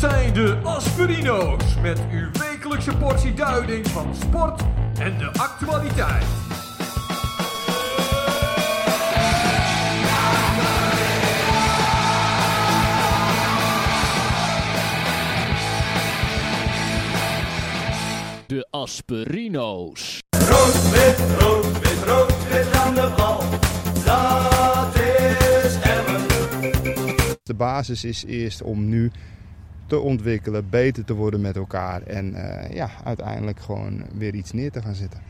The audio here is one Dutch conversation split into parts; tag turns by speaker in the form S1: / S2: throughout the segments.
S1: bij de Aspirino's met uw wekelijkse portie duiding van sport en de actualiteit.
S2: De Asperino's.
S3: Rood, wit, rood, wit, rood, wit aan de bal. Dat is Emmen.
S4: De basis is eerst om nu te ontwikkelen, beter te worden met elkaar en eh, ja, uiteindelijk gewoon weer iets neer te gaan zetten.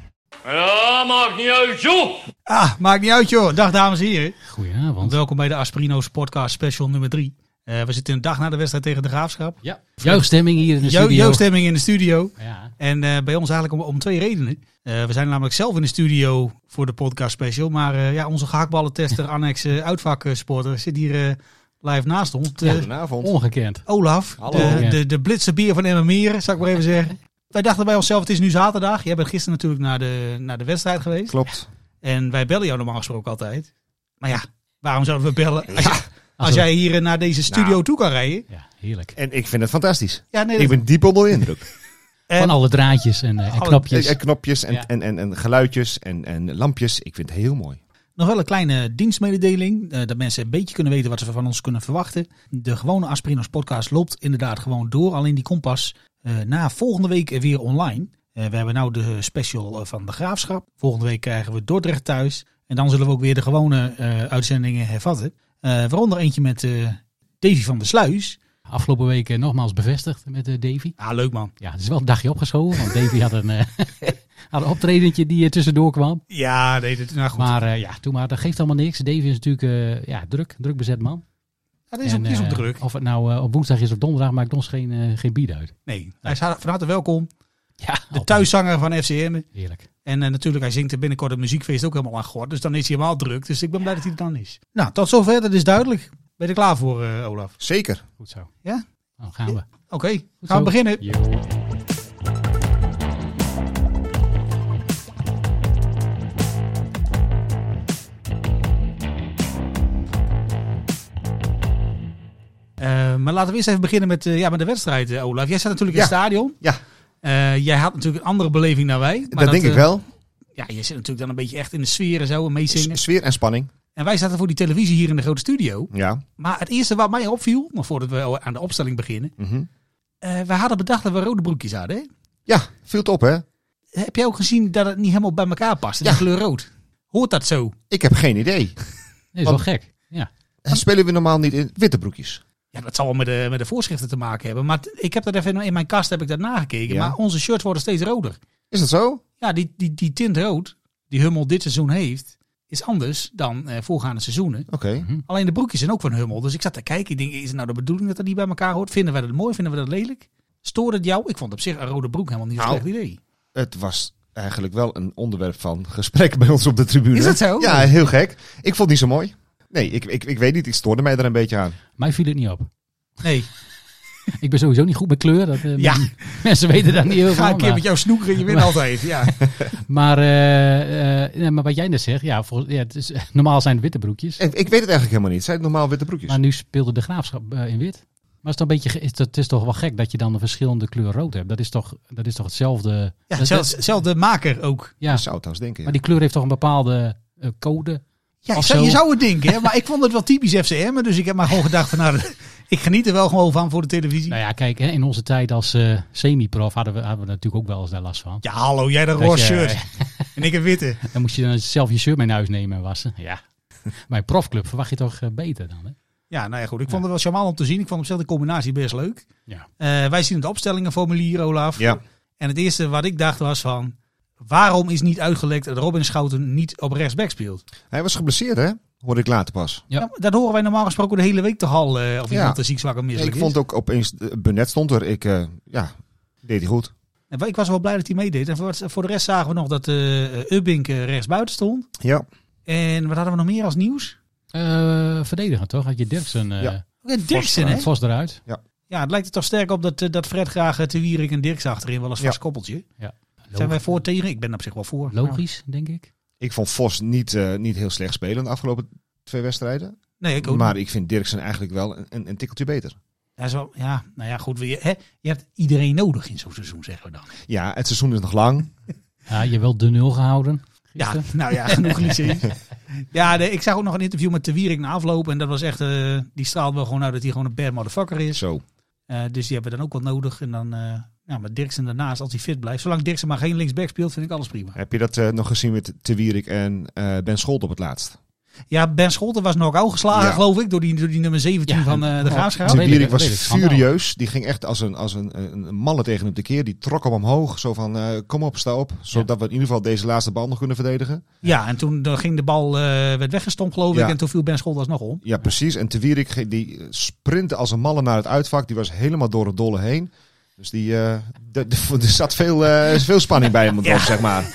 S5: Ja, maakt niet uit, joh!
S6: Ah, maakt niet uit joh. Dag dames en heren.
S7: Goedenavond.
S6: Welkom bij de Asperino's podcast special nummer 3. we zitten een dag na de wedstrijd tegen de Graafschap.
S7: Ja, jeugdstemming hier in de
S6: Jo-
S7: studio.
S6: Joostemming in de studio.
S7: Ja,
S6: En eh, bij ons eigenlijk om, om twee redenen. Eh, we zijn namelijk zelf in de studio voor de podcast special. Maar eh, ja, onze gehaktballentester, annex eh, uitvaksporter zit hier eh, live naast ons. De-
S4: Goedenavond.
S7: ongekend.
S6: Olaf, de,
S7: nou. Ja.
S6: de, de blitse bier van Emmermeer, zou ik maar even zeggen. Wij dachten bij onszelf, het is nu zaterdag. Jij bent gisteren natuurlijk naar de, naar de wedstrijd geweest.
S4: Klopt.
S6: En wij bellen jou normaal gesproken altijd. Maar ja, waarom zouden we bellen als, je- als jij hier eh,
S4: Nou.
S6: naar deze studio toe kan rijden?
S7: Ja, heerlijk.
S4: En ik vind het fantastisch.
S6: Ja, nee,
S4: Ik ben diep onder de indruk.
S6: en-
S7: Van alle draadjes en, eh, en
S6: Alle-
S7: knopjes.
S4: En knopjes en,
S7: Ja.
S4: en, en, en geluidjes en, en lampjes. Ik vind het heel mooi.
S6: Nog wel een kleine dienstmededeling, eh, dat mensen een beetje kunnen weten wat ze van ons kunnen verwachten. De gewone Aspirinos podcast loopt inderdaad gewoon door, alleen die kompas eh, na volgende week weer online. Eh, we hebben nou de special eh, van de Graafschap, volgende week krijgen we Dordrecht thuis. En dan zullen we ook weer de gewone eh, uitzendingen hervatten. Eh, waaronder eentje met eh, Davy van der Sluis.
S7: Afgelopen week eh, nogmaals bevestigd met eh, Davy.
S6: Ah, leuk man.
S7: Ja, het is wel een dagje opgeschoven, want Davy had een, eh, had een optredentje die er tussendoor kwam.
S6: Ja, nee, dat, nou goed.
S7: Maar eh, ja, toen maar, dat geeft allemaal niks. Davy is natuurlijk eh, ja, druk, druk bezet man.
S6: Ja, dat is, op,
S7: En,
S6: die is op
S7: eh,
S6: druk.
S7: Of het nou eh, op woensdag is of donderdag, maakt ons geen, eh, geen bied uit.
S6: Nee, hij is van harte welkom.
S7: Ja,
S6: De
S7: altijd.
S6: thuiszanger van FCM.
S7: Heerlijk.
S6: En eh, natuurlijk, hij zingt er binnenkort het muziekfeest ook helemaal aan gehoord. Dus dan is hij helemaal druk. Dus ik ben blij dat hij er dan is. Nou, tot zover. Dat is duidelijk. Ben je er klaar voor, eh, Olaf?
S4: Zeker.
S7: Goed zo.
S6: Ja?
S7: Dan gaan we.
S6: Oké, gaan we
S7: zo.
S6: beginnen.
S7: Jo.
S6: Eh, maar laten we eerst even beginnen met, eh, ja, met de wedstrijd, eh, Olaf. Jij zat natuurlijk in het
S4: Ja.
S6: stadion.
S4: Ja,
S6: Eh, jij had natuurlijk een andere beleving dan wij. Maar
S4: dat, denk
S6: eh,
S4: ik wel.
S6: Ja, je zit natuurlijk dan een beetje echt in de sfeer en zo en meezingen.
S4: S- sfeer en spanning.
S6: En wij zaten voor die televisie hier in de grote studio.
S4: Ja.
S6: Maar het eerste wat mij opviel, maar voordat we aan de opstelling beginnen.
S4: Mhm.
S6: eh, we hadden bedacht dat we rode broekjes hadden. Hè?
S4: Ja, viel het op hè.
S6: Heb jij ook gezien dat het niet helemaal bij elkaar past? De
S4: Ja.
S6: kleur rood. Hoort dat zo?
S4: Ik heb geen idee.
S7: Nee, is wel gek. Ja.
S4: Spelen we normaal niet in witte broekjes?
S6: Ja, dat zal wel met de, met de voorschriften te maken hebben. Maar t- ik heb dat even in mijn kast heb ik dat nagekeken.
S4: Ja.
S6: Maar onze shirts worden steeds roder.
S4: Is dat zo?
S6: Ja, die, die, die tint rood die Hummel dit seizoen heeft, is anders dan eh, voorgaande seizoenen.
S4: Oké.
S6: Alleen de broekjes zijn ook van Hummel. Dus ik zat te kijken. Ik denk, is het nou de bedoeling dat dat niet bij elkaar hoort? Vinden wij dat mooi? Vinden we dat lelijk? Stoort het jou? Ik vond op zich een rode broek helemaal niet een
S4: Nou,
S6: slecht idee.
S4: het was eigenlijk wel een onderwerp van gesprek bij ons op de tribune.
S6: Is dat zo?
S4: Ja, heel gek. Ik vond het niet zo mooi. Nee, ik, ik, ik weet niet. Ik stoorde mij er een beetje aan.
S7: Mij viel het niet op.
S6: Nee,
S7: Ik ben sowieso niet goed met kleur. Dat, eh,
S6: Ja.
S7: Mensen weten daar niet heel veel
S6: ga een
S7: van.
S6: keer met
S7: Maar,
S6: jou snoekeren. Je wint
S7: Maar-
S6: altijd. Ja.
S7: maar, eh, eh, nee, maar wat jij net zegt, ja, vol- ja, het is, eh, normaal zijn het witte broekjes.
S4: Ik, ik weet het eigenlijk helemaal niet. Zijn het normaal witte broekjes?
S7: Maar nu speelde de graafschap eh, in wit. Maar het is, dan een beetje, ge- is, dat- het is toch wel gek dat je dan een verschillende kleur rood hebt. Dat is toch, dat is toch hetzelfde.
S6: Ja,
S7: dat-
S6: zelfs, zelfs de maker ook.
S7: ja,
S4: Dat zou het trouwens denken. ja.
S7: maar die kleur heeft toch een bepaalde eh, code.
S6: Ja, je
S7: Of
S6: zou,
S7: zo.
S6: je zou het denken, hè? maar ik vond het wel typisch FCM. Dus ik heb maar gewoon gedacht van, nou, ik geniet er wel gewoon van voor de televisie.
S7: Nou ja, kijk, hè, in onze tijd als eh, semi-prof hadden we, hadden we natuurlijk ook wel eens daar last van.
S6: Ja, hallo, jij dat
S7: Dat
S6: roze
S7: je-
S6: shirt. En ik een witte.
S7: Dan moest je dan zelf je shirt mee naar huis nemen en wassen. Ja. Bij een profclub verwacht je toch eh, beter dan, hè?
S6: Ja, nou ja, goed. Ik vond het wel charmant om te zien. Ik vond op zich de combinatie best leuk.
S7: Ja.
S6: Eh, wij zien het opstellingenformulier, Olaf.
S4: Ja.
S6: En het eerste wat ik dacht was van, waarom is niet uitgelekt dat Robin Schouten niet op rechtsback speelt?
S4: Hij was geblesseerd, hè? Hoorde ik later pas.
S7: Ja.
S6: Nou, dat horen wij normaal gesproken de hele week toch al, eh, of
S4: Ja.
S6: iemand er ziek, zwak of misselijk
S4: Ik vond
S6: is.
S4: ook opeens... eh, Burnett stond er. Ik, eh, ja, deed hij goed.
S6: En Ik was wel blij dat hij meedeed. En voor, voor de rest zagen we nog dat eh Ubbink eh, rechtsbuiten stond.
S4: Ja.
S6: En wat hadden we nog meer als nieuws?
S7: Eh verdediger toch? Had je Dirksen eh
S4: Ja.
S6: Oké, Dirksen, hè?
S7: het Vos eruit.
S6: Ja, het lijkt er toch sterk op dat, eh, dat Fred graag eh, Te Wierik en Dirks achterin wel eens
S4: Ja.
S6: vast koppeltje. Zijn wij
S7: Logisch,
S6: voor tegen? Ik ben op zich wel voor.
S7: logisch, denk ik.
S4: Ik vond Vos niet, eh, niet heel slecht spelen de afgelopen twee wedstrijden.
S6: Nee, ik ook
S4: maar
S6: niet.
S4: ik vind Dirksen eigenlijk wel een, een, een tikkeltje beter.
S6: Dat is wel, ja, nou ja, goed. Je, hè, je hebt iedereen nodig in zo'n seizoen, zeggen we dan.
S8: Ja, het seizoen is nog lang.
S7: Ja, je hebt wel de nul gehouden.
S6: Ja,
S7: gisteren.
S6: nou ja, genoeg liedje. ja, nee, ik zag ook nog een interview met de Wierik na afloop. En dat was echt, eh, die straalde wel gewoon uit dat hij gewoon een bad motherfucker is.
S8: Zo.
S6: Eh, dus die hebben we dan ook wat nodig. En dan, eh ja, met Dirksen daarnaast, als hij fit blijft. Zolang Dirksen maar geen linksback speelt, vind ik alles prima.
S8: Heb je dat eh, nog gezien met Te Wierik en eh, Ben Scholt op het laatst?
S6: Ja, Ben Scholten was knock-out geslagen,
S8: Ja.
S6: geloof ik, door die, door die nummer 17
S7: Ja,
S6: van eh, de
S7: oh,
S6: Graafschap.
S8: Te
S7: weet ik,
S8: Wierik
S7: dat
S8: was
S7: weet ik. Schandaal.
S8: furieus. Die ging echt als een, als een, een, een malle tegen hem tekeer. Die trok hem omhoog. Zo van, eh, kom op, sta op. Zodat we in ieder geval deze laatste bal nog kunnen verdedigen.
S6: Ja, en toen eh, ging de bal, eh, werd weggestompt, geloof ik.
S8: Ja. Nou,
S6: En toen viel Ben Scholten alsnog om.
S8: Ja, precies. En Te Wierik ge- die eh, sprintte als een malle naar het uitvak. Die was helemaal door het dolle heen. Dus die, eh, d- d- er zat veel, eh, veel spanning bij hem op, zeg maar.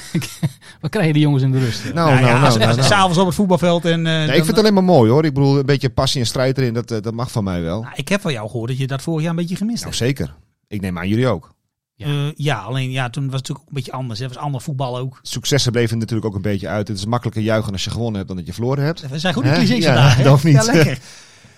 S7: Wat krijgen die jongens in de rust?
S8: Nou,
S6: Nou
S8: nou,
S6: ja,
S8: nou,
S6: als-
S8: nou,
S6: als-
S8: nou.
S6: s'avonds op het voetbalveld. En, eh,
S8: Nee,
S6: dan-
S8: ik vind het alleen maar mooi hoor. Ik bedoel, een beetje passie en strijd erin, dat, eh, dat mag van mij wel.
S6: Nou, ik heb van jou gehoord dat je dat vorig jaar een beetje gemist
S8: Nou,
S6: hebt.
S8: zeker. Ik neem aan jullie ook.
S6: Eh, Ja. alleen ja, toen was het natuurlijk een beetje anders. hè. Het was ander voetbal ook.
S8: Successen bleven natuurlijk ook een beetje uit. Het is makkelijker juichen als je gewonnen hebt dan dat je verloren hebt.
S6: We zijn goed in
S8: Hè?
S6: clichés
S8: Ja,
S6: vandaag. hè?
S8: dat hoeft niet.
S6: Ja, lekker.
S7: Ja,
S8: Nee,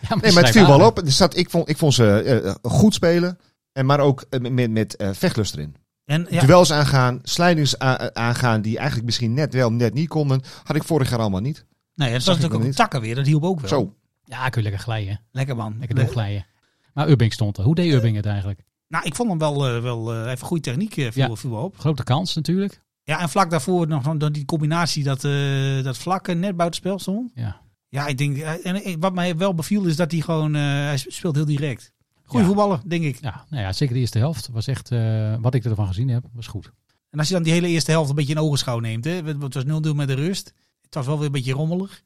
S8: maar het
S7: schrijf
S8: viel
S7: aan.
S8: wel op. Er zat, ik, vond, ik vond ze eh, eh, goed spelen, en maar ook eh, met, met eh, vechtlust erin.
S6: En, ja,
S8: Duels aangaan, slijdings a- eh, aangaan die eigenlijk misschien net wel, net niet konden. Had ik vorig jaar allemaal niet.
S6: nee,
S8: zag
S6: het was
S8: ik
S6: natuurlijk
S8: nog
S6: ook
S8: niet.
S6: takken weer. Dat hielp ook wel.
S8: Zo.
S7: Ja, kun je lekker glijden.
S6: Lekker man.
S7: Lekker
S6: Nee.
S7: doorglijden. Maar Ubbing stond er. Hoe deed Ubbing het eigenlijk?
S6: Nou, ik vond hem wel, eh, wel eh, hij heeft een goede techniek eh, viel,
S7: Ja.
S6: viel wel op.
S7: Grote kans natuurlijk.
S6: Ja, en vlak daarvoor nog nog die combinatie dat, eh dat vlak eh, net buitenspel stond.
S7: Ja.
S6: Ja, ik denk, eh, en eh, wat mij wel beviel is dat hij gewoon, eh, hij speelt heel direct. Goeie
S7: Ja.
S6: voetballer, denk ik.
S7: Ja, nou ja, zeker de eerste helft was echt, eh, wat ik ervan gezien heb, was goed.
S6: En als je dan die hele eerste helft een beetje in ogenschouw neemt, hè, het het was 0-0 met de rust. Het was wel weer een beetje rommelig.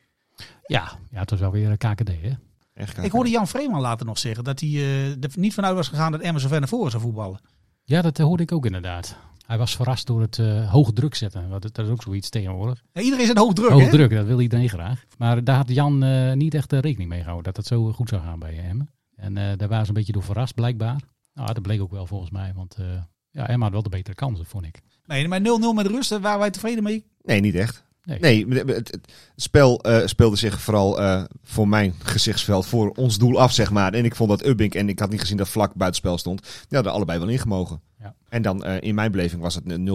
S7: Ja, ja het was wel weer eh, een KKD, hè?
S8: Echt
S6: Ik hoorde Jan Vreeman later nog zeggen dat hij eh, er niet vanuit was gegaan dat Emmen zo ver naar voren zou voetballen.
S7: Ja, dat eh, hoorde ik ook inderdaad. Hij was verrast door het eh hoge druk zetten. want Dat, dat is ook zoiets tegenwoordig.
S6: Ja, iedereen zit hoog druk,
S7: Hoge
S6: hè?
S7: druk, dat wil iedereen graag. Maar daar had Jan eh, niet echt eh, rekening mee gehouden. Dat het zo eh, goed zou gaan bij Emma. En eh, daar waren ze een beetje door verrast, blijkbaar. Nou, dat bleek ook wel volgens mij. Want eh, ja, Emma had wel de betere kansen, vond ik.
S6: Nee, maar 0-0 met de rust, daar waren wij tevreden mee.
S8: Nee, niet echt.
S7: Nee.
S8: Nee, het, het- het spel eh, speelde zich vooral eh, voor mijn gezichtsveld, voor ons doel af, zeg maar. En ik vond dat Ubbink en ik had niet gezien dat vlak buitenspel stond. Die hadden allebei wel ingemogen.
S7: Ja.
S8: En dan eh, in mijn beleving was het een 0-2.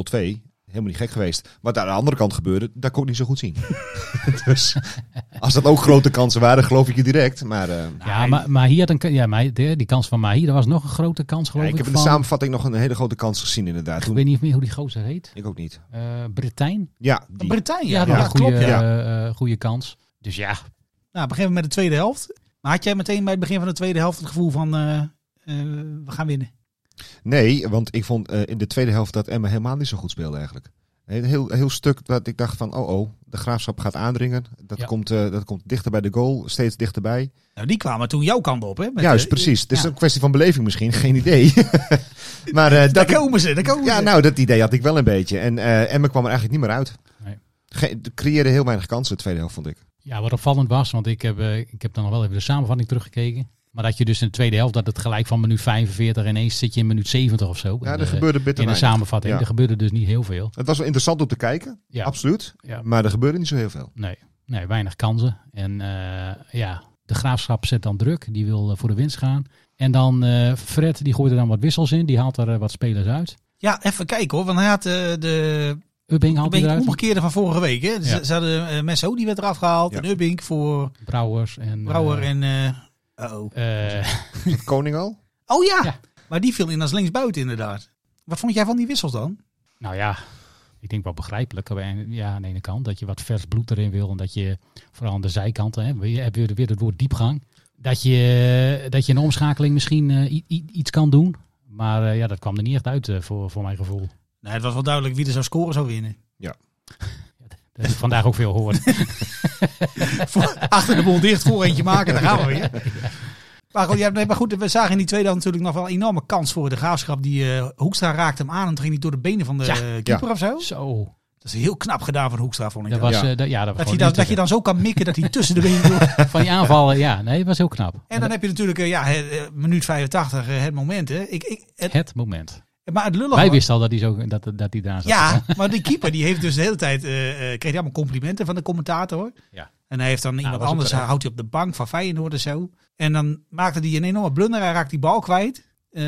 S8: Helemaal niet gek geweest. Wat aan de andere kant gebeurde, dat kon ik niet zo goed zien. dus als dat ook grote kansen waren, geloof ik je direct. Maar eh,
S7: Ja, maar, maar hier had een, ka- ja, maar de- die kans van Mahi, dat was nog een grote kans,
S8: ja,
S7: geloof
S8: ik heb in de
S7: van,
S8: samenvatting nog een hele grote kans gezien inderdaad.
S7: Ik
S8: Toen,
S7: weet niet meer hoe die gozer heet.
S8: ik ook niet.
S7: Eh Britijn.
S8: Ja, die-
S6: Brittannië,
S7: Ja,
S6: ja,
S7: dat was
S6: ja,
S7: een goede,
S6: klopt. Ja.
S7: eh, eh, goede kans. Dus ja,
S6: Nou, beginnen we met de tweede helft. Maar had jij meteen bij het begin van de tweede helft het gevoel van, eh, eh, we gaan winnen?
S8: Nee, want ik vond eh, in de tweede helft dat Emma helemaal niet zo goed speelde eigenlijk. Een heel, heel stuk dat ik dacht van, oh oh, de graafschap gaat aandringen. Dat,
S7: Ja.
S8: komt, eh, dat komt dichter bij de goal, steeds dichterbij.
S6: Nou, die kwamen toen jouw kant op, hè? Met,
S8: Juist,
S6: eh,
S8: precies. Het is
S6: ja.
S8: een kwestie van beleving misschien, geen idee. maar eh, dat,
S6: Daar komen ze, daar komen
S8: ja,
S6: ze.
S8: nou, dat idee had ik wel een beetje. En eh Emma kwam er eigenlijk niet meer uit.
S7: Nee.
S8: Ge- creëerde heel weinig kansen, de tweede helft vond ik.
S7: Ja, wat opvallend was, want ik heb, eh, ik heb dan nog wel even de samenvatting teruggekeken. Maar dat je dus in de tweede helft, dat het gelijk van minuut 45 ineens zit je in minuut 70 of zo.
S8: Ja,
S7: En,
S8: er
S7: eh,
S8: gebeurde bitter
S7: In de
S8: weinig.
S7: samenvatting,
S8: Ja.
S7: er gebeurde dus niet heel veel.
S8: Het was wel interessant om te kijken,
S7: Ja.
S8: absoluut.
S7: Ja.
S8: Maar er gebeurde niet zo heel veel.
S7: Nee, nee weinig kansen. En eh, ja, de graafschap zet dan druk, die wil eh, voor de winst gaan. En dan eh, Fred, die gooit er dan wat wissels in, die haalt er eh, wat spelers uit.
S6: Ja, even kijken hoor, want hij had eh, de
S7: Ubbing
S6: een
S7: haalt hij
S6: beetje
S7: eruit,
S6: omgekeerde van vorige week. Hè? Dus
S7: Ja.
S6: Ze hadden eh, Messo, die werd eraf gehaald.
S8: Ja.
S6: En Ubbink voor
S7: Brouwers en... eh,
S6: Brouwer en... eh, oh.
S7: eh,
S8: Is dat Koning al?
S6: oh ja.
S7: Ja.
S6: maar die viel in als linksbuiten inderdaad. Wat vond jij van die wissels dan?
S7: Nou ja, ik denk wel begrijpelijk. Aan- Ja, aan de ene kant dat je wat vers bloed erin wil. En dat je vooral aan de zijkanten, hè, je hebt weer, weer het woord diepgang. Dat je, dat je een omschakeling misschien eh, i- i- iets kan doen. Maar eh, ja, dat kwam er niet echt uit eh, voor, voor mijn gevoel.
S6: Nee, het was wel duidelijk wie er zou scoren zou winnen.
S7: Dat heb ik vandaag ook veel gehoord.
S6: Voor- Achter de boel dicht, voor eentje maken, daar gaan we weer. Maar goed, ja, nee, maar goed, we zagen in die tweede helft natuurlijk nog wel een enorme kans voor de graafschap. Die eh, Hoekstra raakte hem aan en toen ging hij door de benen van de
S7: Ja.
S6: eh, keeper of zo. Dat
S7: Zo.
S6: is heel knap gedaan van Hoekstra, vond ik.
S7: Dat
S6: dat.
S7: was,
S8: Ja.
S7: eh, dat, ja, dat
S6: Dat,
S7: was
S6: hij
S7: gewoon
S6: dan, dat je dan zo kan mikken dat hij tussen de benen door...
S7: niet- Van je aanvallen, ja. Nee, dat was heel knap.
S6: En dan heb je natuurlijk, eh, ja, eh, eh, minuut 85, eh, het moment. Hè. Ik, ik, het,
S7: Het moment.
S6: maar het lullig
S7: Wij wisten al dat hij, zo, dat, dat hij daar zat.
S6: Ja, maar die keeper die heeft dus de hele tijd, eh, eh, kreeg hij allemaal complimenten van de commentator.
S7: Ja.
S6: En hij heeft dan iemand
S7: was ook
S6: anders,
S7: terecht.
S6: houdt hij op de bank van Feyenoord en zo. En dan maakte hij een enorme blunder. Hij raakt die bal kwijt. Eh,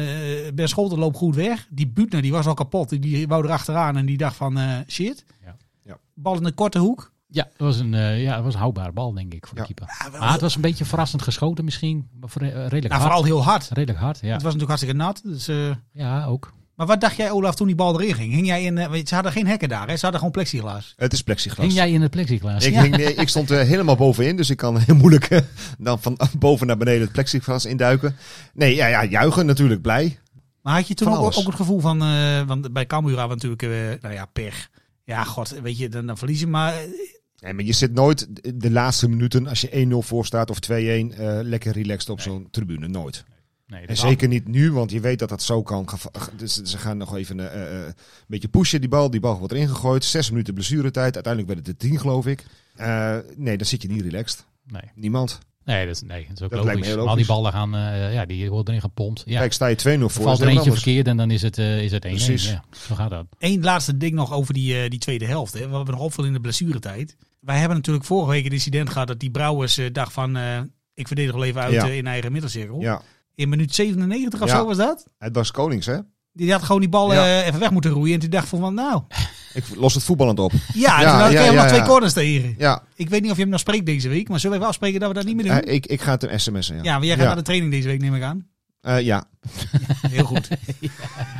S6: ben Scholten loopt goed weg. Die Butner, die was al kapot. Die, die wou erachteraan en die dacht van eh, shit.
S7: Ja.
S8: Ja.
S6: Bal in de korte hoek.
S7: Ja, dat was een, eh, ja, dat was een houdbare bal, denk ik, voor de
S8: Ja.
S7: keeper. maar het was een beetje verrassend geschoten misschien. Maar voor- eh, redelijk
S6: Nou,
S7: hard.
S6: vooral heel hard.
S7: Redelijk hard, ja.
S6: Het was natuurlijk hartstikke nat. Dus, eh,
S7: Ja, ook.
S6: maar wat dacht jij, Olaf, toen die bal erin ging? Hing jij in, eh, want ze hadden geen hekken daar, hè? ze hadden gewoon plexiglas.
S8: Het is plexiglas.
S7: Ging jij in het plexiglas?
S8: Ik,
S7: Ja.
S8: hing- nee, ik stond eh, helemaal bovenin, dus ik kan heel moeilijk eh, dan van boven naar beneden het plexiglas induiken. Nee, ja, ja, juichen natuurlijk, blij.
S6: Maar had je toen
S8: Van
S6: ook,
S8: alles.
S6: ook het gevoel van, eh, want bij Cambuur hadden we natuurlijk, eh, nou ja, pech. Ja, god, weet je, dan, dan verliezen. Maar eh,
S8: Nee, maar je zit nooit de- de laatste minuten, als je 1-0 voor staat of 2-1, eh, lekker relaxed op zo'n tribune. Nooit.
S7: Nee,
S8: En
S7: dat-
S8: zeker niet nu, want je weet dat dat zo kan. geva- Dus ze gaan nog even eh, eh, een beetje pushen, die bal. Die bal wordt erin gegooid. Zes minuten blessuretijd. Uiteindelijk werd het de tien, geloof ik. Eh, nee, dan zit je niet relaxed.
S7: Nee,
S8: Niemand.
S7: nee, dat, nee, dat is ook
S8: Dat lijkt me
S7: logisch.
S8: heel
S7: Al die
S8: logisch.
S7: ballen gaan, eh, ja, die worden erin gepompt. Ja,
S8: Kijk, sta je 2-0 voor. is
S7: er
S8: het
S7: valt er
S8: heel
S7: eentje
S8: anders.
S7: verkeerd en dan is het, eh, is het 1-1.
S8: Precies.
S7: Ja, zo gaat dat.
S6: één laatste ding nog over die, eh, die tweede helft. Hè. Wat we nog opviel in de blessuretijd. Wij hebben natuurlijk vorige week het incident gehad dat die Brouwers eh, dacht van, eh, ik verdedig wel even uit
S8: Ja.
S6: eh, in eigen middelcirkel.
S8: Ja,
S6: In minuut 97 of
S8: Ja.
S6: zo was dat?
S8: het was Konings, hè?
S6: Die had gewoon die bal
S8: Ja.
S6: eh, even weg moeten roeien. En die dacht van, nou,
S8: Ik los het voetballend op.
S6: ja,
S8: Ja,
S6: toen had ik
S8: ja,
S6: helemaal
S8: ja,
S6: nog twee
S8: ja.
S6: corners tegen.
S8: Ja,
S6: Ik weet niet of je hem nog spreekt deze week, maar zullen we even afspreken dat we dat niet meer doen?
S8: eh, ik, ik ga het een sms'en. Ja.
S6: ja, maar jij gaat
S8: ja.
S6: naar de training deze week, neem ik aan.
S8: Eh, ja.
S6: Heel goed.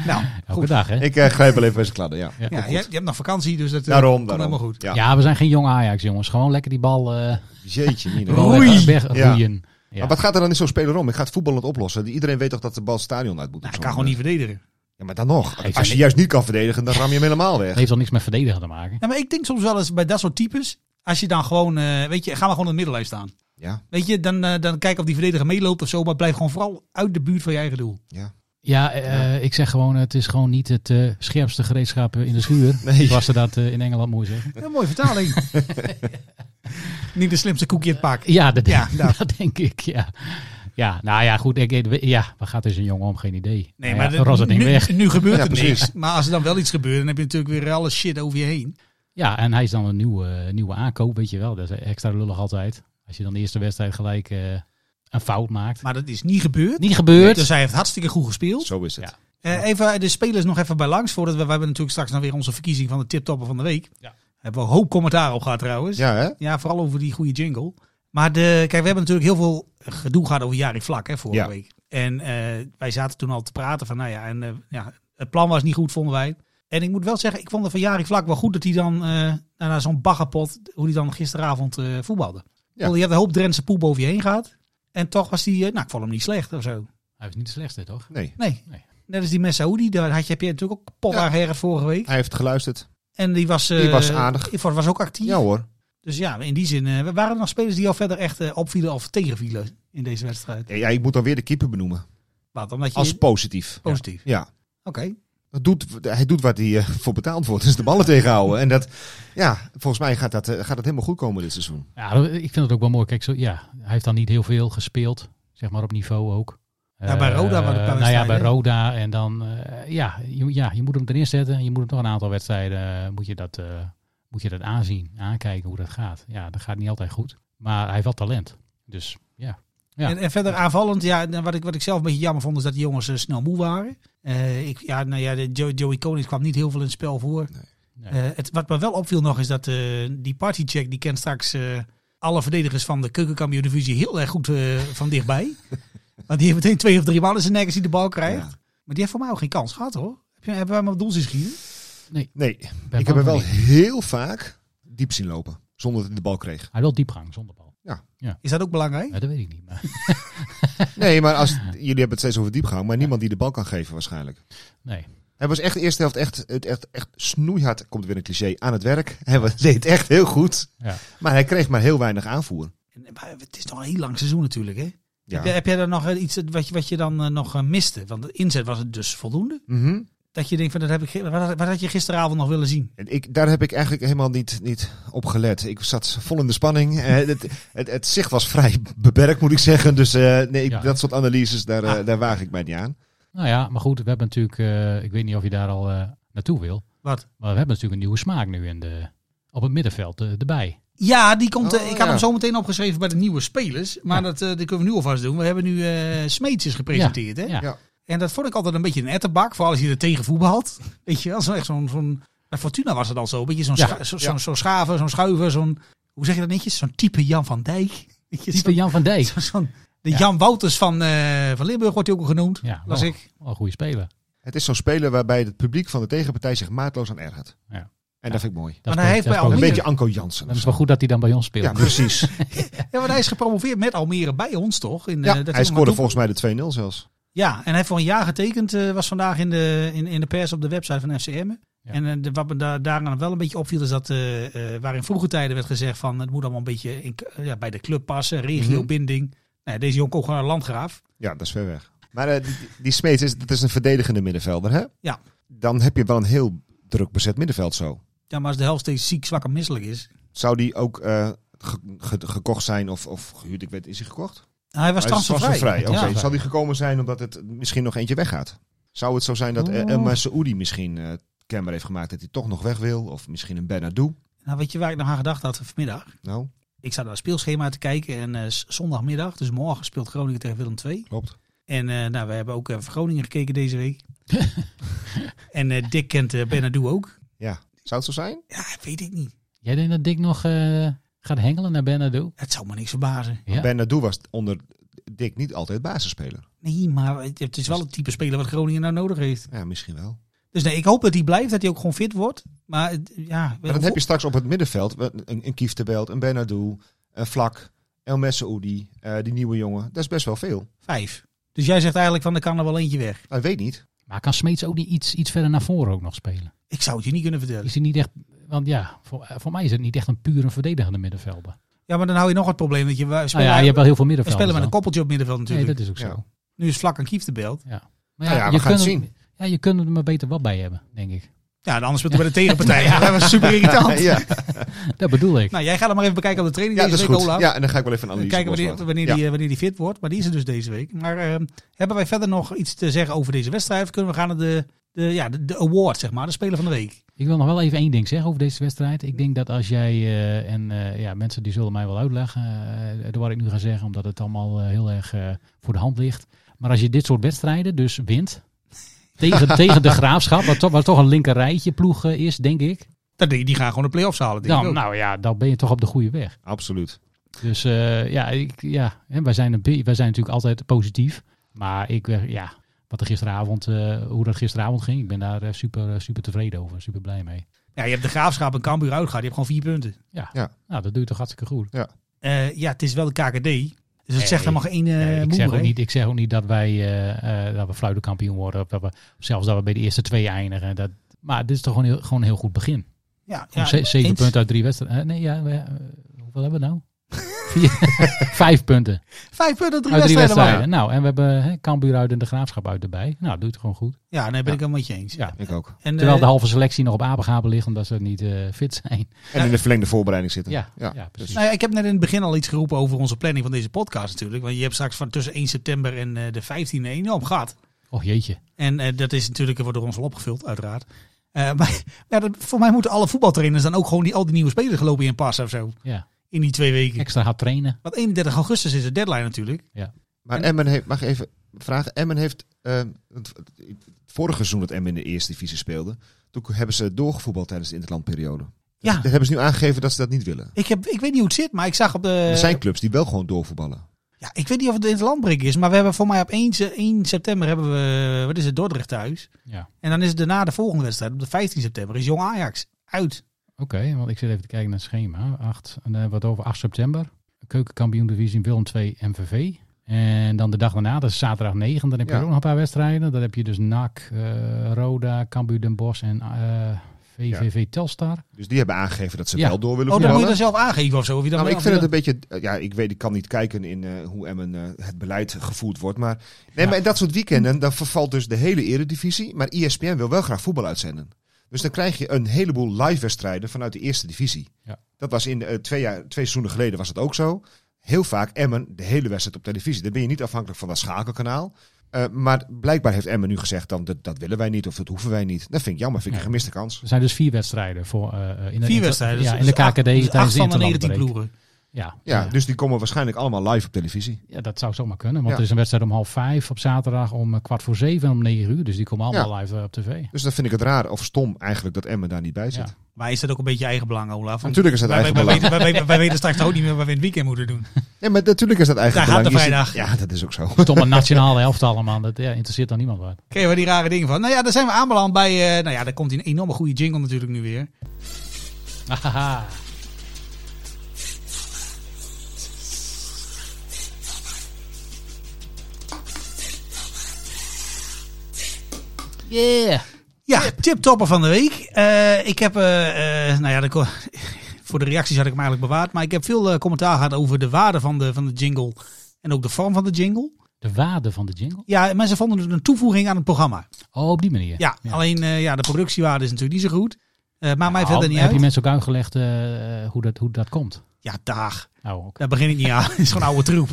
S6: Nou,
S7: Elke dag, hè?
S8: ik eh, grijp wel even bij zijn kladden, ja.
S7: Ja,
S6: ja, je, hebt, je hebt nog vakantie, dus dat eh,
S8: Daarom,
S6: komt
S8: daarom.
S6: helemaal goed.
S8: Ja.
S7: Ja, we zijn geen jong Ajax, jongens. Gewoon lekker die bal eh
S8: Jeetje, Mina.
S7: bal
S6: Roei.
S7: weg- wegroeien. Ja.
S8: Maar wat gaat er dan in zo'n speler om? Ik ga het voetballend oplossen. Iedereen weet toch dat de bal het stadion uit moet?
S6: Nou,
S8: of
S6: ik
S8: zo?
S6: kan gewoon niet verdedigen.
S8: Ja, maar dan nog.
S7: Heeft
S8: Als je
S7: hij-
S8: juist niet kan verdedigen, dan ram je hem helemaal weg.
S7: Het heeft al niks met verdedigen te maken.
S6: Ja, maar ik denk soms wel eens bij dat soort types, als je dan gewoon, eh, weet je, ga maar gewoon in het middenlijn staan.
S8: Ja,
S6: Weet je, dan, eh, dan kijk of die verdediger meeloopt of zo, maar blijf gewoon vooral uit de buurt van je eigen doel.
S8: ja.
S7: Ja, eh, ik zeg gewoon, het is gewoon niet het eh, scherpste gereedschap eh, in de schuur.
S8: Nee.
S7: Zoals ze dat eh, in Engeland mooi zeggen.
S6: Ja, mooie vertaling. niet de slimste koekje in het pak.
S7: Ja, dat,
S6: Ja, nou.
S7: dat. denk ik, ja. Ja, nou ja, goed. Ik, ik- ja, waar gaat dus een jongen om? Geen idee.
S6: Nee,
S7: Nou
S6: maar
S7: ja,
S6: dat-
S7: ras dat ding
S6: nu,
S7: weg.
S6: nu gebeurt
S8: Ja,
S6: er
S8: precies.
S6: niks. Maar als er dan wel iets gebeurt, dan heb je natuurlijk weer alle shit over je heen.
S7: Ja, en hij is dan een nieuwe, eh, nieuwe aankoop, weet je wel. Dat is extra lullig altijd. Als je dan de eerste wedstrijd gelijk eh, een fout maakt.
S6: Maar dat is niet gebeurd.
S7: Niet gebeurd.
S6: Dus hij heeft hartstikke goed gespeeld.
S8: Zo is het.
S7: Ja.
S6: Eh, even de spelers nog even bij langs. Voordat we, we hebben natuurlijk straks nog weer onze verkiezing van de tiptopper van de week.
S7: Ja.
S6: Hebben we een hoop commentaar op gehad trouwens.
S8: Ja, hè?
S6: Ja, vooral over die goede jingle. Maar de, kijk, we hebben natuurlijk heel veel gedoe gehad over Jari Vlak hè, vorige
S8: Ja.
S6: week. En eh, wij zaten toen al te praten van, nou ja, en, eh, ja, het plan was niet goed, vonden wij. En ik moet wel zeggen, ik vond het van Jari Vlak wel goed dat hij dan eh, nou, naar zo'n baggerpot, hoe hij dan gisteravond eh, voetbalde. Ja. Je hebt een hoop Drentse poep over je heen gehad. En toch was hij, eh, nou, ik vond hem niet slecht of zo.
S7: Hij is niet de slechtste, toch?
S8: Nee.
S6: Nee.
S7: Nee.
S6: Net als die Messaoudi, daar had je, heb je natuurlijk ook kapot
S8: Ja.
S6: aan geërgerd vorige week.
S8: Hij heeft geluisterd.
S6: En die was, eh,
S8: Die was aardig.
S6: die was ook actief.
S8: Ja hoor.
S6: Dus ja, in die zin eh, waren er nog spelers die al verder echt eh, opvielen of tegenvielen in deze wedstrijd.
S8: Ja, ja, ik moet dan weer de keeper benoemen.
S6: Wat, omdat je
S8: Als positief.
S6: positief.
S8: Ja.
S6: Oké.
S8: Dat doet, hij doet wat hij eh, voor betaald wordt. Dus de ballen tegenhouden. En dat, ja, volgens mij gaat dat, eh, gaat dat helemaal goed komen dit seizoen.
S7: Ja, ik vind het ook wel mooi. Kijk, zo, ja, hij heeft dan niet heel veel gespeeld. Zeg maar op niveau ook.
S6: Ja, bij
S7: Eh,
S6: Roda waren het wel
S7: Nou ja, bij
S6: wedstrijden, hè?
S7: Roda. En dan, eh, ja, je, ja, je moet hem erin zetten. En je moet hem toch een aantal wedstrijden, eh, moet je dat, eh, moet je dat aanzien. Aankijken hoe dat gaat. Ja, dat gaat niet altijd goed. Maar hij heeft wel talent. Dus ja. Ja.
S6: En, en verder aanvallend, ja, nou, wat, ik, wat ik zelf een beetje jammer vond, is dat die jongens eh, snel moe waren. Eh, ik, ja, nou ja, de Jo- Joey Konings kwam niet heel veel in het spel voor.
S7: Nee.
S6: Eh, het, wat me wel opviel nog is dat eh, die partycheck, die kent straks eh, alle verdedigers van de keukenkampioen divisie heel erg goed eh, van dichtbij. Want die heeft meteen twee of drie mannen zijn nek als hij de bal krijgt.
S8: Ja.
S6: Maar die heeft voor mij ook geen kans gehad hoor. Heb je- Hebben wij hem op doel zien schieten?
S8: Nee,
S7: Ben
S8: ik heb hem wel
S7: bang voor die.
S8: heel vaak diep zien lopen. Zonder dat hij de bal kreeg.
S7: Hij wil diepgang zonder bal.
S6: Is dat ook belangrijk?
S7: Ja, dat weet ik niet. Maar,
S8: Nee, maar als, jullie hebben het steeds over diepgang. Maar niemand die de bal kan geven waarschijnlijk.
S7: nee.
S8: Hij was echt de eerste helft echt, het echt, echt snoeihard, komt weer een cliché, aan het werk. Hij was- deed echt heel goed.
S7: Ja.
S8: Maar hij kreeg maar heel weinig aanvoer.
S6: En, Maar het is nog een heel lang seizoen natuurlijk, hè?
S8: Ja.
S6: Heb, jij- heb jij dan nog eh, iets wat je, wat je dan eh, nog eh, miste? Want de inzet was het dus voldoende.
S8: Mhm.
S6: Dat je denkt, van, dat heb ik, ge- wat, had- wat had je gisteravond nog willen zien?
S8: En Ik, daar heb ik eigenlijk helemaal niet, niet op gelet. Ik zat vol in de spanning. Eh, het, het, het zicht was vrij beperkt, moet ik zeggen. Dus eh, nee, ik-
S7: Ja. Ah.
S8: dat soort analyses, daar, eh, daar waag ik mij niet aan.
S7: Nou ja, maar goed. We hebben natuurlijk, eh, ik weet niet of je daar al eh, naartoe wil.
S6: Wat?
S7: Maar we hebben natuurlijk een nieuwe smaak nu in de, op het middenveld eh, erbij.
S6: Ja, die komt, eh,
S8: Oh,
S6: ik had
S8: ja.
S6: hem zo meteen opgeschreven bij de nieuwe spelers. Maar dat, eh, dat kunnen we nu alvast doen. We hebben nu eh Smeets is gepresenteerd. Hè?
S7: Ja.
S8: Ja.
S6: En dat vond ik altijd een beetje een ettenbak. Vooral als je er tegen voetbalt. Weet je wel, zo echt zo'n... zo'n bij Fortuna was het al zo. Een beetje zo'n
S7: Ja.
S6: scha- zo- zo'n zo'n schaven, zo'n schuiven, zo'n... Hoe zeg je dat netjes? Zo'n type Jan van Dijk. Weet je,
S7: Type
S6: zo'n-
S7: Jan van Dijk.
S6: zo'n- zo'n- de
S7: Ja.
S6: Jan Wouters van, eh, van Limburg wordt hij ook al genoemd.
S7: Ja,
S6: las
S7: wel.
S6: ik.
S7: Wel een goede speler.
S8: Het is zo'n speler waarbij het publiek van de tegenpartij zich maatloos aan ergert.
S7: Ja.
S8: En dat vind ik mooi.
S6: Maar
S7: Dat is
S6: hij
S7: ook-
S6: heeft bij
S7: dat is ook-
S8: Een
S6: Almere-
S8: beetje Anko Jansen.
S7: Dat
S8: of
S7: is
S8: zo.
S7: wel goed dat hij dan bij ons speelt.
S8: Ja, precies.
S6: Ja, want hij is gepromoveerd met Almere bij ons, toch? In,
S8: Ja,
S6: eh, dat
S8: hij
S6: allemaal
S8: scoorde volgens mij de 2-0 zelfs.
S6: Ja, en hij heeft voor een jaar getekend. eh, was vandaag in de, in, in de pers op de website van FCM.
S7: Ja.
S6: En eh, de, wat me daar daaraan wel een beetje opviel is dat, eh, eh, waar in vroege tijden werd gezegd van het moet allemaal een beetje in, eh, ja, bij de club passen,
S8: Mhm.
S6: regiobinding. Nou, deze jongen komt gewoon naar Landgraaf.
S8: Ja, dat is ver weg. Maar eh, die, die Smeets is, dat is een verdedigende middenvelder, hè?
S6: Ja.
S8: Dan heb je wel een heel druk bezet middenveld zo.
S6: Ja, maar als de helft steeds ziek, zwak en misselijk is.
S8: Zou die ook eh, ge- ge- gekocht zijn of, of gehuurd? Ik weet, is hij gekocht?
S6: Hij was
S8: Hij is
S6: transfervrij.
S8: transfervrij, Oké,
S6: Ja.
S8: zal die gekomen zijn omdat het misschien nog eentje weggaat? Zou het zo zijn
S6: Oh.
S8: dat El El Saoudi misschien eh kenbaar heeft gemaakt dat hij toch nog weg wil? Of misschien een Bernardo?
S6: Nou, weet je waar ik nog aan gedacht had vanmiddag?
S8: Nou,
S6: Ik zat naar het speelschema te kijken en eh, z- zondagmiddag, dus morgen speelt Groningen tegen Willem II.
S8: klopt.
S6: En eh, nou, we hebben ook eh Groningen gekeken deze week. en eh, Dick kent eh Benadou ook.
S8: Ja, zou het zo zijn?
S6: Ja, weet ik niet.
S7: Jij denkt dat Dick nog eh, gaat hengelen naar Bernardo?
S6: Het zou me niks verbazen.
S7: Ja.
S8: Bernardo was onder Dick niet altijd basisspeler.
S6: Nee, maar het het is wel het type speler wat Groningen nou nodig heeft.
S8: Ja, misschien wel.
S6: Dus nee, ik hoop dat hij blijft, dat hij ook gewoon fit wordt. Maar het- ja,
S8: Maar dan heb je straks op het middenveld wel een, een Kieftenbelt, een Bernardo, een Vlak, El Saoudi, eh, die nieuwe jongen. Dat is best wel veel.
S6: vijf. Dus jij zegt eigenlijk van, er kan er wel eentje weg.
S8: Nou, ik weet niet.
S7: Maar kan Smeets ook niet iets, iets verder naar voren ook nog spelen?
S6: Ik zou het je niet kunnen vertellen.
S7: Is hij niet echt... Want ja, voor, eh, voor mij is het niet echt een pure verdedigende middenvelder.
S6: Ja, maar dan hou je nog het probleem dat je... We
S7: Nou
S6: spelen,
S7: ja, je hebt wel heel veel
S6: we
S7: middenvelders.
S6: spelen met een
S7: dan.
S6: koppeltje op middenveld natuurlijk.
S7: Nee, dat is ook zo.
S8: Ja.
S6: Nu is vlak en Kief de beeld.
S7: Maar
S8: Nou ja, we gaan het
S7: kunt er- Ja, je kunt er maar beter wat bij hebben, denk ik.
S6: Ja, en anders speelt hij bij de tegenpartij. Ja, dat was super irritant.
S8: ja,
S7: Dat bedoel ik.
S6: Nou, jij gaat hem maar even bekijken op de training
S8: ja, dat
S6: deze
S8: is
S6: week,
S8: goed.
S6: Olaf.
S8: Ja, en dan ga ik wel even een
S6: We
S8: analyse
S6: kijken wanneer,
S8: loslaten.
S6: wanneer,
S8: Ja.
S6: die, eh, wanneer die fit wordt. Maar die is er dus deze week. Maar eh, hebben wij verder nog iets te zeggen over deze wedstrijd? Of kunnen we gaan naar de, de, ja, de, de award, zeg maar. De speler van de week.
S7: Ik wil nog wel even één ding zeggen over deze wedstrijd. Ik denk dat als jij, eh, en eh, ja, mensen die zullen mij wel uitleggen, eh, door wat ik nu ga zeggen, omdat het allemaal eh, heel erg eh, voor de hand ligt. Maar als je dit soort wedstrijden dus wint, tegen, tegen de Graafschap, wat toch, wat toch een linker rijtje ploeg eh, is, denk ik.
S6: Dat, die, die gaan gewoon de play-offs halen. Denk ik
S7: Dan,
S6: ook.
S7: nou ja, dan ben je toch op de goede weg.
S8: Absoluut.
S7: Dus eh, ja, ik, ja hè, wij, zijn een, be- wij zijn natuurlijk altijd positief. Maar ik, eh, ja, wat er gisteravond, eh, hoe dat gisteravond ging, ik ben daar eh, super, eh, super tevreden over. Super blij mee.
S6: ja, je hebt de graafschap en Cambuur uitgehaald. Je hebt gewoon vier punten.
S7: Ja,
S8: Ja.
S7: Nou, dat doe je toch hartstikke goed.
S6: Eh, ja, het is wel de KKD. Dus het zegt helemaal geen eh
S7: Nee, ik,
S6: moer,
S7: zeg ook
S6: hè?
S7: niet, ik zeg ook niet dat wij eh, eh, dat we fluitkampioen worden. Of dat we, zelfs dat we bij de eerste twee eindigen. Dat, maar dit is toch gewoon, heel, gewoon een heel goed begin.
S6: Ja, ja,
S7: Gewoon ze- zeven
S6: eens.
S7: punten uit drie wedstrijden. Eh, nee, ja, we- eh, hoeveel hebben we nou? Vier- Vijf punten
S6: Vijf punten, drie
S7: uit drie
S6: wedstrijden. maar.
S7: wedstrijden. Nou, en we hebben hè, Cambuur uit en de Graafschap uit erbij. Nou, doet het gewoon goed.
S6: Ja, nee, ben ik helemaal met je eens.
S7: Ja.
S8: Ik ook.
S6: En,
S7: Terwijl
S6: eh,
S7: de halve selectie nog op apengapen ligt omdat ze niet eh, fit zijn.
S8: En in de verlengde voorbereiding zitten.
S7: Ja, ja,
S8: Ja.
S7: precies.
S6: Nou ja, ik heb net in het begin al iets geroepen over onze planning van deze podcast natuurlijk. Want je hebt straks van tussen 1 september en eh, de 15e een enorm gat.
S7: Och Oh, jeetje.
S6: En eh, dat is natuurlijk, er wordt door ons wel opgevuld, uiteraard. Eh, maar ja, dat, voor mij moeten alle voetbaltrainers dan ook gewoon die, al die nieuwe spelers gelopen in passen of zo.
S7: Ja.
S6: In die twee weken.
S7: Extra hard trainen.
S6: Want 31 augustus is de deadline natuurlijk.
S8: Maar Emmen heeft, mag ik even vragen, Emmen heeft, eh, het, het vorige seizoen dat Emmen in de eerste divisie speelde, toen hebben ze doorgevoetbald tijdens de interlandperiode.
S6: Ja.
S8: Dat hebben ze nu aangegeven dat ze dat niet willen.
S6: Ik, heb, ik weet niet hoe het zit, maar ik zag op de...
S8: er zijn clubs die wel gewoon doorvoetballen.
S6: Ja, ik weet niet of het in het landbreek is, maar we hebben voor mij op 1, se- 1 september hebben we, wat is het, Dordrecht thuis.
S7: Ja.
S6: En dan is het daarna de volgende wedstrijd, op de 15 september, is Jong Ajax uit.
S7: Oké, want ik zit even te kijken naar het schema. 8, en dan hebben we het over 8 september. Keukenkampioen divisie Willem 2 MVV. En dan de dag daarna, dat is zaterdag 9. Dan heb je
S8: Ja.
S7: ook nog een paar wedstrijden. Dan heb je dus NAC, eh, Roda, Cambuur Den Bosch en eh, VVV Telstar.
S8: Dus die hebben aangegeven dat ze
S7: Ja.
S8: wel door willen
S6: Oh, dan moet je
S8: voetballen.
S6: dan zelf aangeven of zo. Of je dan
S8: Nou, ik vind het een beetje, eh, ja, ik weet, ik kan niet kijken in eh, hoe Emmen eh, het beleid gevoerd wordt, maar nee, maar in dat soort weekenden dan vervalt dus de hele eredivisie, maar E ESPN wil wel graag voetbal uitzenden. Dus dan krijg je een heleboel live wedstrijden vanuit de eerste divisie.
S7: Ja.
S8: Dat was in eh, twee jaar, twee seizoenen geleden was het ook zo. Heel vaak Emmen de hele wedstrijd op televisie. Dan ben je niet afhankelijk van dat schakelkanaal. Eh, Eh, maar blijkbaar heeft Emmen nu gezegd, dan, dat, dat willen wij niet of dat hoeven wij niet. Dat vind ik jammer, vind ik een gemiste kans.
S7: Er zijn dus vier wedstrijden voor eh, eh, in de
S6: Vier
S7: inter-
S6: wedstrijden.
S7: Ja,
S6: dus-
S7: in de
S6: dus acht-
S7: KKD
S6: dus
S7: tijdens
S6: acht
S7: de
S6: van de 19
S7: interlandbreek.
S6: ploegen.
S7: Ja,
S8: Ja, dus die komen waarschijnlijk allemaal live op televisie.
S7: ja, dat zou zomaar kunnen. Want
S8: Ja.
S7: er is een wedstrijd om half vijf op zaterdag, om eh, kwart voor zeven en om negen uur. Dus die komen allemaal live eh, op tv.
S8: Dus dan vind ik het raar of stom eigenlijk dat Emmen daar niet bij zit.
S7: Ja.
S6: Maar is dat ook een beetje eigen belang, Olaf? Want
S8: Natuurlijk is dat
S6: wij- wij-
S8: eigen
S6: wij weten- wij weten- Wij weten straks ook niet meer wat we in het weekend moeten doen.
S8: Nee, maar natuurlijk is dat eigenlijk
S6: Daar gaat
S8: belang.
S6: de
S8: Je
S6: vrijdag.
S8: zit- Ja, dat is ook zo.
S7: Stomme nationale elftal allemaal. Dat ja, interesseert dan niemand wat.
S6: Kregen we die rare dingen van. Nou ja, daar zijn we aanbeland bij. eh, nou ja, daar komt een enorme goede jingle natuurlijk nu weer.
S7: Ahaha. Yeah.
S6: Ja, tiptopper van de week. Eh, ik heb, eh, eh, nou ja, de ko- voor de reacties had ik hem eigenlijk bewaard. Maar ik heb veel eh, commentaar gehad over de waarde van de, van de jingle. En ook de vorm van de jingle.
S7: De waarde van de jingle?
S6: Ja, mensen vonden het een toevoeging aan het programma.
S7: Oh, op die manier.
S6: Ja, alleen eh, ja, de productiewaarde is natuurlijk niet zo goed. Eh maakt mij
S7: Nou,
S6: verder niet
S7: Heb je
S6: uit.
S7: mensen ook uitgelegd eh, hoe, dat, hoe dat komt?
S6: Ja, dag.
S7: Nou, oké.
S6: Daar begin ik niet aan. Het is gewoon oude troep.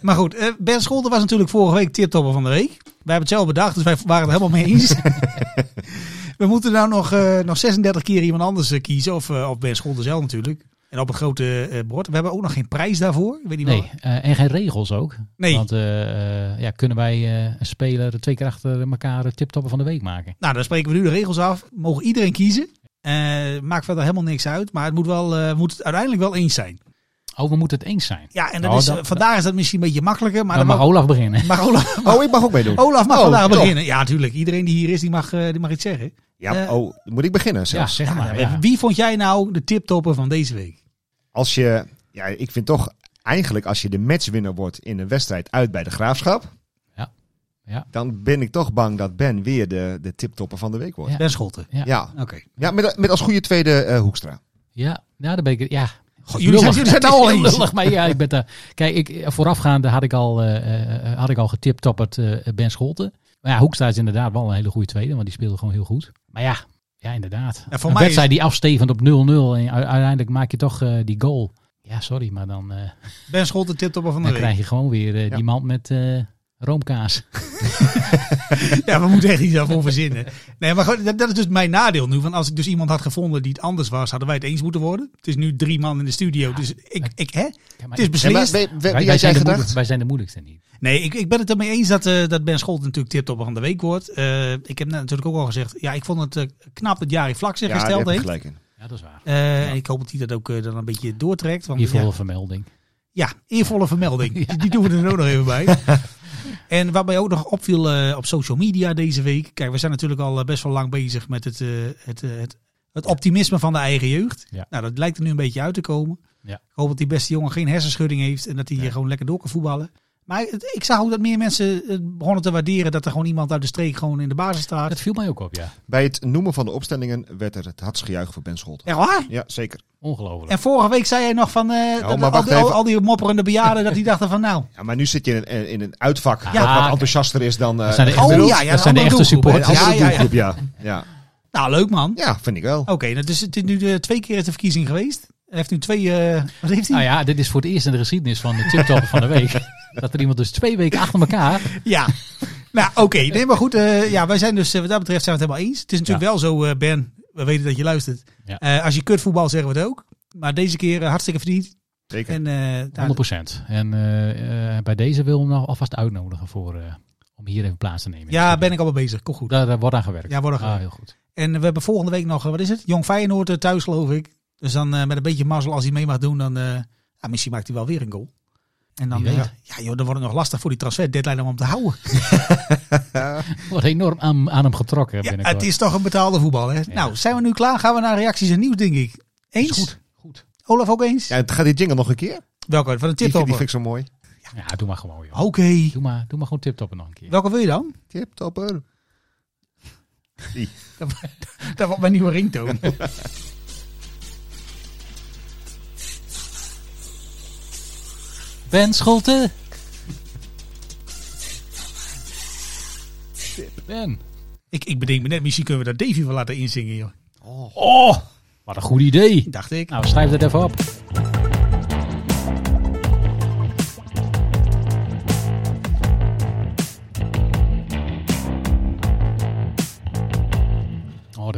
S6: Maar goed, eh, Ben Scholten was natuurlijk vorige week tiptopper van de week. Wij hebben het zelf bedacht, dus wij waren het helemaal mee eens. We moeten nou nog, eh, nog 36 keer iemand anders eh, kiezen. Of, eh, of Ben Scholten zelf natuurlijk. En op een grote eh, bord. We hebben ook nog geen prijs daarvoor. Ik weet niet
S7: Nee,
S6: wat-
S7: eh, en geen regels ook.
S6: Nee.
S7: Want eh, eh, ja, kunnen wij eh, een speler twee keer achter elkaar de tiptoppen van de week maken?
S6: Nou, dan spreken we nu de regels af. Mogen iedereen kiezen. Eh, maakt verder helemaal niks uit. Maar het moet, wel, eh, moet het uiteindelijk wel eens zijn.
S7: Oh, we moeten het eens zijn.
S6: Ja, en dat
S7: Nou,
S6: is,
S7: dat-
S6: vandaag is dat misschien een beetje makkelijker. Maar
S7: dan mag
S6: wou-
S7: Olaf beginnen.
S6: mag Olaf,
S8: Oh, ik mag ook meedoen.
S6: Olaf mag
S8: Oh,
S6: vandaag
S8: top.
S6: beginnen. Ja, natuurlijk. Iedereen die hier is, die mag, eh, die mag iets zeggen.
S8: Ja,
S6: Eh,
S8: oh, moet ik beginnen
S7: Ja,
S8: zelfs?
S7: zeg maar.
S6: Ja,
S7: Ah, nou ja.
S6: Wie vond jij nou de tiptopper van deze week?
S8: Als je, ja, ik vind toch eigenlijk als je de matchwinner wordt in een wedstrijd uit bij de Graafschap.
S7: Ja. Ja.
S8: Dan ben ik toch bang dat Ben weer de, de tiptopper van de week wordt.
S7: Ja.
S8: Ja,
S6: Ben Scholten.
S7: Ja.
S8: ja.
S6: Oké.
S8: met, met als goede tweede eh, Hoekstra.
S7: Ja, nou, daar ben ik. Ja.
S6: Goh, jullie zijn- jullie zijn het al
S7: Heel
S6: eens.
S7: lullig, maar ja, ik ben daar. Kijk, ik, eh, voorafgaande had ik al, eh, eh, eh, had ik al getipt op het eh, Ben Scholten. Maar ja, Hoekstra is inderdaad wel een hele goede tweede, want die speelde gewoon heel goed. Maar ja, ja inderdaad.
S6: Ja, voor
S7: een
S6: mij
S7: wedstrijd die afstevend op 0-0 en u- uiteindelijk maak je toch eh, die goal. Ja, sorry, maar dan, eh,
S6: Ben Scholten, tiptopper van de
S7: dan
S6: week.
S7: krijg je gewoon weer eh,
S8: Ja.
S7: die man met eh, roomkaas.
S6: Ja, we moeten echt iets daarvoor verzinnen. Nee, maar goed, dat, dat is dus mijn nadeel nu. Want als ik dus iemand had gevonden die het anders was, hadden wij het eens moeten worden. Het is nu drie man in de studio, dus ik, ik, hè?
S7: Ja, maar
S6: het is
S8: Ja, maar,
S6: beslist.
S8: wie- wie- wie
S7: wij, wij
S8: had jij
S7: zijn de
S8: gedacht?
S7: moeilijk- wij zijn de moeilijkste niet.
S6: Nee, ik, ik ben het ermee eens dat, eh, dat Ben Scholten natuurlijk tiptopper van de week wordt. Eh, ik heb net natuurlijk ook al gezegd, ja, ik vond het eh, knap dat Jari Vlak zich
S8: Ja, daar heb
S6: gesteld
S8: je
S6: heeft.
S8: gelijk in.
S7: Ja, dat is waar.
S6: Eh, en Ik hoop dat hij dat ook eh, dan een beetje doortrekt. Want,
S7: Hiervoor
S6: ja,
S7: een vermelding.
S6: Ja, eervolle vermelding. Die, die doen we er ook nog even bij. En wat mij ook nog opviel eh, op social media deze week. Kijk, we zijn natuurlijk al eh, best wel lang bezig met het, eh, het, eh, het, het optimisme van de eigen jeugd.
S7: Ja.
S6: Nou, dat lijkt er nu een beetje uit te komen.
S7: Ja.
S6: Ik hoop dat die beste jongen geen hersenschudding heeft en dat hij hier gewoon lekker door kan voetballen. Maar het- ik zag ook dat meer mensen het begonnen te waarderen dat er gewoon iemand uit de streek gewoon in de basis
S7: Dat
S6: staat.
S7: viel mij ook op, ja.
S8: Bij het noemen van de opstellingen werd er het hardst gejuich voor Ben Scholten.
S6: Echt waar?
S8: Ja, zeker.
S7: Ongelooflijk.
S6: En vorige week zei jij nog van eh, dat,
S8: maar
S6: al,
S8: wacht
S6: die, al,
S8: even.
S6: al die mopperende bejaarden dat die dachten van nou.
S8: Ja, maar nu zit je in een, in een uitvak
S7: Ja.
S6: Ah,
S8: dat wat enthousiaster is dan eh
S7: Dat zijn de,
S8: een
S7: echte-
S8: gemiddeld.
S6: Oh ja, ja,
S7: dat zijn de
S6: andere
S7: echte
S6: doelgroep, hè.
S8: Een
S7: supporters.
S8: andere
S6: Oh, Ja, Oh, ja, ja.
S8: doelgroep, ja. Ja.
S6: Nou, leuk man.
S8: ja, vind ik wel.
S6: Oké, dat is, het is nu de, twee keer is de verkiezing geweest. Hij heeft nu twee. eh, wat heeft hij?
S7: Nou ja, dit is voor het eerst in de geschiedenis van de tiptopper van de week. Dat er iemand dus twee weken achter elkaar...
S6: ja. nou, oké. Nee, maar goed. eh, ja, wij zijn dus eh, wat dat betreft zijn we het helemaal eens. Het is natuurlijk wel zo, eh, Ben. We weten dat je luistert.
S7: Ja.
S6: Eh, als je kut voetbal zeggen we het ook. Maar deze keer eh, hartstikke verdiend.
S8: Zeker.
S6: En, eh, nou,
S7: 100%. En eh, eh, bij deze wil hem nog alvast uitnodigen voor, eh, om hier even plaats te nemen.
S6: ja, ben ik allemaal bezig. Kom goed.
S7: Daar eh, wordt aan gewerkt.
S6: Ja, wordt aan
S7: Ah,
S6: gewerkt.
S7: heel goed.
S6: En we hebben volgende week nog, eh, wat is het? Jong Feyenoord eh, thuis, geloof ik. Dus dan eh, met een beetje mazzel, als hij mee mag doen, dan... eh, ja, misschien maakt hij wel weer een goal. En dan,
S7: Wie weet.
S6: eh, ja joh, dan wordt het nog lastig voor die transfer deadline om hem te houden.
S7: Wordt enorm aan, aan hem getrokken
S6: Ja,
S7: binnenkort.
S6: het is toch een betaalde voetbal, hè? Nou, zijn we nu klaar? Gaan we naar reacties en nieuws, denk ik. Eens?
S7: Is goed. goed.
S6: Olaf ook eens?
S8: Ja, het- gaat die jingle nog een keer?
S6: Welke? Van de
S8: Die,
S6: tip
S8: vind- die
S6: over.
S8: vind ik zo mooi.
S7: Ja, doe maar gewoon, joh.
S6: Oké.
S7: Doe maar, doe maar gewoon tiptoppen nog een keer.
S6: Welke wil je dan?
S8: Tiptopper.
S6: Dat wordt mijn nieuwe ringtoon.
S7: Ben Scholten! Ben.
S6: ik, ik bedenk me net, misschien kunnen we dat Davy wel laten inzingen, joh.
S7: Oh, wat een goed idee.
S6: Dacht ik.
S7: Nou, schrijf dat even op.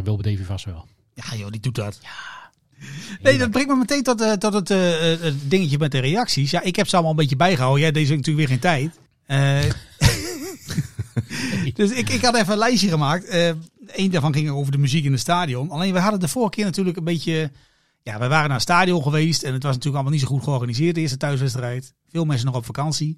S7: Wilbert Oh, Davy vast wel.
S6: Ja joh, die doet dat. Nee, dat brengt me meteen tot, eh, tot het, eh, eh, het dingetje met de reacties. Ja, ik heb ze allemaal een beetje bijgehouden. Jij, deze heeft natuurlijk weer geen tijd. Eh, dus ik, ik had even een lijstje gemaakt. Eh Eén daarvan ging over de muziek in het stadion. Alleen we hadden de vorige keer natuurlijk een beetje... Ja, we waren naar het stadion geweest. En het was natuurlijk allemaal niet zo goed georganiseerd. De eerste thuiswedstrijd. Veel mensen nog op vakantie.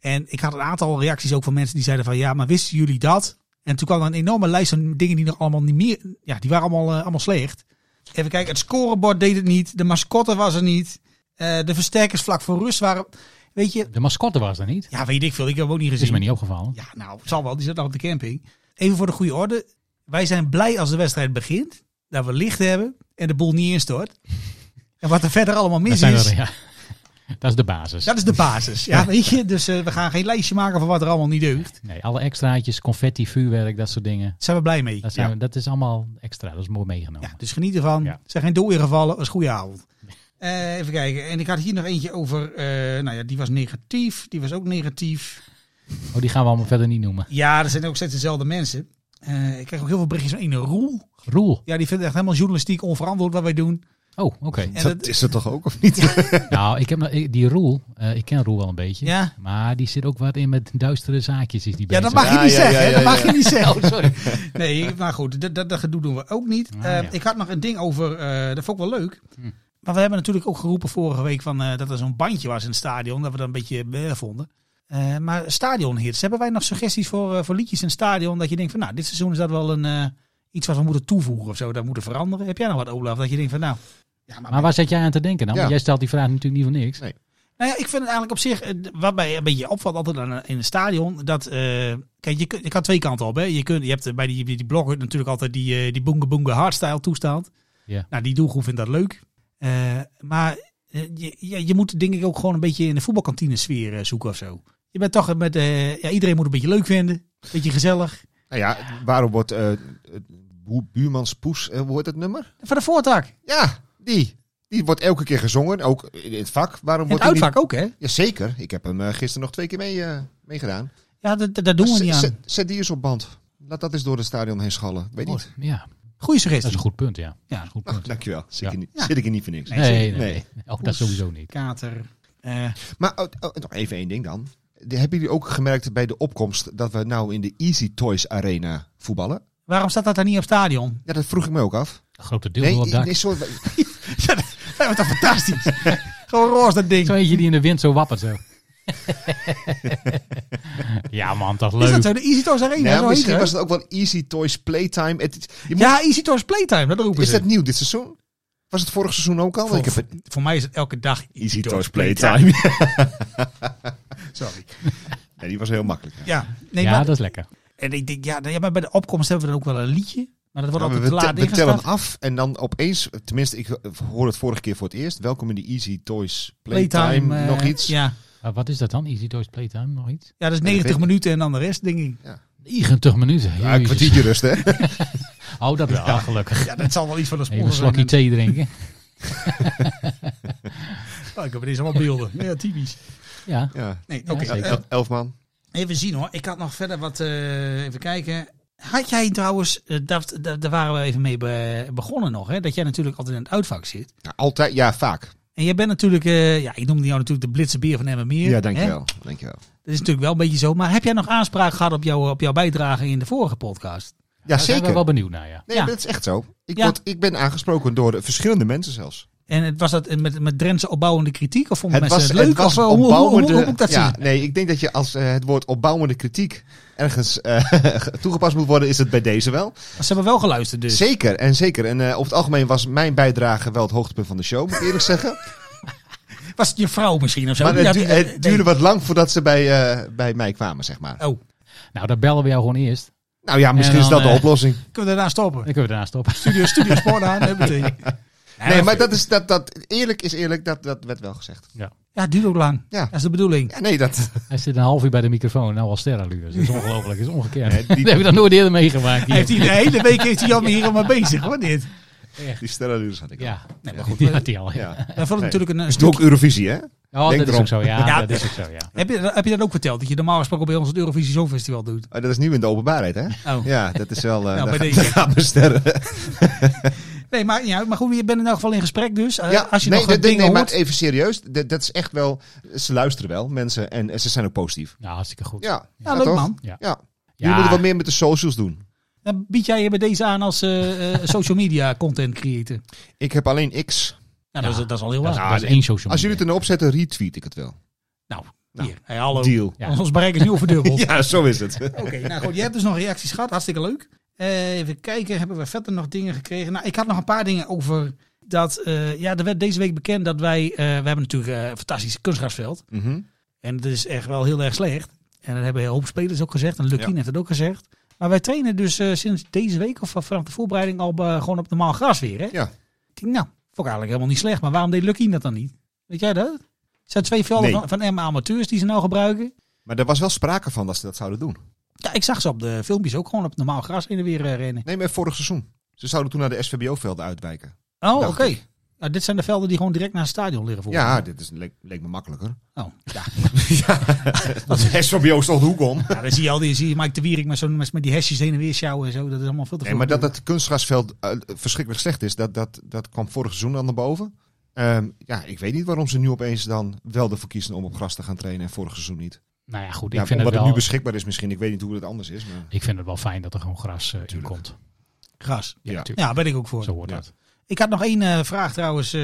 S6: En ik had een aantal reacties ook van mensen die zeiden van... Ja, maar wisten jullie dat? En toen kwam er een enorme lijst van dingen die nog allemaal niet meer... Ja, die waren allemaal, eh, allemaal slecht. Even kijken, het scorebord deed het niet. De mascotte was er niet. eh, de versterkers vlak voor rust waren... Weet je...
S7: De mascotte was er niet.
S6: Ja, weet ik veel. Ik heb hem ook niet
S7: Dat is
S6: gezien.
S7: mij niet opgevallen.
S6: Ja, nou, het zal wel. Die zit nog op de camping. Even voor de goede orde. Wij zijn blij als de wedstrijd begint. Dat we licht hebben en de boel niet instort. En wat er verder allemaal
S7: dat,
S6: mis
S7: zijn
S6: is,
S7: we, ja. dat is de basis.
S6: dat is de basis. Ja, weet je? Dus eh, we gaan geen lijstje maken van wat er allemaal niet deugt.
S7: Nee, alle extraatjes, confetti, vuurwerk, dat soort dingen.
S6: Daar zijn we blij mee.
S7: Dat, zijn
S6: Ja.
S7: we- dat is allemaal extra. Dat is mooi meegenomen.
S6: Ja, dus geniet ervan.
S7: Ja.
S6: Zijn geen dooien gevallen. Was goede avond. Eh, even kijken. En ik had hier nog eentje over. eh, nou ja, die was negatief. Die was ook negatief.
S7: Oh, die gaan we allemaal verder niet noemen.
S6: Ja, er zijn ook steeds dezelfde mensen. Eh, ik krijg ook heel veel berichtjes van ene Roel.
S7: Roel.
S6: Ja, die vindt het echt helemaal journalistiek onverantwoord wat wij doen.
S7: Oh, oké.
S8: dat,
S6: En dat-
S8: is het toch ook, of niet?
S7: Nou, ik heb nog- ik- die Roel. eh, ik ken Roel wel een beetje.
S6: Ja.
S7: Maar die zit ook wat in met duistere zaakjes. Is die
S6: Ja,
S7: bezig.
S6: dat mag je
S8: Ja,
S6: niet
S8: ja,
S6: zeggen.
S8: ja,
S6: hè?
S8: ja,
S6: dat mag
S8: ja.
S6: je niet zeggen.
S7: Oh, sorry.
S6: Nee, maar goed, dat, dat, dat gedoe doen we ook niet.
S7: Ah,
S6: Eh,
S7: ja. Hm.
S6: Ik had nog een ding over, eh, dat vond ik wel leuk. Maar we hebben natuurlijk ook geroepen vorige week van, eh, dat er zo'n bandje was in het stadion. Dat we dat een beetje eh, vonden. Eh, maar stadionhits, hebben wij nog suggesties voor, eh, voor liedjes in het stadion? Dat je denkt van, nou, dit seizoen is dat wel een, eh, iets wat we moeten toevoegen of zo. Dat moeten veranderen. Heb jij nog wat, Olaf? Dat je denkt van, nou... Ja,
S7: Maar waar zit jij aan te denken dan?
S8: Ja.
S7: Want Jij stelt die vraag natuurlijk niet voor niks.
S8: Nee.
S6: Nou ja, ik vind het eigenlijk op zich, eh, wat mij een beetje opvalt altijd aan, in een stadion, dat, eh, kijk, je, kun- je kan twee kanten op. Hè. Je, kunt, je hebt eh, bij die, die blogger natuurlijk altijd die, eh, die boenge boenge hardstyle toestaat.
S7: Ja.
S6: Nou, die doelgroep vindt dat leuk. Eh, maar eh, je, je, je moet denk ik ook gewoon een beetje in de voetbalkantine sfeer eh, zoeken of zo. Je bent toch met, eh, ja, iedereen moet het een beetje leuk vinden, een beetje gezellig.
S8: nou ja, waarom wordt eh, het bu- Buurmans Poes, eh, hoe hoort het nummer?
S6: Van de voortak.
S8: Ja, die. Die wordt elke keer gezongen, ook in het vak. Waarom
S6: En het
S8: wordt die niet-
S6: uitvak ook, hè?
S8: Jazeker, ik heb hem eh, gisteren nog twee keer mee, eh, meegedaan.
S6: Ja, dat, dat- daar doen we
S8: Zet-
S6: niet
S8: zet-
S6: aan.
S8: Zet die eens op band. Laat dat eens door het stadion heen schallen. Weet niet.
S7: Ja,
S6: Goeie
S7: dat is
S6: suggestie.
S7: een goed punt, ja.
S6: Ja.
S7: Dat is een goed
S8: Nou,
S7: punt.
S8: dankjewel. Zit,
S7: Ja.
S8: ik, er niet,
S6: Ja.
S8: zit ik er niet voor niks.
S6: Nee, zeker
S7: Nee, nee,
S6: niet.
S7: nee. Ook dat sowieso niet.
S6: Kater. Eh,
S8: Maar oh, oh, nog even één ding dan. De- hebben jullie ook gemerkt bij de opkomst dat we nou in de Easy Toys Arena voetballen?
S6: waarom staat dat daar niet op stadion?
S8: Ja, dat vroeg ik me ook af.
S7: Grote deel op dak.
S8: nee, sorry.
S6: Ja, dat is toch fantastisch. Gewoon roze dat ding.
S7: Zo eentje die in de wind zo wappert zo. ja man, dat is leuk.
S6: Is dat zo? De Easy Toys Arena?
S8: Nou,
S6: zo heet
S8: misschien
S6: het.
S8: was het ook wel Easy Toys Playtime. Het, je moet-
S6: Ja, Easy Toys Playtime, dat roepen
S8: is
S6: ze.
S8: dat nou nieuw dit seizoen? Was het vorig seizoen ook al?
S6: voor,
S8: ik heb het,
S6: voor mij is het elke dag Easy, Toys Sorry.
S8: Nee, die was heel makkelijk.
S6: Ja, nee,
S7: ja,
S6: maar,
S7: dat is lekker.
S6: en ik denk, ja, nee, maar bij de opkomst hebben we dan ook wel een liedje. Maar dat wordt
S8: Ja, maar
S6: altijd te
S8: Nou, we, te- we
S6: laat
S8: tellen
S6: ingestart.
S8: af en dan opeens, tenminste, ik eh, hoor het vorige keer voor het eerst. Welkom in de Easy Toys Playtime.
S6: eh,
S8: nog iets?
S6: Ja.
S7: Maar wat is dat dan? Easy Toys Playtime? Nog iets?
S6: ja, dat is
S8: dat
S6: 90
S8: weet ik.
S6: minuten en dan de rest, denk ik.
S7: 90 minuten.
S8: Ja, een
S7: Jezus.
S8: kwartiertje rust, hè?
S7: Oh, dat wel. gelukkig.
S6: Ja, dat zal wel iets van de
S7: Even een
S6: sponsor
S7: slokje
S6: zijn.
S7: thee drinken.
S6: Oh, ik heb ineens allemaal beelden. Ja, typisch.
S7: Ja.
S8: Ja.
S6: Nee, oké.
S7: Ja, zeker.
S6: eh,
S8: Elf man.
S6: Even zien hoor. Ik had nog verder wat. eh, even kijken. Had jij trouwens, eh, dat, dat, daar waren we even mee be- begonnen nog, hè? dat jij natuurlijk altijd in het uitvak zit.
S8: Ja, altijd, ja, vaak.
S6: En jij bent natuurlijk, eh, ja, ik noemde jou natuurlijk de blitse beer van Emmermeer.
S8: Ja,
S6: hè?
S8: dankjewel. dankjewel.
S6: Dat is natuurlijk wel een beetje zo. Maar heb jij nog aanspraak gehad op, jou, op jouw bijdrage in de vorige podcast?
S8: Ja,
S7: Daar zijn we
S8: zeker.
S7: wel benieuwd naar, ja.
S8: Nee,
S6: Ja.
S8: maar dat is echt zo. Ik,
S6: Ja.
S8: word, ik ben aangesproken door eh, verschillende mensen zelfs.
S6: En het, was dat met, met Drentse opbouwende kritiek? Of vonden mensen het
S8: het
S6: leuk? of hoe- hoe, hoe, hoe, hoe moet ik dat
S8: ja,
S6: zien?
S8: nee, ik denk dat je als eh, het woord opbouwende kritiek ergens eh, toegepast moet worden, is het bij deze wel.
S6: Ze hebben wel geluisterd dus.
S8: Zeker, en zeker. En eh, over het algemeen was mijn bijdrage wel het hoogtepunt van de show, moet ik eerlijk zeggen.
S6: Was het je vrouw misschien of zo?
S8: Maar
S6: Ja,
S8: het, du-
S6: eh,
S8: het duurde wat lang voordat ze bij, eh, bij mij kwamen, zeg maar.
S6: nee. Oh,
S7: Nou, dan bellen we jou gewoon eerst.
S8: Nou ja, misschien
S7: En
S8: is dat
S7: dan,
S8: de
S7: eh,
S8: oplossing.
S6: kunnen we daarna stoppen?
S7: Dan kunnen we daarna stoppen.
S6: Studio, studio Sport aan, hè, meteen.
S8: Nee, maar dat is, dat, dat, eerlijk is eerlijk, dat, dat werd wel gezegd.
S6: Ja, het duurt ook lang.
S8: Ja.
S6: Dat is de bedoeling.
S8: Ja, nee, dat,
S7: Hij zit een half uur bij de microfoon. Nou, al sterrenluurs. Dat is ongelooflijk. Dat is ongekend.
S8: Nee, die-
S7: Dat heb ik dat nooit eerder
S6: Hij
S7: meegemaakt. hier.
S6: heeft hier de hele week heeft hij Jan hier maar bezig, hoor dit.
S8: die sterrenluurs had ik al.
S7: Ja,
S6: Nee, maar goed.
S7: die
S6: We,
S7: had hij al. Ja.
S8: Ja.
S6: we vonden
S8: Nee.
S6: natuurlijk een, een
S8: Is het
S6: stuk,
S8: ook Eurovisie, hè?
S7: Oh,
S8: Denk
S7: dat is
S8: erom.
S7: ook zo. Ja,
S6: Ja.
S7: dat is ook zo. Ja.
S6: Heb je, heb je dat ook verteld? Dat je normaal gesproken bij ons het Eurovisie Songfestival doet?
S8: Oh, dat is nieuw in de openbaarheid, hè?
S6: Oh.
S8: Ja, dat is wel... eh
S6: Nou,
S8: daar
S6: bij
S8: gaat-
S6: deze. Eh,
S8: daar gaan we sterren.
S6: Nee, maar, ja, maar goed, je bent in elk geval in gesprek dus. Eh,
S8: Ja,
S6: als je
S8: nee,
S6: nog
S8: dat-
S6: wat dingen
S8: nee, maar
S6: hoort.
S8: even serieus. Dat, dat is echt wel... Ze luisteren wel, mensen. En, en ze zijn ook positief.
S7: Ja, Nou, hartstikke goed.
S8: Ja,
S6: ja, leuk
S8: toch?
S6: man.
S8: Ja.
S7: Ja.
S8: Jullie moeten wat meer met de socials doen.
S6: Dan bied jij je bij deze aan als eh, eh, social media content creator.
S8: Ik heb alleen X.
S6: Nou, dat, is, dat is al heel
S7: Dat
S6: wat.
S7: is, dat is één social
S8: Als jullie
S7: media.
S8: het erop zetten, retweet ik het wel.
S6: Nou, hier. Hey, hallo.
S8: Deal.
S7: Ja.
S6: Ons- Ons bereik is nu al verdubbeld.
S8: Ja, zo is het.
S6: Oké, nou goed. Je hebt dus nog reacties gehad. Hartstikke leuk. Eh, even kijken. Hebben we verder nog dingen gekregen? Nou, ik had nog een paar dingen over dat... eh, ja, er werd deze week bekend dat wij... eh, we hebben natuurlijk eh, een fantastisch kunstgrasveld.
S8: Mhm.
S6: En dat is echt wel heel erg slecht. En dat hebben een hoop spelers ook gezegd. En Lukien
S8: Ja.
S6: heeft het ook gezegd. Maar wij trainen dus eh, sinds deze week of vanaf de voorbereiding al eh, gewoon op normaal gras weer. Hè?
S8: Ja.
S6: Ik denk, nou, vond ik eigenlijk helemaal niet slecht. Maar waarom deed Lukien dat dan niet? Weet jij dat? Het zijn twee velden
S8: Nee.
S6: van, van M amateurs die ze nou gebruiken.
S8: Maar er was wel sprake van dat ze dat zouden doen.
S6: Ja, ik zag ze op de filmpjes ook gewoon op normaal gras in de weer eh, rennen.
S8: Nee, maar vorig seizoen. Ze zouden toen naar de SVBO-velden uitwijken.
S6: Oh, oké.
S8: Dacht ik.
S6: Nou, dit zijn de velden die gewoon direct naar het stadion liggen voor.
S8: Ja, dit is, leek, leek me makkelijker.
S6: Oh, ja.
S8: Dat SVBO stond de hoek om.
S6: Ja, dan zie je al die, zie je Mike de Wierik met, zo'n- met met die hesjes heen en weer sjouwen en zo. Dat is allemaal veel te
S8: Nee,
S6: veel.
S8: maar dat het kunstgrasveld eh, verschrikkelijk slecht is, dat, dat, dat kwam vorig seizoen dan naar boven. Ehm, ja, ik weet niet waarom ze nu opeens dan wel ervoor kiezen om op gras te gaan trainen en vorig seizoen niet.
S7: Nou ja, goed. Ik,
S8: Ja,
S7: vind
S8: omdat
S7: het
S8: het,
S7: wel,
S8: nu beschikbaar is misschien. Ik weet niet hoe het anders is. Maar,
S7: ik vind het wel fijn dat er gewoon gras eh, in komt.
S6: gras.
S7: Ja,
S8: Ja.
S7: natuurlijk.
S6: Ja, ben ik ook voor.
S7: Zo hoort
S8: Ja.
S7: dat.
S6: Ik had nog één eh, vraag trouwens, eh,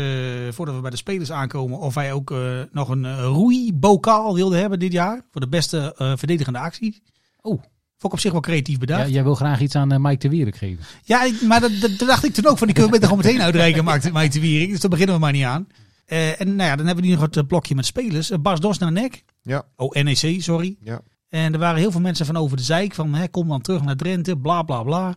S6: voordat we bij de spelers aankomen. Of wij ook eh, nog een eh, roeibokaal wilden hebben dit jaar. Voor de beste eh, verdedigende actie. Oh, vond ik op zich wel creatief
S7: Ja,
S6: bedacht. Ja,
S7: jij wil graag iets aan eh, Mike de Wierik geven.
S6: ik- maar dat, dat, dat dacht ik toen ook. Van die kunnen we beter gewoon meteen uitreiken, Maakt Mike de Wierik. Dus daar beginnen we maar niet aan. Eh, en nou ja, dan hebben we nu nog het eh, blokje met spelers. Eh, Bas Dos naar NEC.
S8: Ja.
S6: Oh, NEC, sorry.
S8: ja.
S6: En er waren heel veel mensen van over de zeik. Van hè, kom dan terug naar Drenthe, bla bla bla.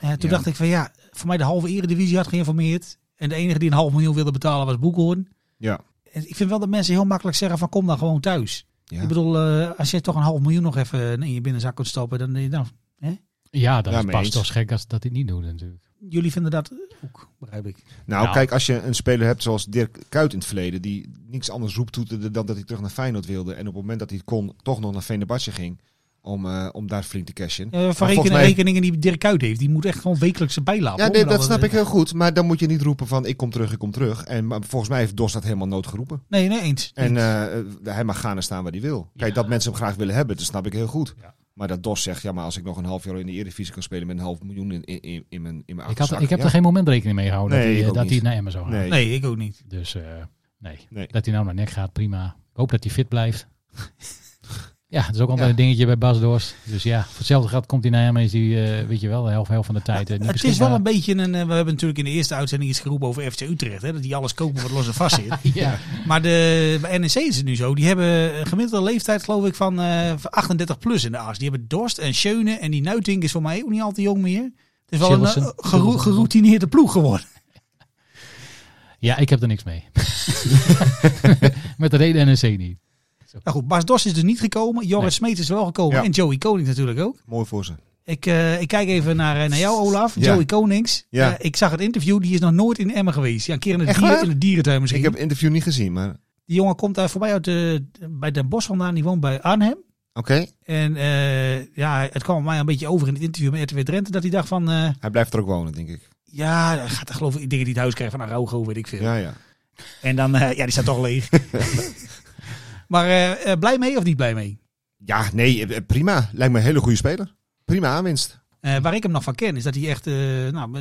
S6: En toen
S8: Ja.
S6: dacht ik van ja, voor mij de halve eredivisie had geïnformeerd. En de enige die een half miljoen wilde betalen was Boekhoorn.
S8: Ja.
S6: En ik vind wel dat mensen heel makkelijk zeggen van kom dan gewoon thuis.
S8: Ja.
S6: Ik bedoel, eh, als je toch een half miljoen nog even in je binnenzak kunt stoppen, dan, eh, nou, dan
S7: Ja, dat
S8: Ja,
S7: is
S8: mee
S7: pas
S8: eens.
S7: toch gek als dat hij niet doet natuurlijk.
S6: jullie vinden dat ook, begrijp ik.
S8: Nou,
S7: Nou.
S8: kijk, als je een speler hebt zoals Dirk Kuyt in het verleden, die niks anders roeptoeterde dan dat hij terug naar Feyenoord wilde. En op het moment dat hij het kon, toch nog naar Venebadje ging om, eh, om daar flink te cashen.
S6: Eh, van
S8: Maar volgens
S6: rekening,
S8: mij-
S6: rekeningen die Dirk Kuyt heeft, die moet echt gewoon wekelijkse bijlaten.
S8: Ja,
S6: hoor.
S8: nee,
S6: Met
S8: dat
S6: alle-
S8: snap ik heel goed. Maar dan moet je niet roepen van ik kom terug, ik kom terug. En maar volgens mij heeft Dos dat helemaal nood geroepen.
S6: Nee, nee, eens.
S8: En eh, eh, hij mag gaan en staan waar hij wil. Kijk, dat mensen hem graag willen hebben, dat snap ik heel goed.
S7: Ja.
S8: Maar dat Dos zegt, ja, maar als ik nog een half jaar in de Eredivisie kan spelen met een half miljoen in, in, in, in mijn in mijn
S7: Ik, had,
S8: achterzak,
S7: ik heb
S8: ja.
S7: er geen moment rekening mee gehouden
S8: Nee,
S7: dat, hij,
S8: ik
S7: eh,
S8: ook
S7: dat hij
S8: niet.
S7: naar Emmen zou gaan.
S8: Nee.
S6: Nee, ik ook niet.
S7: Dus eh, nee.
S8: Nee.
S7: dat hij nou naar nek gaat, prima. Ik hoop dat hij fit blijft. ja, dat is ook altijd
S8: Ja.
S7: een dingetje bij Bas Doors. Dus ja, voor hetzelfde geld komt hij naar Emmen. Is die, eh, weet je wel, de helft, helft van de tijd. eh, niet
S6: Het is wel
S7: beschikbaar.
S6: een beetje een. eh, We hebben natuurlijk in de eerste uitzending iets geroepen over FC Utrecht. Hè, dat die alles kopen wat los en vast zit.
S7: Ja.
S6: Maar de, bij NEC is het nu zo. Die hebben een gemiddelde leeftijd, geloof ik, van eh, van 38 plus in de as. Die hebben Dorst en Schöne. En die Nuitink is voor mij ook niet al te jong meer. Het is wel een
S7: Sillissen.
S6: eh, gero- geroutineerde ploeg geworden.
S7: ja, ik heb er niks mee. Met de reden NEC niet.
S6: Nou goed, Bas Dorst is dus niet gekomen. Joris
S7: Nee.
S6: Smeet is wel gekomen.
S8: Ja.
S6: En Joey Koning natuurlijk ook.
S8: Mooi voor ze.
S6: Ik, eh, ik kijk even naar, eh, naar jou, Olaf.
S8: Ja.
S6: Joey Konings.
S8: Ja.
S6: Eh, ik zag het interview. Die is nog nooit in Emmen geweest. Ja, een keer in, het
S8: Echt
S6: dieren,
S8: waar?
S6: in de dierentuin misschien.
S8: Ik heb het interview niet gezien, maar oké.
S6: Die jongen komt daar voorbij uit de, bij Den Bosch vandaan. Die woont bij Arnhem. En eh, ja, het kwam mij een beetje over in het interview met RTW Drenthe. Dat hij dacht van, eh,
S8: Hij blijft er ook wonen, denk ik.
S6: ja, hij gaat er geloof ik dingen die het huis krijgen van Araujo, weet ik veel.
S8: Ja, ja.
S6: En dan, eh, ja, die staat toch leeg. maar eh, eh, blij mee of niet blij mee?
S8: Ja, nee, eh, prima. Lijkt me een hele goede speler. Prima aanwinst.
S6: Eh, waar ik hem nog van ken is dat hij echt eh, nou, eh,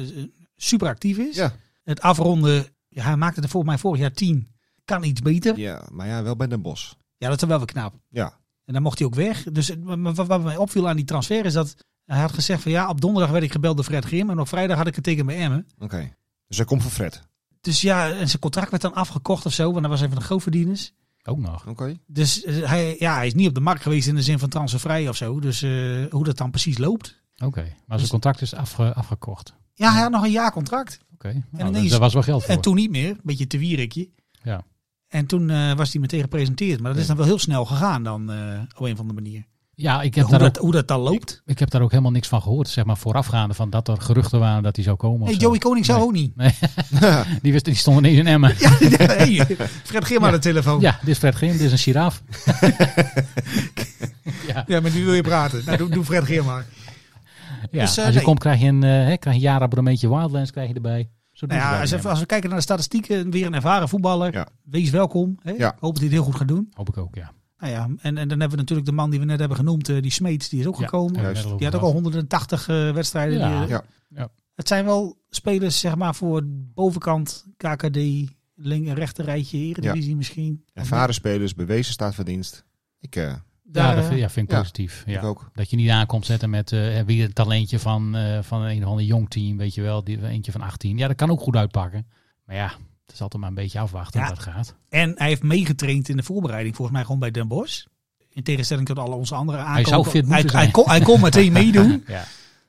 S6: super actief is.
S8: Ja.
S6: Het afronden, ja, hij maakte er volgens mij vorig jaar tien. Kan iets beter. Ja,
S8: ja, maar ja, wel bij Den Bosch.
S6: dat is wel weer knap.
S8: Ja.
S6: En dan mocht hij ook weg. Dus eh, maar wat, wat mij opviel aan die transfer is dat hij had gezegd van ja, op donderdag werd ik gebeld door Fred Grim. En op vrijdag had ik het tegen bij Emmen.
S8: Oké. Dus hij komt voor Fred.
S6: Dus ja, en zijn contract werd dan afgekocht of zo, want hij was een van de grootverdieners.
S7: Ook nog.
S8: Oké.
S6: Dus eh, hij, ja, hij is niet op de markt geweest in de zin van transfervrij of zo. Dus eh, hoe dat dan precies loopt.
S7: Oké. Maar
S6: Dus-
S7: zijn contract is afge- afgekocht.
S6: Ja, hij had nog een jaar contract.
S7: Oké. Nou,
S6: ineens-
S7: daar- daar was wel geld voor.
S6: En toen niet meer. Een beetje te wierikje.
S7: Ja.
S6: En toen eh, was hij meteen gepresenteerd. Maar dat is dan wel heel snel gegaan dan eh, op een of andere manier.
S7: Ja, ik heb,
S6: Hoe
S7: daar
S6: dat,
S7: ook,
S6: hoe dat dan loopt.
S7: ik heb daar ook helemaal niks van gehoord. Zeg maar voorafgaande van dat er geruchten waren dat hij zou komen. of
S6: Nee,
S7: zo.
S6: Joey Koning zou ook niet.
S7: Die, wist, die stond ineens in Emmen. Ja.
S6: Ja, nee. Fred Geer maar de telefoon. Ja.
S7: dit is Fred Grim, dit is een giraaf.
S6: maar nu wil je praten. Nou, doe, doe Fred Geer maar.
S7: Ja,
S6: Dus, eh,
S7: als je
S6: nee.
S7: komt krijg je een, eh, hè, krijg je een jaarabonnementje Wildlands krijg je erbij. Zo doen
S6: Nou ja,
S7: ze
S6: als,
S7: dat in
S6: even-
S7: Emmen.
S6: als we kijken naar de statistieken, weer een ervaren voetballer.
S8: Ja.
S6: Wees welkom. Hè?
S8: Ja.
S6: Hoop dat hij het heel goed gaat doen.
S7: Hoop ik ook, ja.
S6: Nou ja, en, en dan hebben we natuurlijk de man die we net hebben genoemd, eh, die Smeets, die is ook
S7: Ja,
S6: gekomen.
S7: hebben we net
S6: Die had
S7: over
S6: ook al 180 eh, wedstrijden.
S7: Ja.
S6: Die, eh,
S8: Ja.
S7: Ja.
S6: Het zijn wel spelers, zeg maar, voor bovenkant KKD, link- en rechter rijtje, Eredivisie misschien.
S8: Ervaren spelers, bewezen staat van dienst. Ik, eh,
S7: Ja,
S6: Daar,
S7: dat
S6: eh,
S7: vind, ja, vind ik
S8: ja.
S7: positief. Ja.
S8: ik ook.
S7: Dat je niet aankomt zetten met eh, weer het talentje van, eh, van een of ander jong team, weet je wel. Die, eentje van 18. Ja, dat kan ook goed uitpakken. Maar ja, het is altijd maar een beetje afwachten
S6: Ja.
S7: hoe dat gaat.
S6: En hij heeft meegetraind in de voorbereiding, volgens mij gewoon bij Den Bosch. In tegenstelling tot alle onze andere aankopen.
S7: zou fit moeten
S6: hij,
S7: zijn.
S6: Hij kon, hij kon meteen meedoen.
S7: Ja.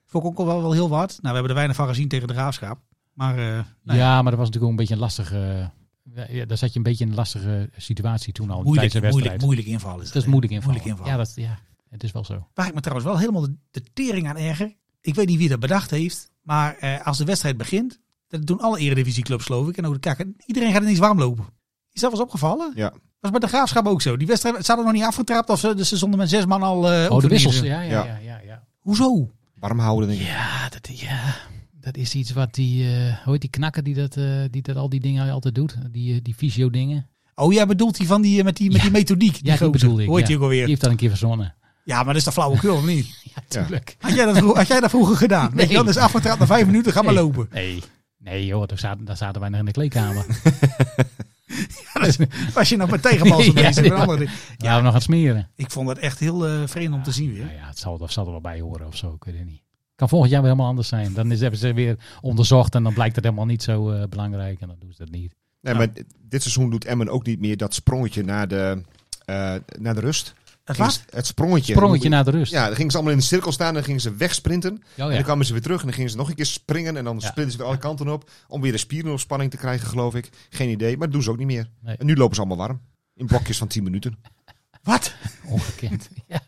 S6: Vond ik ook wel, wel heel wat. Nou, we hebben er weinig van gezien tegen de Graafschap. Maar eh, nou ja,
S7: Ja, maar dat was natuurlijk ook een beetje een lastige... eh, Ja, daar zat je een beetje in een lastige situatie toen al. tijdens de
S6: moeilijk,
S7: wedstrijd.
S6: moeilijk, moeilijk inval is
S7: Dat is moeilijk invallen.
S6: Moeilijk invallen.
S7: Ja, dat, ja, het is wel zo.
S6: Waar ik me trouwens wel helemaal de, de tering aan erger. Ik weet niet wie dat bedacht heeft. Maar eh, als de wedstrijd begint. Dat doen alle eredivisieclubs geloof ik. En ook de kakken. Iedereen gaat ineens warm lopen. Is dat wel eens opgevallen?
S8: Ja.
S6: Was bij de Graafschap ook zo. Die wedstrijd ze hadden nog niet afgetrapt. Of ze, dus ze stonden met zes man al eh,
S7: oh,
S6: op
S7: de wissels.
S6: neer.
S7: Ja, ja,
S8: Ja.
S7: ja. ja, ja.
S6: Hoezo?
S8: Warm houden, denk ik.
S7: Ja, dat, ja, dat is iets wat die, eh, hoe heet die knakker die dat, eh, die dat al die dingen altijd doet? Die, eh, die fysio dingen.
S6: Oh, jij bedoelt die van die eh, met die, met
S7: Ja.
S6: die methodiek. Die
S7: Ja, die
S6: gozer.
S7: bedoel ik.
S6: Hoort
S7: ja.
S6: die ook alweer?
S7: Die heeft dat een keer verzonnen.
S6: Ja, maar dat is de flauwekul of niet?
S7: Ja, tuurlijk.
S6: Had jij dat, vro- had jij dat vroeger gedaan? Weet je,
S7: Nee.
S6: dan is afgetrapt na vijf minuten. Ga maar
S7: Nee.
S6: lopen.
S7: Nee. Nee joh, daar zaten, daar zaten wij nog in de kleedkamer.
S6: Als je nou met tegenbal zo
S7: Ja,
S6: bezig bent.
S7: ja.
S6: andere-
S7: Ja, we nog aan het smeren.
S6: Ik vond dat echt heel eh, vreemd om te zien weer.
S7: Nou ja, het zal, dat zal er wel bij horen of zo, ik weet het niet. Kan volgend jaar weer helemaal anders zijn. Dan is, hebben ze weer onderzocht en dan blijkt dat helemaal niet zo eh, belangrijk. En dan doen ze dat niet.
S8: Nee,
S7: Ja.
S8: maar dit- dit seizoen doet Emmen ook niet meer dat sprongetje naar de, eh, naar de rust.
S6: Het was
S8: Het sprongetje.
S7: Sprongetje naar de rust.
S8: Ja, dan gingen ze allemaal in de cirkel staan en dan gingen ze wegsprinten.
S7: Oh,
S8: En dan
S7: ja.
S8: kwamen ze weer terug en dan gingen ze nog een keer springen. En dan sprinten ze weer alle kanten op om weer de spieren op spanning te krijgen, geloof ik. Geen idee, maar dat doen ze ook niet meer.
S7: Nee.
S8: En nu lopen ze allemaal warm. In blokjes van 10 minuten.
S6: Wat?
S7: Ongekend. Ja.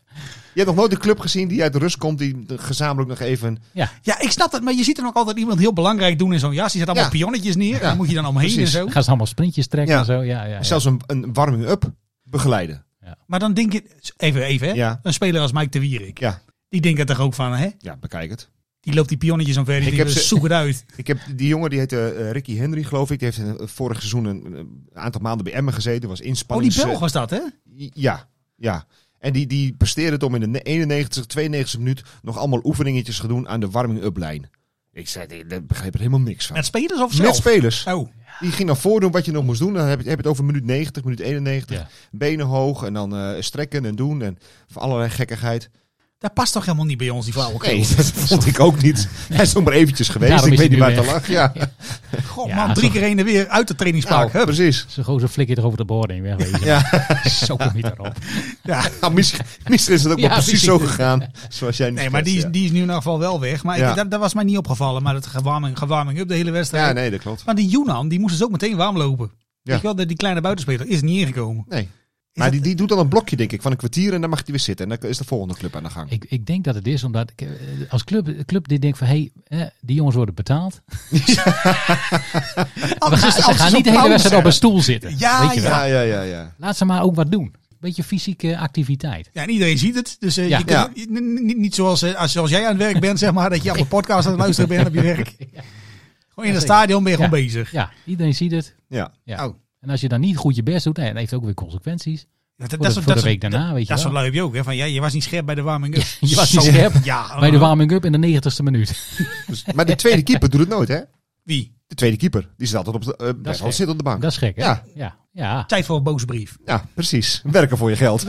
S8: Je hebt nog nooit een club gezien die uit de rust komt, die de- gezamenlijk nog even...
S6: Ja, ik snap dat, maar je ziet er nog altijd iemand heel belangrijk doen in zo'n jas. Die zet allemaal
S8: Ja.
S6: pionnetjes neer. en Daar moet je dan omheen
S8: Precies.
S6: en zo.
S7: Gaan ze allemaal sprintjes trekken
S8: Ja.
S7: en zo. Ja, ja, ja.
S8: Zelfs een, een warming-up begeleiden.
S6: Maar dan denk je, even, even hè.
S8: Ja.
S6: Een speler als Mike de Wierik.
S8: Ja.
S6: Die denkt er toch ook van, hè.
S8: Ja, bekijk het.
S6: Die loopt die pionnetjes omver. Die
S8: Ik
S6: denkt,
S8: heb ze-
S6: zoek het uit.
S8: Ik heb die jongen, die heette eh, Ricky Henry, geloof ik. Die heeft eh, vorig seizoen een, een aantal maanden bij Emmen gezeten. Was
S6: Oh,
S8: inspanning.
S6: die Belg was dat, hè?
S8: eh, Ja, ja. En die, die presteerde het om in de ne- 91, 92 minuut nog allemaal oefeningetjes te doen aan de warming-up lijn. Ik zei, ik- daar begreep er helemaal niks van.
S6: Met spelers of zelf?
S8: Met spelers.
S6: Oh,
S8: Die ging dan voordoen wat je nog moest doen. Dan heb je, heb je het over minuut 90, minuut 91.
S7: Ja.
S8: Benen hoog en dan eh, strekken en doen. En van allerlei gekkigheid.
S6: dat past toch helemaal niet bij ons, die flauwekul?
S8: Nee, dat vond ik ook niet. Hij is nog maar eventjes geweest.
S7: Daarom
S8: ik
S7: is
S8: weet niet
S7: hij
S8: waar
S7: nu
S8: het aan lag. Ja,
S6: God,
S7: Ja,
S6: man, drie
S7: toch.
S6: keer heen en weer uit de
S8: nou,
S6: trainingspark.
S8: hè, precies.
S7: Zo'n gozer flikkert er over de borden in weg. Weet je. Zo kom je erop.
S8: Nou, misschien, misschien is het ook
S7: Ja,
S8: wel precies
S7: misschien.
S8: zo gegaan. Zoals jij nu
S6: Nee, maar
S8: schetst,
S6: die is,
S8: ja.
S6: die is nu in ieder geval wel weg. Maar ik-
S8: Ja.
S6: dat, dat was mij niet opgevallen. Maar dat gewarming, gewarming up de hele wedstrijd.
S8: Ja, nee, dat klopt.
S6: Maar die Yunan, die moest dus ook meteen warm lopen.
S8: Ja.
S6: Weet je wel, die die kleine buitenspeler is niet ingekomen.
S8: Nee.
S6: Is
S8: Maar
S6: dat-
S8: die, die doet dan een blokje, denk ik, van een kwartier en dan mag hij weer zitten. En dan is de volgende club aan de gang.
S7: Ik, ik denk dat het is omdat ik, eh, als club, club die denkt van hé, hey, eh, die jongens worden betaald. We gaan, ze gaan niet de hele wedstrijd op een stoel zitten.
S6: Ja,
S7: weet je wel.
S8: Ja, ja, ja, ja.
S7: Laat ze maar ook wat doen. Beetje fysieke activiteit.
S6: Ja, en iedereen ziet het. Dus eh,
S7: Ja.
S6: je kunt
S8: Ja.
S6: n- n- niet, niet zoals, eh, als, zoals jij aan het werk bent, zeg maar, dat je op een podcast aan het luisteren bent op je werk. Gewoon in het stadion ben je gewoon bezig.
S7: Ja, iedereen ziet het.
S8: ja.
S7: Ja.
S6: Oh.
S7: En als je dan niet goed je best doet, nee, dat heeft ook weer consequenties.
S6: Ja, dat,
S7: Voor de,
S6: soort-
S7: voor de
S6: soort-
S7: week daarna, weet je
S6: Dat soort
S7: wel.
S6: lui heb je ook, hè? Van, ja, je was niet scherp bij de warming-up.
S7: Je was niet
S6: Zo.
S7: scherp
S6: Ja,
S7: bij de
S6: eh,
S7: warming-up in de negentigste minuut.
S8: Dus- maar de tweede keeper doet het nooit, hè?
S6: Wie?
S8: De tweede keeper. Die zit altijd op de, eh, blijft
S7: gek.
S8: altijd zitten op de bank.
S7: Dat is gek, hè?
S8: Ja.
S7: Ja. ja.
S6: Tijd voor een boze brief.
S8: Ja, precies. Werken voor je geld.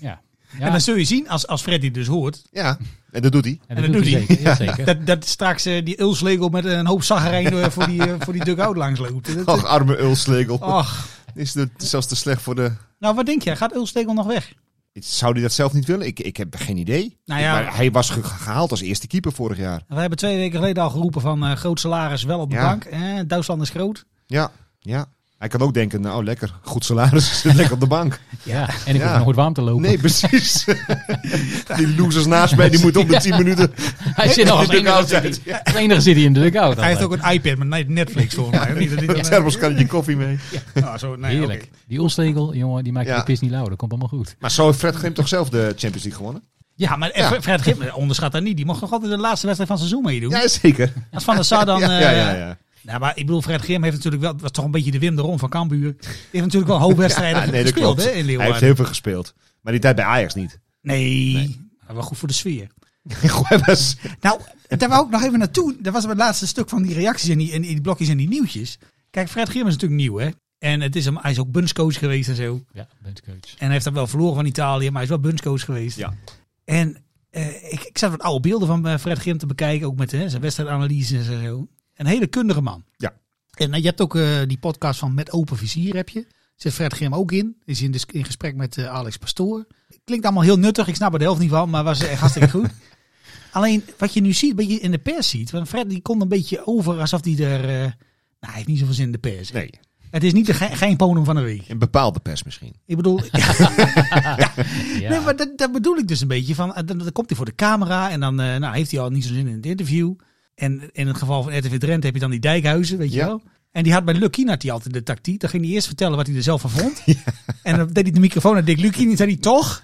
S7: ja.
S6: En dan zul je zien, als, als Freddy dus hoort,
S8: Ja, en dat doet hij.
S7: En
S6: en dat doet hij.
S7: zeker. Ja, zeker.
S6: dat, dat straks eh, die Ulslegel met een hoop zaggerijn eh, voor die, eh, voor die dugout langs loopt. Dat-
S8: Ach, arme Ulslegel.
S7: Oh.
S6: Ach,
S8: Oh. Is het zelfs te slecht voor de...
S6: nou wat denk jij? Gaat Ulstegel nog weg?
S8: Zou hij dat zelf niet willen? Ik, ik heb geen idee.
S6: Nou ja.
S8: Maar hij was ge- gehaald als eerste keeper vorig jaar.
S6: We hebben twee weken geleden al geroepen van eh, groot salaris wel op de
S8: Ja.
S6: bank. Eh, Duitsland is groot.
S8: Ja, ja. Hij kan ook denken, nou lekker, goed salaris, zit lekker op de bank.
S7: Ja, en ik
S8: Ja.
S7: hoef nooit warm te lopen.
S8: Nee, precies. die losers naast mij, die moeten om de 10 minuten.
S7: hij zit nog als
S8: Die
S7: enige,
S8: dugout
S7: zit hij- als enige zit hij in de dugout.
S6: Hij heeft
S7: altijd.
S6: ook een iPad met Netflix volgens mij. of niet? Dat is dan, eh,
S8: Terwijl kan je koffie mee.
S6: nou, zo, nee, oké.
S7: Heerlijk. Die Olstegel, jongen, die maakt
S8: Ja.
S7: de pis niet lauw. Dat komt allemaal goed.
S8: Maar zo heeft Fred Grim toch zelf de Champions League gewonnen?
S6: Ja, maar eh, Fred Gip onderschat dat niet. Die mocht nog altijd de laatste wedstrijd van het seizoen meedoen.
S8: Ja, zeker.
S6: Als Van der Sar dan...
S8: ja,
S6: eh,
S8: ja, ja, ja.
S6: Nou, maar ik bedoel, Fred Grim heeft natuurlijk wel, was toch een beetje de Wim de Ron van Cambuur. Die heeft natuurlijk wel hoofdwedstrijden
S8: Ja, nee, dat
S6: gespeeld
S8: klopt.
S6: hè, in
S8: Hij heeft
S6: Leeuwarden.
S8: heel veel gespeeld. Maar die tijd bij Ajax niet.
S6: Nee, maar wel goed voor de sfeer.
S8: Goed, hij was-
S6: Nou, daar wou ik nog even naartoe. Dat was het laatste stuk van die reacties en die, en die blokjes en die nieuwtjes. Kijk, Fred Grim is natuurlijk nieuw, hè. En het is hem, hij is ook bundscoach geweest en zo.
S7: Ja, benchcoach.
S6: En hij heeft dan wel verloren van Italië, maar hij is wel bundscoach geweest.
S8: Ja.
S6: En eh, ik, ik zat wat oude beelden van eh, Fred Grim te bekijken, ook met hè, zijn wedstrijdanalyses en zo. Een hele kundige man.
S8: Ja.
S6: En eh, je hebt ook eh, die podcast van Met Open Vizier, heb je. Zit Fred Grim ook in. Is in, dis- in gesprek met eh, Alex Pastoor. Klinkt allemaal heel nuttig, ik snap er de helft niet van, maar was eh, echt hartstikke goed. Alleen wat je nu ziet, een beetje in de pers ziet. Want Fred die komt een beetje over alsof hij er... eh, nou, hij heeft niet zoveel zin in de pers. hè.
S8: Nee,
S6: Het is niet de ge- geen ponum van de week.
S8: een bepaalde pers misschien.
S6: Ik bedoel,
S7: Ja.
S6: Nee, maar dat, dat bedoel ik dus een beetje. Van, eh, dan, dan komt hij voor de camera en dan eh, nou, heeft hij al niet zo'n zin in het interview. En in het geval van RTV Drenthe heb je dan die Dijkhuizen, weet je
S8: Ja.
S6: wel. En die had bij Lucky nou, had hij altijd de tactiek. Dan ging hij eerst vertellen wat hij er zelf van vond. En dan deed hij de microfoon naar Dick Lucky en die zei hij toch.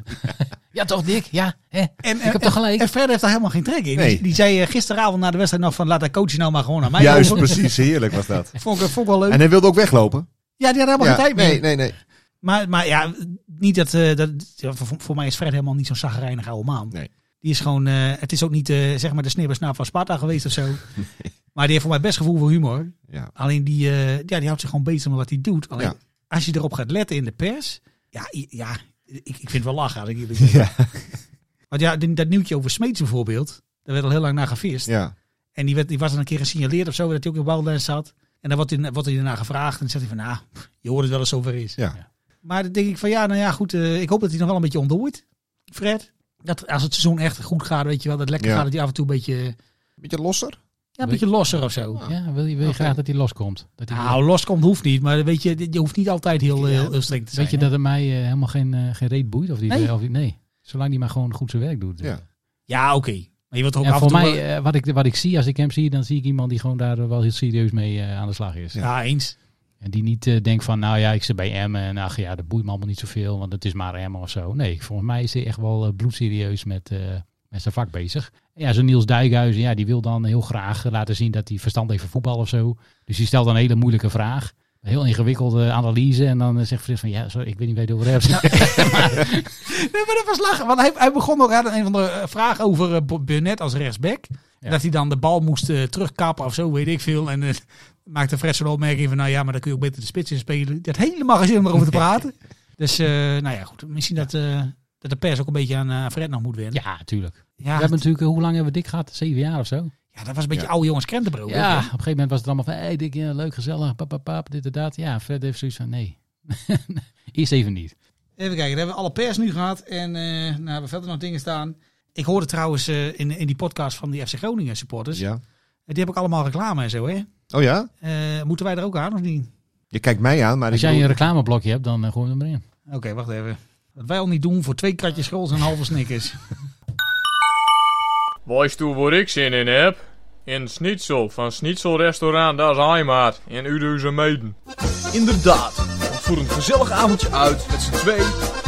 S7: Ja, toch Dick? Ja, hè?
S6: En,
S7: ik heb toch gelijk.
S6: En Fred heeft daar helemaal geen trek in.
S8: Nee.
S6: Die, die zei eh, gisteravond na de wedstrijd nog van laat dat coach nou maar gewoon aan mij
S8: Juist,
S6: over.
S8: precies. Heerlijk was dat.
S6: Vond ik, vond ik wel leuk.
S8: En hij wilde ook weglopen.
S6: ja, die had helemaal
S8: Ja,
S6: geen tijd meer.
S8: nee, nee, nee.
S6: Maar, maar ja, niet dat, eh, dat ja, voor, voor mij is Fred helemaal niet zo'n zagrijnig oude man.
S8: Nee.
S6: Die is gewoon, eh, het is ook niet eh, zeg maar de snippersnaap van Sparta geweest of zo. Maar die heeft voor mij best gevoel voor humor.
S8: Ja.
S6: Alleen die, eh, ja, die houdt zich gewoon bezig met wat hij doet. Alleen
S8: Ja.
S6: als je erop gaat letten in de pers. Ja, i- ja ik, ik vind het wel lachen. Als ik eerlijk ben.
S8: Ja.
S6: Want ja, die- dat nieuwtje over Smeets bijvoorbeeld. Daar werd al heel lang naar gevist.
S8: ja.
S6: En die, werd, die was dan een keer gesignaleerd of zo. Dat hij ook in Wildlands zat. En dan wordt hij, wordt hij daarna gevraagd. En dan zegt hij van, nou, je hoort het wel eens zover is.
S8: ja.
S6: Maar dan denk ik van ja, nou ja, goed. eh, ik hoop dat hij nog wel een beetje ontdooit, Fred. Dat als het seizoen echt goed gaat, weet je wel, dat lekker
S8: Ja.
S6: gaat, dat hij af en toe een beetje,
S8: Beetje losser?
S6: ja, een beetje losser of zo.
S7: Ja, wil je, wil je graag dat hij loskomt? Dat hij
S6: Nou, loskomt hoeft niet, maar weet je, je hoeft niet altijd heel, eh, heel, heel strikt te zijn.
S7: Weet je
S6: hè?
S7: dat het mij eh, helemaal geen, eh, geen reet boeit? Of die,
S6: Nee.
S7: Of die, nee. Zolang die maar gewoon goed zijn werk doet.
S8: Ja.
S6: Ja, oké. Maar je wilt toch ook
S7: En
S6: af en
S7: voor
S6: toe...
S7: mij,
S6: wel-
S7: eh, wat, ik, wat ik zie, als ik hem zie, dan zie ik iemand die gewoon daar eh, wel heel serieus mee eh, aan de slag is.
S6: ja, eens.
S7: En die niet eh, denkt van, nou ja, ik zit bij Emmen en ach ja, dat boeit me allemaal niet zoveel, want het is maar Emmen of zo. Nee, volgens mij is hij echt wel eh, bloedserieus met, eh, met zijn vak bezig. Ja, zo'n Niels Dijkhuizen, ja, die wil dan heel graag eh, laten zien dat hij verstand heeft van voetbal of zo. Dus die stelt dan een hele moeilijke vraag. Een heel ingewikkelde analyse. En dan eh, zegt Frits van, ja, sorry, ik weet niet waar je het over hebt.
S6: Nee, maar dat was lachen. Want hij, hij begon ook aan een van de vraag over eh, Bu- Burnett als rechtsback.
S7: Ja.
S6: Dat hij dan de bal moest eh, terugkappen of zo, weet ik veel. En eh, maakte Fred zo'n opmerking van, nou ja, maar dan kun je ook beter de spits in spelen. Dat helemaal geen zin om erover te praten. Dus, eh, nou ja, goed. Misschien dat, eh, dat de pers ook een beetje aan eh, Fred nog moet wennen.
S7: ja, tuurlijk.
S6: Ja,
S7: We hebben natuurlijk, eh, hoe lang hebben we dik gehad? Zeven jaar of zo?
S6: ja, dat was een beetje oude jongens krentenbrood.
S7: Ja,
S6: hè?
S7: op een gegeven moment was het allemaal van, hey, dik, ja, leuk, gezellig, pap, pap, pap, dit en dat. Ja, Fred heeft zoiets van, nee, eerst even niet.
S6: Even kijken, dan hebben we alle pers nu gehad. En eh nou, hebben we verder nog dingen staan. Ik hoorde trouwens eh, in, in die podcast van die FC Groningen supporters.
S8: Ja.
S6: Die hebben ook allemaal reclame en zo, hè?
S8: Oh ja?
S6: Eh, moeten wij er ook aan of niet?
S8: Je kijkt mij aan, maar
S7: Als
S8: ik
S7: jij een
S8: bedoel-
S7: reclameblokje hebt, dan eh, gooi je hem erin.
S6: Oké, wacht even. Wat wij al niet doen voor twee kratjes scrolls en een halve snickers.
S5: Weißt du, wo ik zin in heb? In Schnitzel van Schnitzelrestaurant Das Heimat in Uduze Meiden.
S1: Inderdaad, want voor een gezellig avondje uit met z'n twee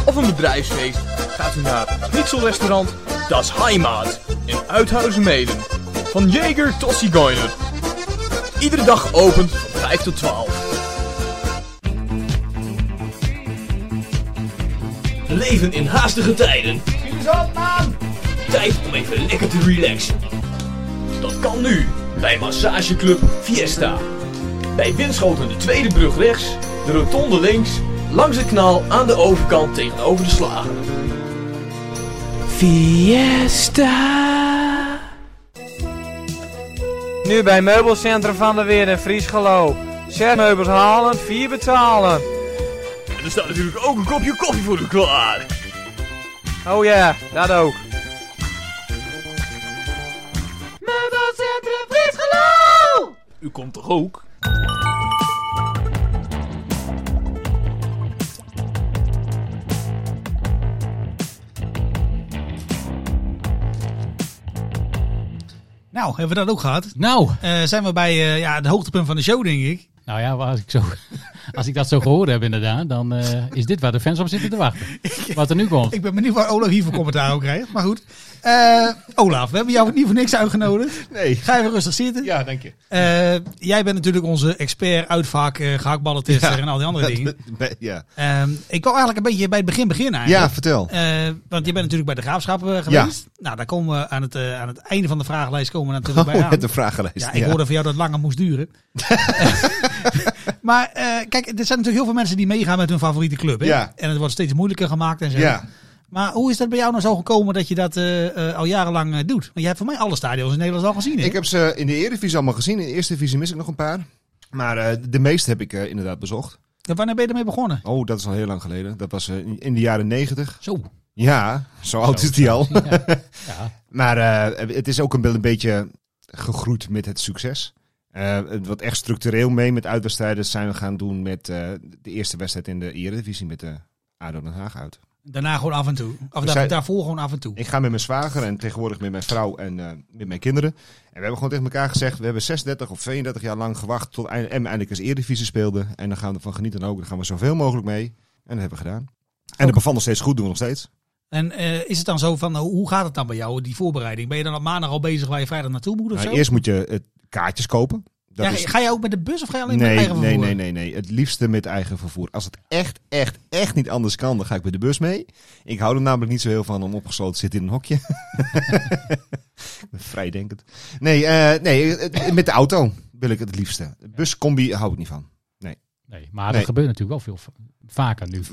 S1: of een bedrijfsfeest gaat u naar het Schnitzelrestaurant Das Heimat in Uithuizen Meden. Van Jager tot Zigeuner. Iedere dag opent van 5 tot 12. We leven in haastige tijden. Tijd om even lekker te relaxen. Dat kan nu bij Massageclub Fiesta. Bij Winschoten de tweede brug rechts, de rotonde links, langs het kanaal aan de overkant tegenover de slager. Fiesta.
S9: Nu bij Meubelcentrum van de Weer in Friesgelo. Zes meubels halen, vier betalen.
S1: En er staat natuurlijk ook een kopje koffie voor u klaar.
S9: Oh ja, dat ook.
S1: U komt toch ook?
S6: Nou, hebben we dat ook gehad.
S7: Nou,
S6: Eh, zijn we bij eh, ja, het hoogtepunt van de show, denk ik.
S7: nou ja, als ik, zo, als ik dat zo gehoord heb inderdaad, dan eh, is dit waar de fans op zitten te wachten. Wat er nu komt.
S6: Ik ben benieuwd waar Olaf hier voor commentaar ook krijgt. Maar goed. Eh, Olaf, we hebben jou niet voor niks uitgenodigd.
S8: Nee.
S6: Ga even rustig zitten.
S8: Ja, dank je.
S6: Eh, jij bent natuurlijk onze expert uitvaak, eh gehaktballentester
S8: Ja.
S6: en al die andere dingen.
S8: ja.
S6: Ehm, ik wil eigenlijk een beetje bij het begin beginnen
S8: ja,
S6: eigenlijk.
S8: vertel.
S6: Eh, want je bent natuurlijk bij de graafschap eh, geweest. Nou, daar komen we aan het, eh, aan het einde van de vragenlijst komen we natuurlijk bij
S8: Oh,
S6: aan.
S8: met de vragenlijst.
S6: Ja, ik hoorde van jou dat het langer moest duren. maar eh, kijk, er zijn natuurlijk heel veel mensen die meegaan met hun favoriete club. Hè?
S8: Ja.
S6: En het wordt steeds moeilijker gemaakt en zo.
S8: Ja.
S6: Maar hoe is dat bij jou nou zo gekomen dat je dat eh, eh, al jarenlang eh, doet? Want je hebt voor mij alle stadions in Nederland al gezien. Hè?
S8: Ik heb ze in de Eredivisie allemaal gezien. In de Eerste Divisie mis ik nog een paar. Maar eh, de meeste heb ik eh, inderdaad bezocht.
S6: En Wanneer ben je ermee begonnen?
S8: Oh, dat is al heel lang geleden. Dat was eh, in- in de jaren negentig.
S7: Zo.
S8: Ja, zo oud
S7: Zo,
S8: is die al.
S7: Ja. Ja.
S8: Maar eh, het is ook een, be- een beetje gegroeid met het succes. Eh, wat echt structureel mee met uitwedstrijden zijn we gaan doen met eh, de eerste wedstrijd in de Eredivisie met de ADO Den Haag uit.
S6: Daarna gewoon af en toe. Of
S8: We
S6: daar-
S8: zijn-
S6: daarvoor gewoon af en toe.
S8: Ik ga met mijn zwager en tegenwoordig met mijn vrouw en eh, met mijn kinderen. En we hebben gewoon tegen elkaar gezegd, we hebben 36 of 32 jaar lang gewacht tot eind- en eindelijk eens Eredivisie speelde. En dan gaan we ervan genieten en ook, dan gaan we zoveel mogelijk mee. En dat hebben we gedaan. En dat bevalt nog steeds goed, doen we nog steeds.
S6: En eh, is het dan zo van, nou, hoe gaat het dan bij jou, die voorbereiding? Ben je dan op maandag al bezig waar je vrijdag naartoe moet of
S8: Nou,
S6: zo?
S8: eerst moet je eh, kaartjes kopen. Dat
S6: Ja,
S8: is
S6: Ga je ook met de bus of ga je alleen met
S8: nee,
S6: eigen
S8: nee,
S6: vervoer?
S8: nee, nee, nee. Het liefste met eigen vervoer. Als het echt, echt, echt niet anders kan, dan ga ik met de bus mee. Ik hou er namelijk niet zo heel van om opgesloten te zitten in een hokje. Ik ben Vrijdenkend. Nee, eh, nee, eh, met de auto wil ik het liefste. Buscombi hou ik niet van.
S7: Nee, maar
S8: Nee.
S7: dat gebeurt natuurlijk wel veel va- vaker nu.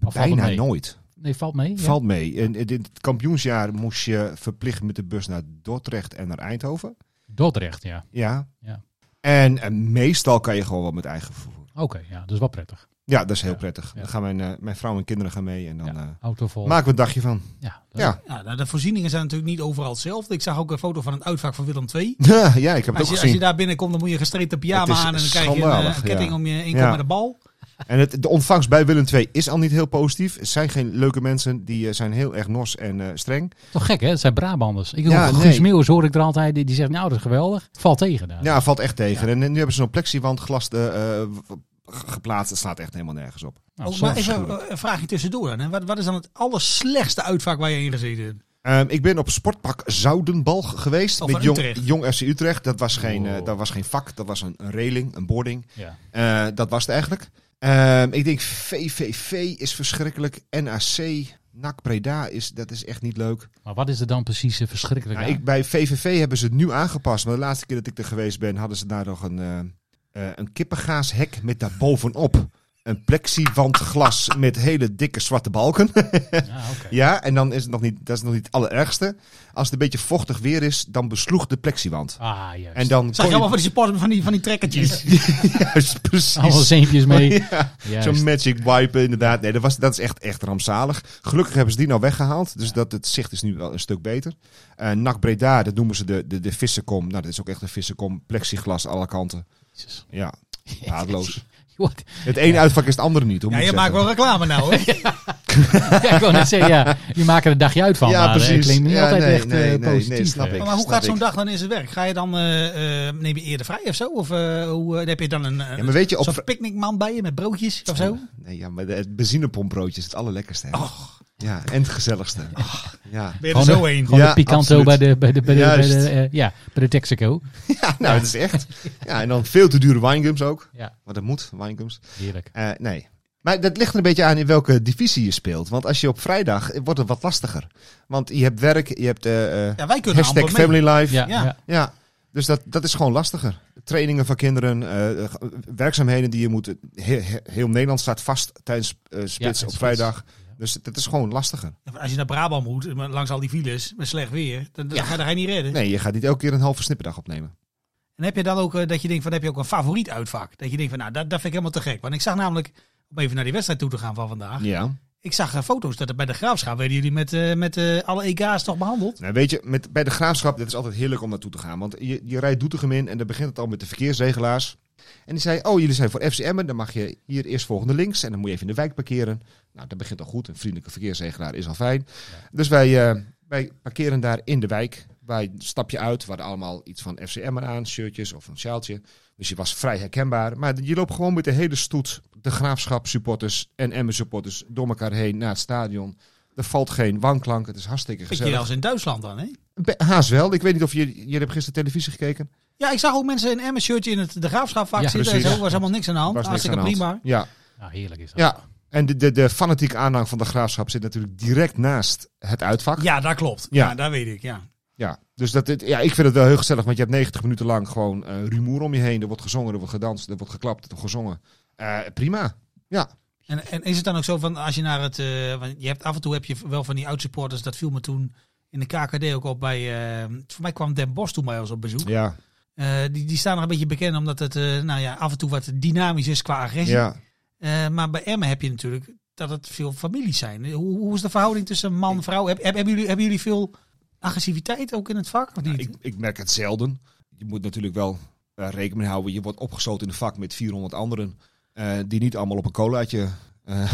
S7: valt
S8: Bijna
S7: het mee?
S8: nooit.
S7: Nee, valt mee. ja.
S8: Valt mee. En in het kampioensjaar moest je verplicht met de bus naar Dordrecht en naar Eindhoven.
S7: Dordrecht, ja.
S8: Ja.
S7: Ja.
S8: En, eh, meestal kan je gewoon wel met eigen vervoer.
S7: Oké, ja, dat is wel prettig.
S8: Ja, dat is heel
S7: Ja,
S8: prettig.
S7: ja.
S8: Dan gaan mijn, eh, mijn vrouw en kinderen gaan mee en dan
S7: Ja.
S8: eh,
S7: Auto vol.
S8: maken we een dagje van.
S7: ja, dat-
S8: Ja.
S6: Ja, nou, de voorzieningen zijn natuurlijk niet overal hetzelfde. Ik zag ook een foto van het uitvak van Willem II.
S8: Ja, ja, ik heb het ook
S6: Als je, als je
S8: gezien.
S6: daar binnenkomt, dan moet je gestreten pyjama
S8: Het is
S6: aan. En dan krijg je een, eh,
S8: schandalig,
S6: een ketting
S8: ja.
S6: om je één
S8: Ja.
S6: met de bal.
S8: En het, de ontvangst bij Willem II is al niet heel positief. Het zijn geen leuke mensen. Die eh, zijn heel erg nors en eh, streng.
S7: Toch gek, hè? Het zijn Brabanders. Ik
S8: Ja,
S7: hoor Guus
S8: nee.
S7: Meeuwis hoor ik er altijd. Die, die zegt, nou, dat is geweldig. Valt tegen daar.
S8: Ja, valt echt tegen. En, en nu hebben ze zo'n plexiwandglas eh, eh, g- geplaatst. Het slaat echt helemaal nergens op.
S7: Nou,
S6: Oh,
S7: zo-
S6: maar even eh, een vraagje tussendoor. dan, Hè. Wat, wat is dan het allerslechtste uitvak waar je in gezeten hebt?
S8: Ehm, ik ben op Sportpak Zoudenbalg geweest.
S6: Oh,
S8: met
S6: van
S8: jong,
S6: Utrecht.
S8: jong FC Utrecht. Dat was, geen, eh,
S7: Oh.
S8: dat was geen vak. Dat was een, een railing, een boarding.
S7: ja.
S8: Eh, dat was het eigenlijk. Ehm, ik denk VVV is verschrikkelijk. NAC, NAC Breda, is, dat is echt niet leuk.
S7: Maar wat is er dan precies eh, verschrikkelijk
S8: Nou,
S7: aan?
S8: ik, bij VVV hebben ze het nu aangepast. Maar de laatste keer dat ik er geweest ben, hadden ze daar nog een, eh eh een kippengaashek met daarbovenop een plexiwandglas met hele dikke zwarte balken.
S7: Ah, oké.
S8: ja, en dan is het nog niet, dat is nog niet het allerergste. Als het een beetje vochtig weer is, dan besloeg de plexiwand.
S7: Ah, juist.
S8: En dan
S6: Zag je
S8: kon
S6: allemaal van die supporters van die, van die trekkertjes?
S8: juist precies.
S7: Allemaal zeempjes mee.
S8: Ja,
S7: Juist.
S8: Zo'n magic wipe inderdaad. Nee, dat, was, dat is echt, echt rampzalig. Gelukkig hebben ze die nou weggehaald. Dus dat, het zicht is nu wel een stuk beter. Eh NAC Breda, dat noemen ze de, de, de vissenkom. Nou, dat is ook echt een vissenkom. Plexiglas alle kanten.
S7: Jezus.
S8: Ja, haatloos.
S7: Je wordt-
S8: Het ene uitvak is het andere niet. Hoe
S6: Ja,
S8: moet
S6: je
S8: ik
S6: maakt
S8: zeggen.
S6: wel reclame nou. Hè?
S7: Ja, ik wou net zeggen, ja. Je maakt er een dagje uit van.
S8: Ja,
S7: maar, eh,
S8: precies.
S7: Het klinkt niet
S8: Ja,
S7: altijd
S8: nee,
S7: echt eh,
S8: nee, nee, nee,
S7: positief.
S8: snap
S7: eh.
S8: ik.
S6: Maar hoe
S8: snap
S6: gaat zo'n
S8: ik.
S6: dag dan in zijn werk? Ga je dan, eh, eh, neem je eerder vrij of zo? Of eh, hoe, eh, heb je dan een, eh,
S8: Ja, maar weet je, op...
S6: zo'n picknickman bij je met broodjes of zo?
S8: Nee, ja, maar de- het benzinepompbroodje is het allerlekkerste. hè. Ja, en het gezelligste. Ja.
S6: Ben je er
S7: Gewoon
S6: zo heen?
S7: Gewoon
S8: Ja,
S7: de picanto
S8: absoluut.
S7: bij de, bij de, bij de, bij de,
S8: Juist.
S7: eh, ja, bij de Texaco.
S8: ja, nou, het is echt. Ja, en dan veel te dure winegums ook.
S7: Ja,
S8: Want dat moet, winegums.
S7: heerlijk.
S8: Eh, nee. Maar dat ligt er een beetje aan in welke divisie je speelt. Want als je op vrijdag eh, wordt het wat lastiger. Want je hebt werk, je hebt eh, eh,
S6: Ja, wij kunnen
S8: hashtag
S6: amper mee.
S8: family life.
S7: Ja,
S6: Ja.
S7: ja.
S8: Ja. Dus dat, dat is gewoon lastiger. Trainingen van kinderen, eh, eh, werkzaamheden die je moet. Heel, heel Nederland staat vast tijdens eh,
S7: Ja,
S8: spits
S7: en
S8: op vrijdag. Dus dat is gewoon lastiger.
S6: Nou, Als je naar Brabant moet, eh, maar langs al die files, met slecht weer, dan, dan ga je niet redden.
S8: Nee, je gaat niet elke keer een halve snipperdag opnemen.
S6: En heb je dan ook eh, dat je denkt van, heb je ook een favoriet uitvak? Dat je denkt van, nou, dat, dat vind ik helemaal te gek. Want ik zag namelijk, om even naar die wedstrijd toe te gaan van vandaag.
S8: Ja.
S6: Ik zag eh, foto's dat er bij de Graafschap, werden jullie met, eh, met eh, alle EK's toch behandeld?
S8: Nou, weet je, met, bij de graafschap, dit is altijd heerlijk om naartoe te gaan. Want je, je rijdt Doetinchem in en dan begint het al met de verkeersregelaars. En die zei, oh, jullie zijn voor FCM, dan mag je hier eerst volgende links. En dan moet je even in de wijk parkeren. Nou, dat begint al goed. Een vriendelijke verkeersregelaar is al fijn. Dus wij, eh, wij parkeren daar in de wijk. Wij stap je uit, we hadden allemaal iets van FCM aan, shirtjes of een sjaaltje. Dus je was vrij herkenbaar. Maar je loopt gewoon met de hele stoet, de graafschap supporters en Emmen supporters door elkaar heen naar het stadion. Er valt geen wanklank, het is hartstikke
S6: Beetje
S8: gezellig.
S6: als in Duitsland dan, hè?
S8: Be- Haast wel. Ik weet niet of je, je hebt gisteren televisie gekeken.
S6: Ja, ik zag ook mensen in Emmen shirtje in het de graafschap vaak
S7: Ja,
S6: zitten.
S8: precies.
S6: Er was helemaal niks aan de hand.
S8: Was niks
S6: Hartstikke
S8: aan de hand.
S6: prima.
S8: Ja,
S7: Nou, heerlijk is dat.
S8: ja. En de, de, de fanatieke aanhang van de graafschap zit natuurlijk direct naast het uitvak.
S6: Ja, dat klopt. Ja,
S8: Ja.
S6: dat weet ik. Ja.
S8: Ja, dus dat, dit- ja, ik vind het wel heel gezellig, want je hebt 90 minuten lang gewoon eh, rumoer om je heen. Er wordt gezongen, er wordt gedanst, er wordt geklapt, er wordt gezongen. Eh, prima. Ja,
S6: En, en is het dan ook zo van als je naar het. eh, want je hebt, af en toe heb je wel van die oud-supporters. Dat viel me toen in de KKD ook op bij. eh, voor mij kwam Den Bos toen bij ons op bezoek.
S8: ja,
S6: Eh, die, die staan nog een beetje bekend omdat het eh, nou ja, af en toe wat dynamisch is qua agressie.
S8: ja.
S6: Eh, maar bij Emmen heb je natuurlijk dat het veel families zijn. Hoe, hoe is de verhouding tussen man en vrouw? Heb, heb- hebben, jullie, hebben jullie veel agressiviteit ook in het vak? Of niet?
S8: Ik, ik merk het zelden. Je moet natuurlijk wel eh, rekening mee houden. Je wordt opgesloten in een vak met 400 anderen. eh, die niet allemaal op een colaatje eh,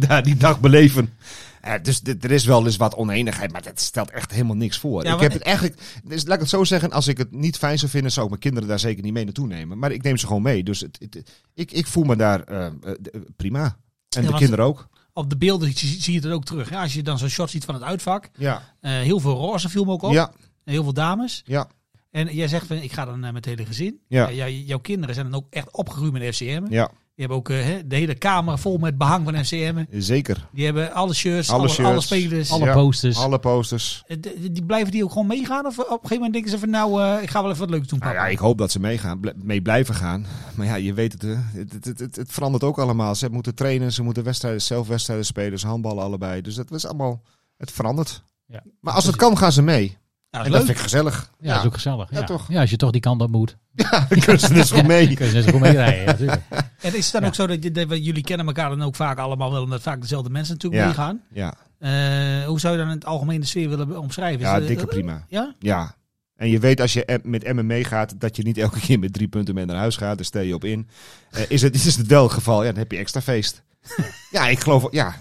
S8: daar die dag beleven. Eh, dus dit- er is wel eens wat oneenigheid. Maar dat stelt echt helemaal niks voor.
S6: Ja,
S8: ik
S6: maar-
S8: heb het eigenlijk. Dus laat ik het zo zeggen. Als ik het niet fijn zou vinden. zou ik mijn kinderen daar zeker niet mee naartoe nemen. Maar ik neem ze gewoon mee. Dus het, het- ik, ik voel me daar eh, eh, d- prima. En
S6: Ja,
S8: de
S6: want-
S8: kinderen ook.
S6: Op de beelden zie, zie je het ook terug. Ja, als je dan zo'n shot ziet van het uitvak.
S8: Ja,
S6: eh, heel veel roze viel me ook op.
S8: ja,
S6: Heel veel dames.
S8: ja.
S6: En jij zegt van ik ga dan eh, met het hele gezin.
S8: Ja.
S6: Eh, jij- jouw kinderen zijn dan ook echt opgeruimd met FCM.
S8: Ja,
S6: Die hebben ook eh, hè, de hele kamer vol met behang van FCM.
S8: zeker.
S6: Die hebben alle shirts, alle,
S8: Alle
S6: alle,
S8: shirts,
S6: spelers.
S7: Alle
S8: Ja,
S6: Dus-
S7: posters.
S8: Alle posters.
S6: Eh, d- Die blijven die ook gewoon meegaan? Of op een gegeven moment denken ze van nou, eh, ik ga wel even wat leuks doen.
S8: Nou
S6: papa?
S8: ja, ik hoop dat ze meegaan, bl- mee blijven gaan. Maar ja, je weet het, hè. het, het, het, het verandert ook allemaal. Ze moeten trainen, ze moeten wedstrijden, zelf wedstrijden spelen, ze handballen allebei. Dus dat is allemaal, het verandert.
S7: Ja.
S8: Maar als het kan, gaan ze mee.
S6: Ja, Nou, dat
S8: en
S6: is
S8: dat
S6: leuk.
S8: vind ik gezellig.
S7: Ja, dat is ook gezellig. Ja,
S8: Ja, toch?
S7: Ja, als je toch die kant op moet.
S8: Dan kunnen ze net zo goed mee.
S7: Kun je net zo goed mee rijden. natuurlijk.
S6: En is het dan ook zo dat, je- dat we- jullie kennen elkaar dan ook vaak allemaal wel, omdat vaak dezelfde mensen natuurlijk
S8: Ja.
S6: meegaan?
S8: Ja,
S6: Eh, hoe zou je dan in het algemeen de sfeer willen be- omschrijven? Is
S8: ja
S6: dat-
S8: dikke prima.
S6: Ja?
S8: Ja. En je weet als je em- met Emmen meegaat, dat je niet elke keer met drie punten mee naar huis gaat. Daar stel je op in. Eh, is het, is het wel het geval, ja, dan heb je extra feest. ja, ik geloof, ja.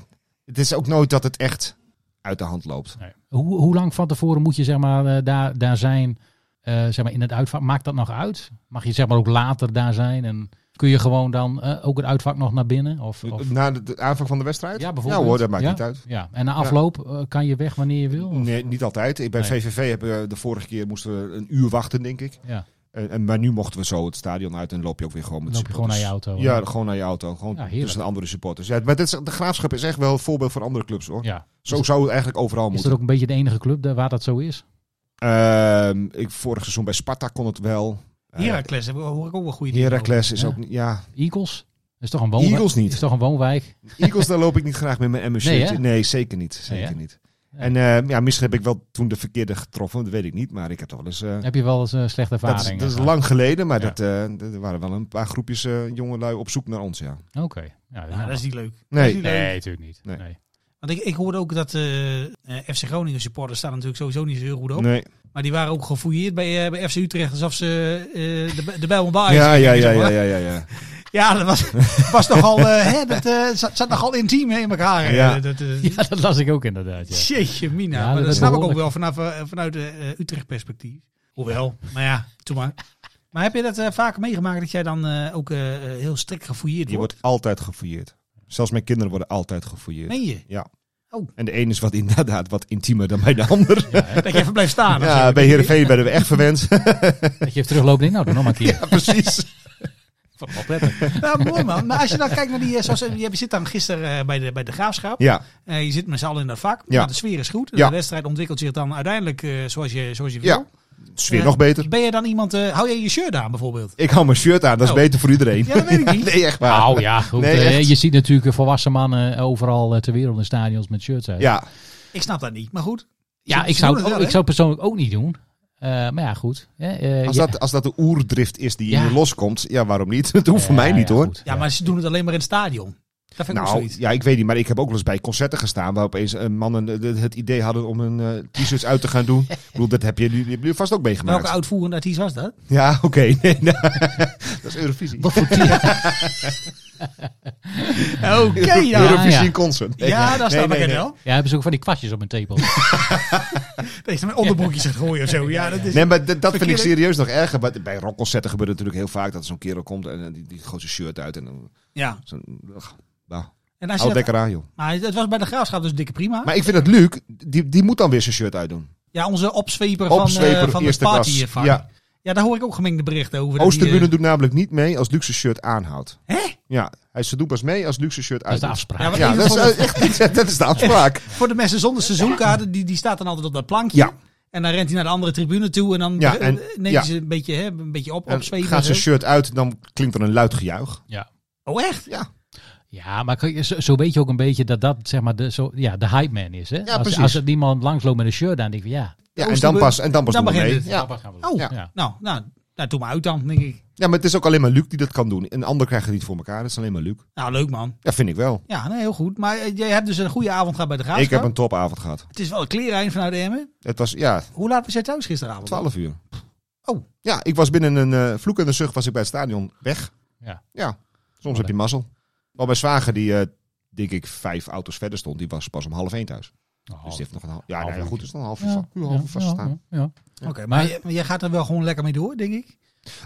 S8: Het is ook nooit dat het echt uit de hand loopt.
S7: Nee. Hoe, hoe lang van tevoren moet je zeg maar, eh, daar, daar zijn eh, zeg maar, in het uitvak? Maakt dat nog uit? Mag je zeg maar, ook later daar zijn? En kun je gewoon dan eh, ook het uitvak nog naar binnen? Of, of...
S8: Na de, de aanvang van de wedstrijd?
S7: Ja, bijvoorbeeld.
S8: Ja hoor, dat maakt
S7: Ja?
S8: niet uit.
S7: Ja. En na afloop eh, kan je weg wanneer je wil? Of-
S8: Nee, niet altijd. Ik- Bij
S7: Nee.
S8: VVV eh, hebben we de vorige keer moesten we een uur wachten, denk ik.
S7: Ja,
S8: En, en- maar nu mochten we zo het stadion uit en loop je ook weer gewoon
S7: dan
S8: met
S7: loop je gewoon naar je
S8: supporters.
S7: auto.
S8: Ja, gewoon naar je auto. Gewoon
S7: Ja, heerlijk.
S8: tussen de andere supporters. Ja, maar dit is, de Graafschap is echt wel een voorbeeld voor andere clubs, hoor.
S7: ja. dus-
S8: Zo zou het eigenlijk overal
S7: Is
S8: moeten.
S7: dat ook een beetje de enige club daar waar dat zo is?
S8: Ehm, ik, vorig seizoen bij Sparta kon het wel. Eh,
S6: Heracles, daar hoor ik ook wel goede dingen
S8: Heracles is
S7: Ja.
S8: ook niet... Ja,
S7: Eagles? Dat is toch een woonwijk?
S8: Eagles niet.
S7: is toch een woonwijk?
S8: Eagles, daar loop ik niet graag met mijn MSC.
S7: Nee, hè?
S8: Nee, zeker niet. Zeker
S7: hè?
S8: niet. En eh, ja, misschien heb ik wel toen de verkeerde getroffen. Dat weet ik niet, maar ik heb toch wel eens... eh,
S7: Heb je wel eens een slechte
S8: Dat
S7: ervaring?
S8: is, dat is
S7: eh,
S8: lang geleden, maar
S7: Ja.
S8: dat, eh, er waren wel een paar groepjes eh, jongelui op zoek naar ons, ja.
S7: Oké. Ja,
S6: Nou, dat is niet leuk.
S8: Nee.
S6: niet
S7: Nee, natuurlijk niet. Nee.
S8: Nee.
S6: Want ik, ik hoorde ook dat eh, eh, FC Groningen supporters staan natuurlijk sowieso niet zo heel goed op.
S8: Nee.
S6: Maar die waren ook gefouilleerd bij, eh, bij FC Utrecht, alsof ze eh, de, de Bijl en Baai
S8: Ja, ja, ja,
S6: zeg maar.
S8: ja, ja, ja, ja.
S6: Ja, dat was, was nogal, eh, hè, dat eh, zat, zat nogal intiem hè, in elkaar. eh,
S8: Ja.
S6: dat, eh,
S7: Ja, dat las ik ook inderdaad. Ja.
S6: Jeetje, Mina.
S7: Ja,
S6: maar dat,
S7: dat is
S6: snap ik ook wel
S7: behoorlijk.
S6: vanaf, eh, vanuit eh, eh, Utrecht perspectief. Hoewel, maar ja, toen maar. Maar heb je dat eh, vaker meegemaakt dat jij dan eh, ook eh, eh, heel strikt gefouilleerd
S8: Je
S6: wordt?
S8: wordt altijd gefouilleerd. Zelfs mijn kinderen worden altijd gefouilleerd.
S6: Meen je?
S8: Ja.
S6: Oh.
S8: En de een is wat inderdaad wat intiemer dan bij de ander. Ja,
S6: Dat je even blijft staan? of zo?
S8: bij Heerenveen werden we echt verwend.
S7: Dat je even terugloopt en denkt, nou, doe nog maar een keer.
S8: ja, precies.
S7: Wel prettig.
S6: Nou, mooi man. Maar als je dan kijkt naar die... eh, Zoals, eh, je zit dan gisteren eh, bij, de, bij de Graafschap.
S8: Ja,
S6: Eh, je zit met z'n allen in dat vak.
S8: Ja.
S6: Nou, de sfeer is goed.
S8: Ja.
S6: De wedstrijd ontwikkelt zich dan uiteindelijk eh, zoals, je, zoals je wil.
S8: ja. Sfeer
S6: Eh,
S8: nog beter.
S6: Ben je dan iemand... eh, hou jij je shirt aan bijvoorbeeld?
S8: Ik hou mijn shirt aan, dat is
S6: Oh.
S8: beter voor iedereen.
S6: Ja, dat weet ik niet.
S8: Nee, echt waar.
S7: Nou ja, goed.
S8: Nee,
S7: eh,
S8: echt.
S7: je ziet natuurlijk volwassen mannen overal eh, ter wereld in stadions met shirts uit.
S8: Ja,
S6: Ik snap dat niet. Maar goed.
S7: Ja,
S6: Ze-
S7: ik
S6: ze
S7: zou,
S6: doen
S7: het
S6: het
S7: ook-
S6: wel,
S7: ik zou het persoonlijk ook niet doen. Eh, maar ja, goed. Eh, eh,
S8: als
S7: ja.
S8: dat, als dat de oerdrift is die
S7: Ja.
S8: hier loskomt, ja, waarom niet? Dat hoeft voor
S7: Ja,
S8: mij niet,
S7: ja,
S8: hoor.
S7: goed.
S6: Ja, maar ze doen het alleen maar in het stadion. Dat vind ik ook
S8: Nou,
S6: zoiets.
S8: ja, ik weet niet, maar ik heb ook wel eens bij concerten gestaan waar opeens eh, mannen eh, het idee hadden om hun eh, t-shirts uit te gaan doen. ik bedoel, dat heb je, jullie hebben jullie vast ook meegemaakt.
S6: Welke uitvoerende artiest was dat?
S8: Ja, oké. Nee, nou, dat is Eurovisie.
S7: Wat voor team?
S6: Oké, ja.
S8: Eurovisie
S7: ja.
S8: Concert.
S6: Ja, dat snap
S8: Nee,
S6: ik
S8: nee,
S6: het
S8: nee.
S6: wel.
S7: Ja, hebben ze ook van die kwastjes op mijn tepel.
S6: Deze met onderbroekjes gaat gooien of zo. Ja, dat is...
S8: Nee, maar dat, dat vind ik
S6: Verkeerde-
S8: serieus nog erger. Maar Bij rockconcerten gebeurt het natuurlijk heel vaak dat er zo'n kerel komt en eh, die, die gooit zijn shirt uit en dan
S6: Ja.
S8: zo'n... ach, Nou,
S6: En als je
S8: hou
S6: dat-
S8: lekker aan, joh.
S6: maar het was bij de graafschap dus dikke prima.
S8: Maar ik vind dat Luc, die, die moet dan weer zijn shirt uitdoen.
S6: Ja, onze opzweper, van,
S8: Opzweper,
S6: eh van de
S8: eerste
S6: party
S8: klas.
S6: hiervan.
S8: Ja.
S6: Ja. daar hoor ik ook gemengde berichten over. dat die, eh,
S8: Oosterbune doet namelijk niet mee als Luc zijn shirt aanhoudt.
S6: Hè?
S8: Ja, hij ze doet pas mee als Luc zijn shirt
S7: Dat is de
S8: uitdoet.
S7: afspraak.
S6: Ja, maar
S8: Ja,
S6: even
S8: dat is,
S6: voor, de,
S8: eh, echt, dat is de afspraak.
S6: voor de mensen zonder seizoenkaarten, die, die staat dan altijd op dat plankje.
S8: Ja.
S6: En dan rent hij naar de andere tribune toe en dan
S8: Ja,
S6: ja,
S8: en-
S6: neemt
S8: ja.
S6: hij ze een beetje, hè, een beetje op,
S8: En
S6: opzwepen.
S8: gaat
S6: en zo.
S8: zijn shirt uit, dan klinkt er een luid gejuich.
S6: Oh, echt?
S7: Ja, maar kijk, zo, zo weet je ook een beetje dat dat zeg maar de, zo, ja, de hype man is. Hè? als,
S8: precies.
S7: als er iemand langsloopt met een shirt aan, denk ik van ja.
S8: Ja, en dan
S6: Oosterbune-
S8: pas, en dan pas
S6: dan
S8: doen we
S6: begint
S8: mee.
S6: het.
S8: Ja.
S7: wat gaan we doen?
S6: Oh,
S7: Ja.
S6: nou, nou, nou, doe maar uit dan, denk ik.
S8: ja, maar het is ook alleen maar Luc die dat kan doen. Een ander krijgt het niet voor elkaar, dat is alleen maar Luc.
S6: Nou, leuk man.
S8: Ja, vind ik wel.
S6: Ja, nee, heel goed. Maar eh, jij hebt dus een goede avond gehad bij de graafschap.
S8: Ik heb een topavond gehad.
S6: Het is wel een kleerijn vanuit Emmen.
S8: Het was, ja,
S6: Hoe laat was jij thuis gisteravond?
S8: 12 uur.
S6: Oh.
S8: Ja, ik was binnen een eh, vloek en een zucht was ik bij het stadion weg.
S7: Ja.
S8: Ja, soms heb je mazzel. Maar mijn zwager die, eh, denk ik, vijf auto's verder stond, die was pas om half één thuis.
S7: Oh,
S8: Dus die heeft nog een half... Ja,
S7: half
S8: nou ja,
S7: uurtje.
S8: goed, dus dan een half uur,
S7: ja,
S8: va- uur, half uur vaststaan.
S7: ja, ja.
S6: Oké, maar, jij- maar jij gaat er wel gewoon lekker mee door, denk ik.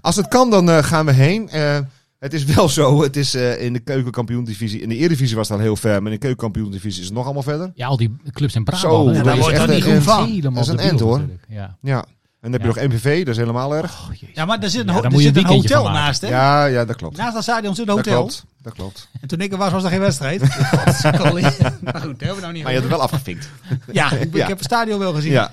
S8: Als het kan, dan eh, gaan we heen. Eh, het is wel zo, het is eh, in de keukenkampioendivisie. In de Eredivisie was het al heel ver, maar in de keukenkampioendivisie is het nog allemaal verder.
S7: Ja, al die clubs in
S8: Zo,
S7: Brabant.
S8: Ja,
S7: hè,
S8: daar word je
S7: echt
S8: toch niet
S7: een-
S8: goed van.
S7: helemaal
S8: Dat is een
S7: debiel
S8: end, hoor.
S7: natuurlijk. Ja.
S8: Ja. En dan heb je
S7: Ja.
S8: nog MVV, dat is helemaal erg.
S7: Oh, jezus.
S6: Ja, maar daar zit een,
S7: Ja,
S6: ho-
S7: daar
S6: er
S7: moet je
S6: zit een
S7: een weekendje
S6: hotel
S7: van maken.
S6: naast, hè?
S8: Ja, ja, dat klopt.
S7: Nou,
S6: Naast dat stadion zit een
S8: Dat
S6: hotel.
S8: klopt, dat klopt.
S6: En toen ik er was, was er geen wedstrijd. Godsalie. maar goed, daar hebben we nou niet
S8: Maar je
S6: over.
S8: hebt het wel afgevinkt.
S6: Ja, ik, ik
S8: Ja.
S6: heb het stadion wel gezien. Ja.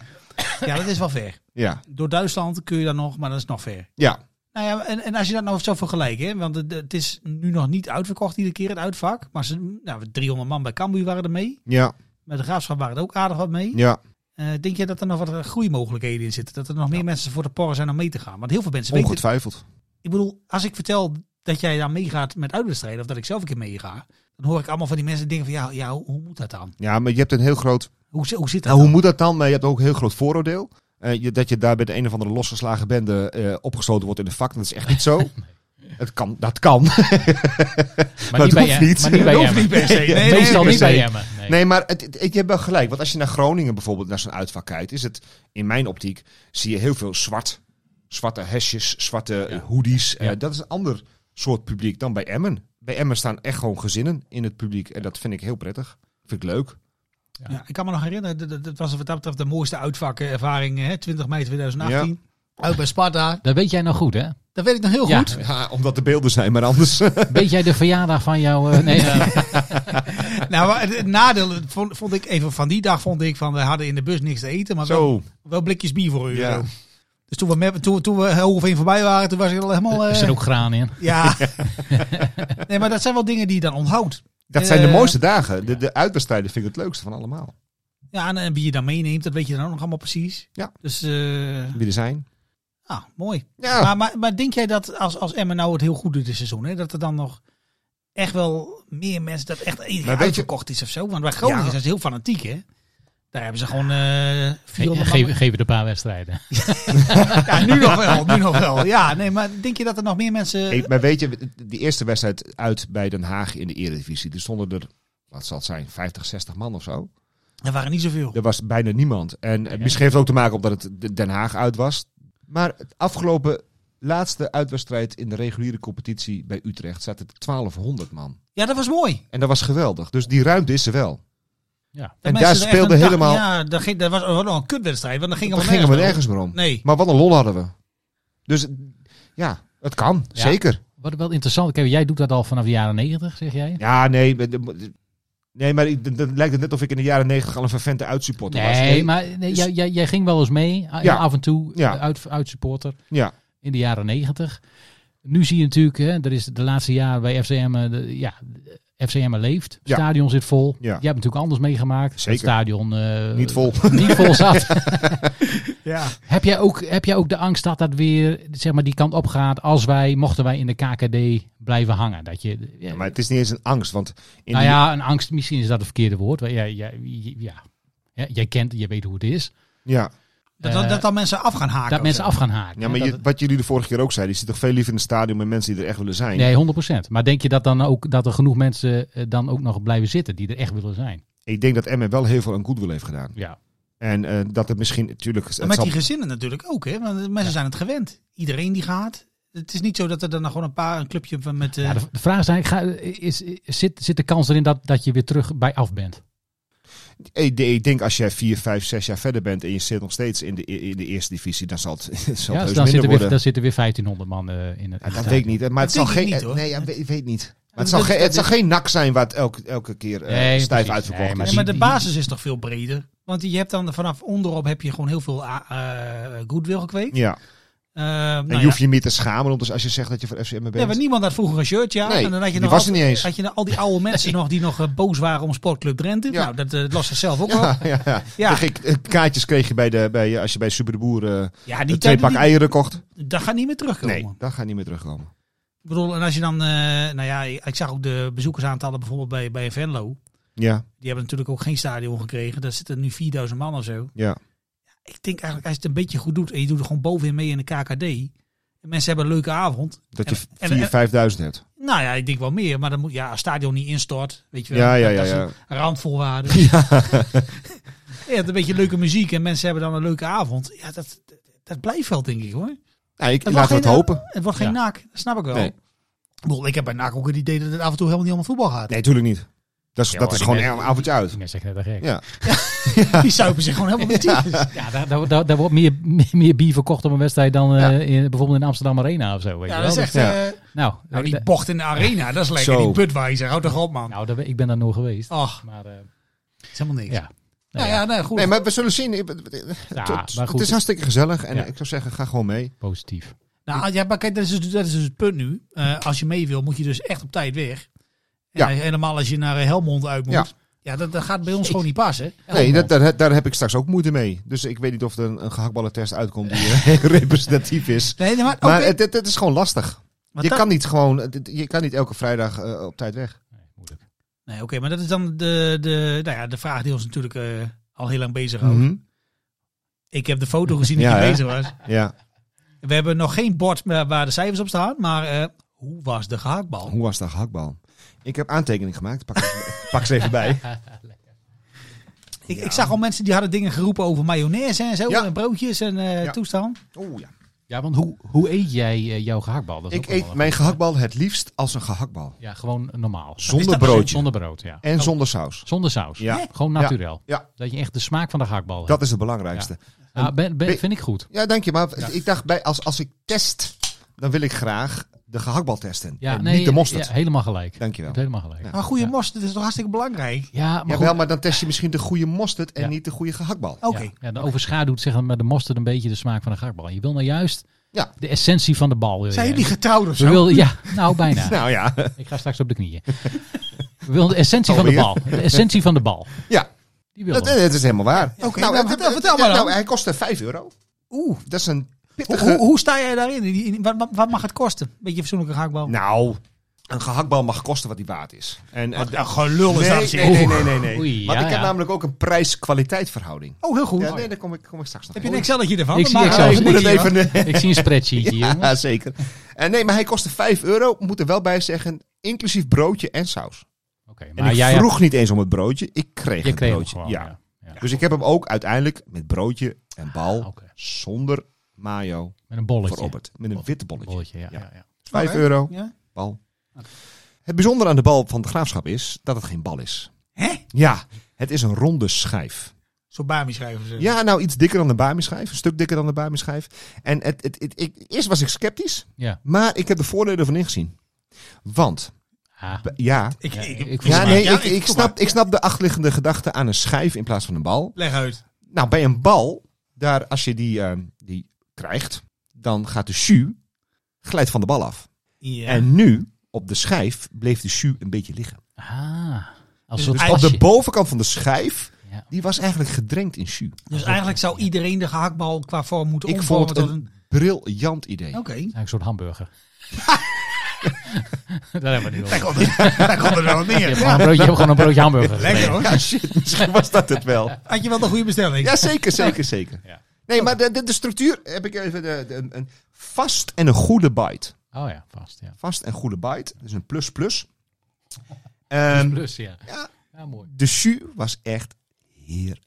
S8: Ja,
S6: dat is wel ver.
S8: ja,
S6: Door Duitsland kun je dan nog, maar dat is nog ver.
S8: ja.
S6: Nou ja, en, en als je dat nou zo vergelijkt, hè, want het, het is nu nog niet uitverkocht iedere keer het uitvak. Maar ze, nou, 300 man bij Cambuur waren er mee.
S8: Ja,
S6: Met de Graafschap waren er ook aardig wat mee.
S8: ja.
S6: Eh, denk je dat er nog wat groeimogelijkheden in zitten? Dat er nog meer mensen voor de porren zijn om mee te gaan? Want heel veel mensen weten
S8: Ongetwijfeld.
S6: Ik bedoel, als ik vertel dat jij daar meegaat met uitwedstrijden, of dat ik zelf een keer meega, dan hoor ik allemaal van die mensen die denken van ja, ja hoe, hoe moet dat dan?
S8: Ja, maar je hebt een heel groot...
S6: Hoe, zi- hoe zit dat?
S8: Nou, hoe
S6: dan?
S8: moet dat dan? Maar je hebt ook een heel groot vooroordeel. Eh, je, dat je daar bij de een of andere losgeslagen bende eh, opgesloten wordt in de vak. Dat is echt niet zo. Het kan, dat kan.
S7: Maar
S8: dat
S7: niet bij
S8: hoeft
S7: Emmen.
S8: niet.
S7: Maar niet bij
S8: Dat hoeft
S7: Emmen.
S8: niet per se. Nee,
S6: nee,
S7: Meestal
S8: per
S7: niet bij
S8: se.
S7: Emmen. Nee.
S8: Nee, maar het, het- je hebt wel gelijk. Want als je naar Groningen bijvoorbeeld, naar zo'n uitvak kijkt, is het in mijn optiek, zie je heel veel zwart. Zwarte hesjes, zwarte
S7: Ja.
S8: hoodies. Eh,
S7: Ja.
S8: dat is een ander soort publiek dan bij Emmen. Bij Emmen staan echt gewoon gezinnen in het publiek. En dat vind ik heel prettig. Vind ik leuk.
S6: Ja, ik kan me nog herinneren, dat- dat, dat was wat dat betreft de mooiste uitvakkervaring, hè, 20 mei 2018. Uit bij Sparta,
S7: Dat weet jij nou goed, hè?
S6: dat weet ik nog heel
S7: Ja.
S6: goed.
S8: Ja, omdat de beelden zijn, maar anders. eh,
S7: Weet jij de verjaardag van jouw... eh, nee, eh,
S6: Nou, maar het, het nadeel vond, vond ik even van die dag vond ik van we hadden in de bus niks te eten, maar wel,
S8: Zo.
S6: wel blikjes bier voor u.
S8: Ja.
S6: Dus toen we, met, toen, toen we Hogeveen voorbij waren, toen was ik al helemaal.
S7: er
S6: eh,
S7: zit ook graan in.
S6: ja. nee, maar dat zijn wel dingen die je dan onthoudt.
S8: Dat zijn de
S6: Eh,
S8: mooiste dagen. De, de uitwedstrijden vind ik het leukste van allemaal.
S6: Ja, en, en wie je dan meeneemt, dat weet je dan ook nog allemaal precies.
S8: Ja.
S6: Dus, eh,
S8: Wie er zijn.
S6: ah, mooi.
S8: Ja.
S6: Maar, maar, maar denk jij dat als, als Emmen nou het heel goed doet dit seizoen, hè, dat er dan nog echt wel meer mensen, dat echt
S8: weet
S6: iedereen
S8: je-
S6: uitverkocht is of zo? Want bij Groningen
S8: Ja.
S6: zijn ze heel fanatiek, hè? Daar hebben ze gewoon eh
S7: Ge-
S6: 400
S7: Geef
S6: man-
S7: geef het een paar wedstrijden.
S6: Ja, nu nog wel, nu nog wel. Ja, nee, maar denk je dat er nog meer mensen...
S8: Hey, maar weet je, die eerste wedstrijd uit bij Den Haag in de Eredivisie. Er stonden er, wat zal het zijn, 50, 60 man of zo.
S6: Er waren niet zoveel.
S8: Er was bijna niemand. En eh, misschien heeft het ook te maken omdat het de- Den Haag uit was. Maar het afgelopen laatste uitwedstrijd in de reguliere competitie bij Utrecht zaten er 1200 man.
S6: Ja, dat was mooi.
S8: En dat was geweldig. Dus die ruimte is er wel.
S6: Dat
S8: En
S6: mensen
S8: daar
S6: er echt
S8: speelde
S6: een dag-
S8: helemaal-
S6: Ja, dat, ging, dat was wel een kutwedstrijd, want dan gingen
S8: Daar
S6: we
S8: gingen we nergens meer om.
S6: Nee.
S8: Maar wat een lol hadden we. Dus ja, het kan.
S7: Ja.
S8: Zeker.
S7: Wat wel interessant. Kijk, jij doet dat al vanaf de jaren 90, zeg jij?
S8: Ja, nee. maar de- Nee, maar ik- dan lijkt het net of ik in de jaren negentig al een vervente uitsupporter was.
S7: Nee, maar nee, jij, jij, jij ging wel eens mee, a-
S8: Ja.
S7: af en toe, eh,
S8: Ja.
S7: uit, uit supporter
S8: Ja,
S7: in de jaren 90. Nu zie je natuurlijk, hè, er is de laatste jaren bij FCM, eh, de, ja, FCM leeft. Het
S8: Ja.
S7: stadion zit vol.
S8: Ja.
S7: Je hebt natuurlijk anders meegemaakt.
S8: Zeker.
S7: Het stadion eh,
S8: niet vol.
S7: niet vol zat.
S6: Ja.
S7: heb, jij ook, heb jij ook de angst dat dat weer zeg maar, die kant op gaat als wij, mochten wij in de KKD blijven hangen? Dat je, ja,
S8: Ja, maar het is niet eens een angst, want... In
S7: nou
S8: die-
S7: ja, een angst,
S8: Ah,
S7: misschien is dat het verkeerde woord. maar Ja, ja, ja, ja. Ja, jij kent, je weet hoe het is.
S8: ja.
S6: Dat, dat,
S7: eh,
S6: dat dan mensen af gaan haken.
S7: dat
S6: of
S7: mensen
S6: zo.
S7: af gaan haken.
S8: Ja,
S7: hè,
S8: maar je-
S7: dat-
S8: wat jullie de vorige keer ook zeiden, je zit toch veel liever in het stadion met mensen die er echt willen zijn.
S7: Nee, 100%. Maar denk je dat, dan ook, dat er genoeg mensen eh, dan ook nog blijven zitten die er echt willen zijn?
S8: Ik denk dat Emmen wel heel veel aan goodwill heeft gedaan.
S7: Ja.
S8: En eh, dat het misschien, natuurlijk, het
S6: Maar met
S8: zal-
S6: die gezinnen natuurlijk ook, hè? Want eh, mensen zijn het gewend. Iedereen die gaat. Het is niet zo dat er dan gewoon een paar, een clubje van met. eh,
S7: Ja, de, de vraag is eigenlijk, ga- is, is- zit, zit de kans erin dat, dat je weer terug bij af bent?
S8: ik, ik denk als jij vier, vijf, zes jaar verder bent en je zit nog steeds in de, e- in de eerste divisie, dan zal het, zal het
S7: ja,
S8: heus
S7: dus dan
S8: minder
S7: zitten, weer,
S8: worden.
S7: dan zitten weer 1500 man eh, in het.
S8: Ja, dat weet ik niet. hè. Maar het
S6: Dat
S8: zal
S6: denk
S8: geen.
S6: ik niet, hoor.
S8: nee, ja, weet, ik weet niet. Maar
S6: dat-
S8: het zal, geen,
S6: dat-
S8: het zal geen nak zijn waar het elke, elke keer eh,
S7: Nee,
S8: stijf
S7: precies.
S8: uitverkocht
S7: Nee, maar
S8: is.
S6: ja, maar de
S7: die-
S6: basis is toch veel breder. Want je hebt dan vanaf onderop heb je gewoon heel veel ah, eh goodwill gekweekt.
S8: Ja.
S6: Eh,
S8: En
S6: nou
S8: je hoeft
S6: ja.
S8: je niet te schamen om, dus als je zegt dat je van FCM bent.
S6: Ja, want niemand had vroeger een shirt, ja.
S8: Nee,
S6: en dan had je
S8: die
S6: nog
S8: was
S6: al-
S8: er niet eens.
S6: Had je nou al die oude mensen nog die nog eh, boos waren om Sportclub Drenthe.
S8: Ja.
S6: Nou, dat eh, lost zichzelf ook wel.
S8: ja, ja, ja.
S6: Ja.
S8: Dan ging ik- eh, kaartjes kreeg je bij de, bij, eh, als je bij Super de Boer eh,
S6: Ja, die
S8: een twee
S6: tijd,
S8: pak
S6: die-
S8: eieren kocht.
S6: dat gaat niet meer terugkomen.
S8: Nee, dat gaat niet meer terugkomen.
S6: Ik bedoel, en als je dan, eh, nou ja, ik zag ook de bezoekersaantallen bijvoorbeeld bij, bij Venlo.
S8: Ja,
S6: Die hebben natuurlijk ook geen stadion gekregen. Daar zitten nu 4000 man of zo.
S8: ja.
S6: Ik denk eigenlijk, als je het een beetje goed doet en je doet er gewoon bovenin mee in de KKD. En mensen hebben een leuke avond.
S8: Dat
S6: En-
S8: je
S6: en-
S8: 4.000,
S6: en-
S8: 5.000 hebt.
S6: Nou ja, ik denk wel meer, maar dan moet ja, als het stadion niet instort, weet je wel.
S8: Ja, ja, ja.
S6: dat is
S8: ja.
S6: een Randvoorwaarde. Ja. je hebt een beetje leuke muziek en mensen hebben dan een leuke avond. Ja, dat, dat blijft wel, denk ik hoor.
S8: Nou, ik, laten we
S6: Het wordt
S8: het
S6: geen-
S8: hopen.
S6: Het wordt geen
S7: Ja.
S6: nak, dat snap ik wel.
S8: Nee.
S6: Ik bedoel, ik heb bij NAC ook het idee dat het af en toe helemaal niet om voetbal gaat.
S8: Nee, tuurlijk niet. Dat is,
S7: Ja,
S8: dat
S7: hoor,
S8: is
S7: die
S8: gewoon
S7: mensen-
S8: een avondje uit.
S7: Ik net zeg net dat gek.
S8: Ja.
S7: Ja,
S6: Die zuipen zich gewoon helemaal de tyfus. Ja,
S7: daar, daar, daar, daar wordt meer, meer, meer bier verkocht op een wedstrijd dan eh, in, bijvoorbeeld in Amsterdam Arena of zo. Weet je wel?
S6: dat is echt...
S8: Ja.
S6: eh,
S7: Nou,
S6: nou, die
S7: eh,
S6: bocht in de arena, dat is lekker.
S8: Zo.
S6: Die Budweiser, houd toch op man.
S7: nou, daar- ik ben daar nooit geweest.
S6: Ach,
S7: Maar, eh,
S6: is helemaal niks.
S7: ja.
S6: Nou
S7: Nou
S6: ja, nee, goed.
S8: Nee, maar we zullen zien. Ik- het-
S7: Ja,
S8: het-
S7: maar
S8: Het
S7: goed.
S8: is hartstikke gezellig. En
S7: Ja.
S8: ik zou zeggen, ga gewoon mee.
S7: Positief.
S6: Nou, ja, maar kijk, dat is, dus- dat is dus het punt nu. Eh, als je mee wil, moet je dus echt op tijd weg. En
S8: Ja.
S6: eh, helemaal als je naar eh, Helmond uit moet. Ja,
S8: Ja.
S6: dat, dat gaat bij ons gewoon niet passen.
S8: Nee, dat, daar, daar heb ik straks ook moeite mee. Dus ik weet niet of er een, een gehaktballentest uitkomt die eh, representatief is.
S6: Nee, nee, maar, oké.
S8: Maar het, het, het is gewoon lastig.
S6: Maar
S8: je,
S6: dat-
S8: kan niet gewoon, het- het- je kan niet elke vrijdag eh, op tijd weg.
S7: Nee, moeilijk.
S6: Nee, oké, maar dat is dan de, de, nou ja, de vraag die ons natuurlijk eh, al heel lang bezighoudt.
S8: Mhm.
S6: Ik heb de foto gezien die
S8: Ja, hè?
S6: bezig was.
S8: Ja,
S6: We hebben nog geen bord eh, waar de cijfers op staan, maar eh, hoe was de gehaktbal?
S8: hoe was dat gehaktbal? Ik heb aantekening gemaakt. Pak, pak ze even bij.
S6: Ik, ik zag al mensen die hadden dingen geroepen over mayonaise en zo,
S8: Ja.
S6: en broodjes en eh
S8: Ja.
S6: toestand.
S8: Oeh, ja.
S7: Ja, want hoe, hoe eet jij eh, jouw gehaktbal? Dat is
S8: Ik
S7: ook wel
S8: eet
S7: een-
S8: mijn gehaktbal het liefst als een gehaktbal.
S7: Ja, gewoon normaal.
S8: Zonder
S7: Is dat-
S8: broodje.
S7: Zonder brood, ja.
S8: En zonder saus.
S7: Zonder saus.
S8: Ja.
S7: Hè? Gewoon naturel.
S8: Ja.
S7: Dat je echt de smaak van de gehaktbal
S8: Dat is het belangrijkste.
S7: hebt. Ah, ben, ben-
S8: Be-
S7: vind ik goed.
S8: Ja, dank je. Maar ik dacht, bij, als, als ik test, dan wil ik graag de gehaktbal testen.
S7: Ja,
S8: en
S7: nee,
S8: niet de mosterd.
S7: ja, helemaal gelijk.
S8: Dank je wel.
S7: Je hebt helemaal gelijk. Ja,
S6: Maar goede
S7: Ja.
S6: mosterd dat is toch hartstikke belangrijk?
S7: maar goed.
S8: Jawel, maar dan test je misschien de goede mosterd en
S7: Ja.
S8: niet de goede gehaktbal.
S6: Oké.
S7: Ja, ja, dan overschaduwt zeg maar, de mosterd een beetje de smaak van de gehaktbal. Je wil nou juist
S8: Ja.
S7: de essentie van de bal. wil
S6: Zijn
S7: je.
S6: jullie getrouwd of
S7: We
S6: zo?
S7: wilden, ja, nou bijna.
S8: Nou ja,
S7: Ik ga straks op de knieën. We wilden de essentie van de bal.
S8: Alweer?
S7: De essentie van de bal.
S8: ja
S7: Die
S8: dat,
S7: wilden we.
S8: dat is helemaal waar.
S6: Oké, nou, vertel-
S8: eh,
S6: vertel
S8: eh,
S6: maar dan.
S8: nou, hij kostte 5 euro.
S6: Oeh.
S8: Dat is een
S6: Hoe,
S8: pittige...
S6: hoe, hoe sta jij daarin? In die- in- wat, wat- wat mag het kosten? Beetje fatsoenlijke gehaktbal.
S8: Nou, een gehaktbal mag kosten wat die waard is. En, en-
S6: gelul
S8: nee, nee, nee, nee, nee, nee, nee.
S7: Oei,
S8: Want
S7: ja,
S8: ik heb
S7: ja.
S8: namelijk ook een prijs-kwaliteit verhouding.
S6: Oh, heel goed.
S8: Ja, nee, daar kom ik, kom ik straks nog
S6: Heb
S8: op.
S6: je een Excelletje ervan?
S7: Ik
S6: Dat
S7: zie
S6: maakt-
S7: Excel.
S6: Ah,
S8: Ik moet het even...
S7: Ik zie een spreadsheet hier, jongens.
S8: Ja, zeker. En nee, maar hij kostte 5 euro. Moet er wel bij zeggen, inclusief broodje en saus.
S7: Oké,
S8: En
S7: maar
S8: ik
S7: jij
S8: vroeg niet eens om het broodje, ik kreeg
S7: hebt, je
S8: het
S7: kreeg hem
S8: broodje.
S7: gewoon,
S8: ja.
S7: ja. Ja.
S8: Dus ik heb hem ook uiteindelijk met broodje en bal,
S7: Ah, oké.
S8: zonder mayo,
S7: Met een bolletje.
S8: voor Robert. Met een witte bolletje.
S7: Bolletje, ja,
S8: Ja.
S7: ja, ja.
S8: 5
S6: Oké.
S8: euro,
S6: Ja.
S8: bal. Het bijzondere aan de bal van de graafschap is dat het geen bal is.
S6: Hè?
S8: Ja, het is een ronde schijf.
S6: Zo Bami schrijven ze.
S8: Ja, nou iets dikker dan de Bami-schijf. Een stuk dikker dan de Bami-schijf. En het, het, het, ik, eerst was ik sceptisch,
S7: Ja.
S8: maar ik heb de voordelen van ingezien. Want,
S7: Ah,
S8: b- ja...
S6: Ik,
S7: Ja,
S6: ik,
S7: ik- ik-
S8: Ja,
S7: maar-
S8: nee,
S6: ja,
S8: ik,
S6: ik-
S8: ik, snap, ik snap de achterliggende gedachte aan een schijf in plaats van een bal.
S6: Leg uit.
S8: Nou, bij een bal, daar, als je die, eh, die krijgt, dan gaat de jus glijdt van de bal af.
S6: Ja.
S8: En nu, op de schijf, bleef de jus een beetje liggen.
S7: ah, als
S6: Dus
S7: een
S8: Dus
S7: soort
S8: op de
S7: pasje.
S8: bovenkant van de schijf,
S7: Ja.
S8: die was eigenlijk gedrenkt in jus.
S6: dus eigenlijk zou iedereen de gehaktbal qua vorm moeten
S8: Ik
S6: omvormen
S8: vond het
S6: tot
S8: een
S6: een...
S8: briljant idee.
S6: Oké.
S7: Eigenlijk Nou, een soort hamburger. Daar hebben we nu over.
S6: Daar komt er wel
S7: Je
S6: neer.
S7: hebt, gewoon een broodje, je hebt gewoon een broodje hamburger.
S6: Lekker hoor.
S8: Ja, shit, misschien was dat het wel.
S6: Had je wel de goede bestelling?
S8: Ja, zeker, zeker, zeker.
S7: Ja.
S8: Nee, maar de, de, de structuur heb ik even de, de- een, een vast en een goede byte.
S7: Oh ja, vast. Ja.
S8: Vast en goede byte. Dus een plus plus. Ehm,
S7: Plus, ja.
S8: ja.
S7: Ja, mooi.
S8: de jus was echt heerlijk.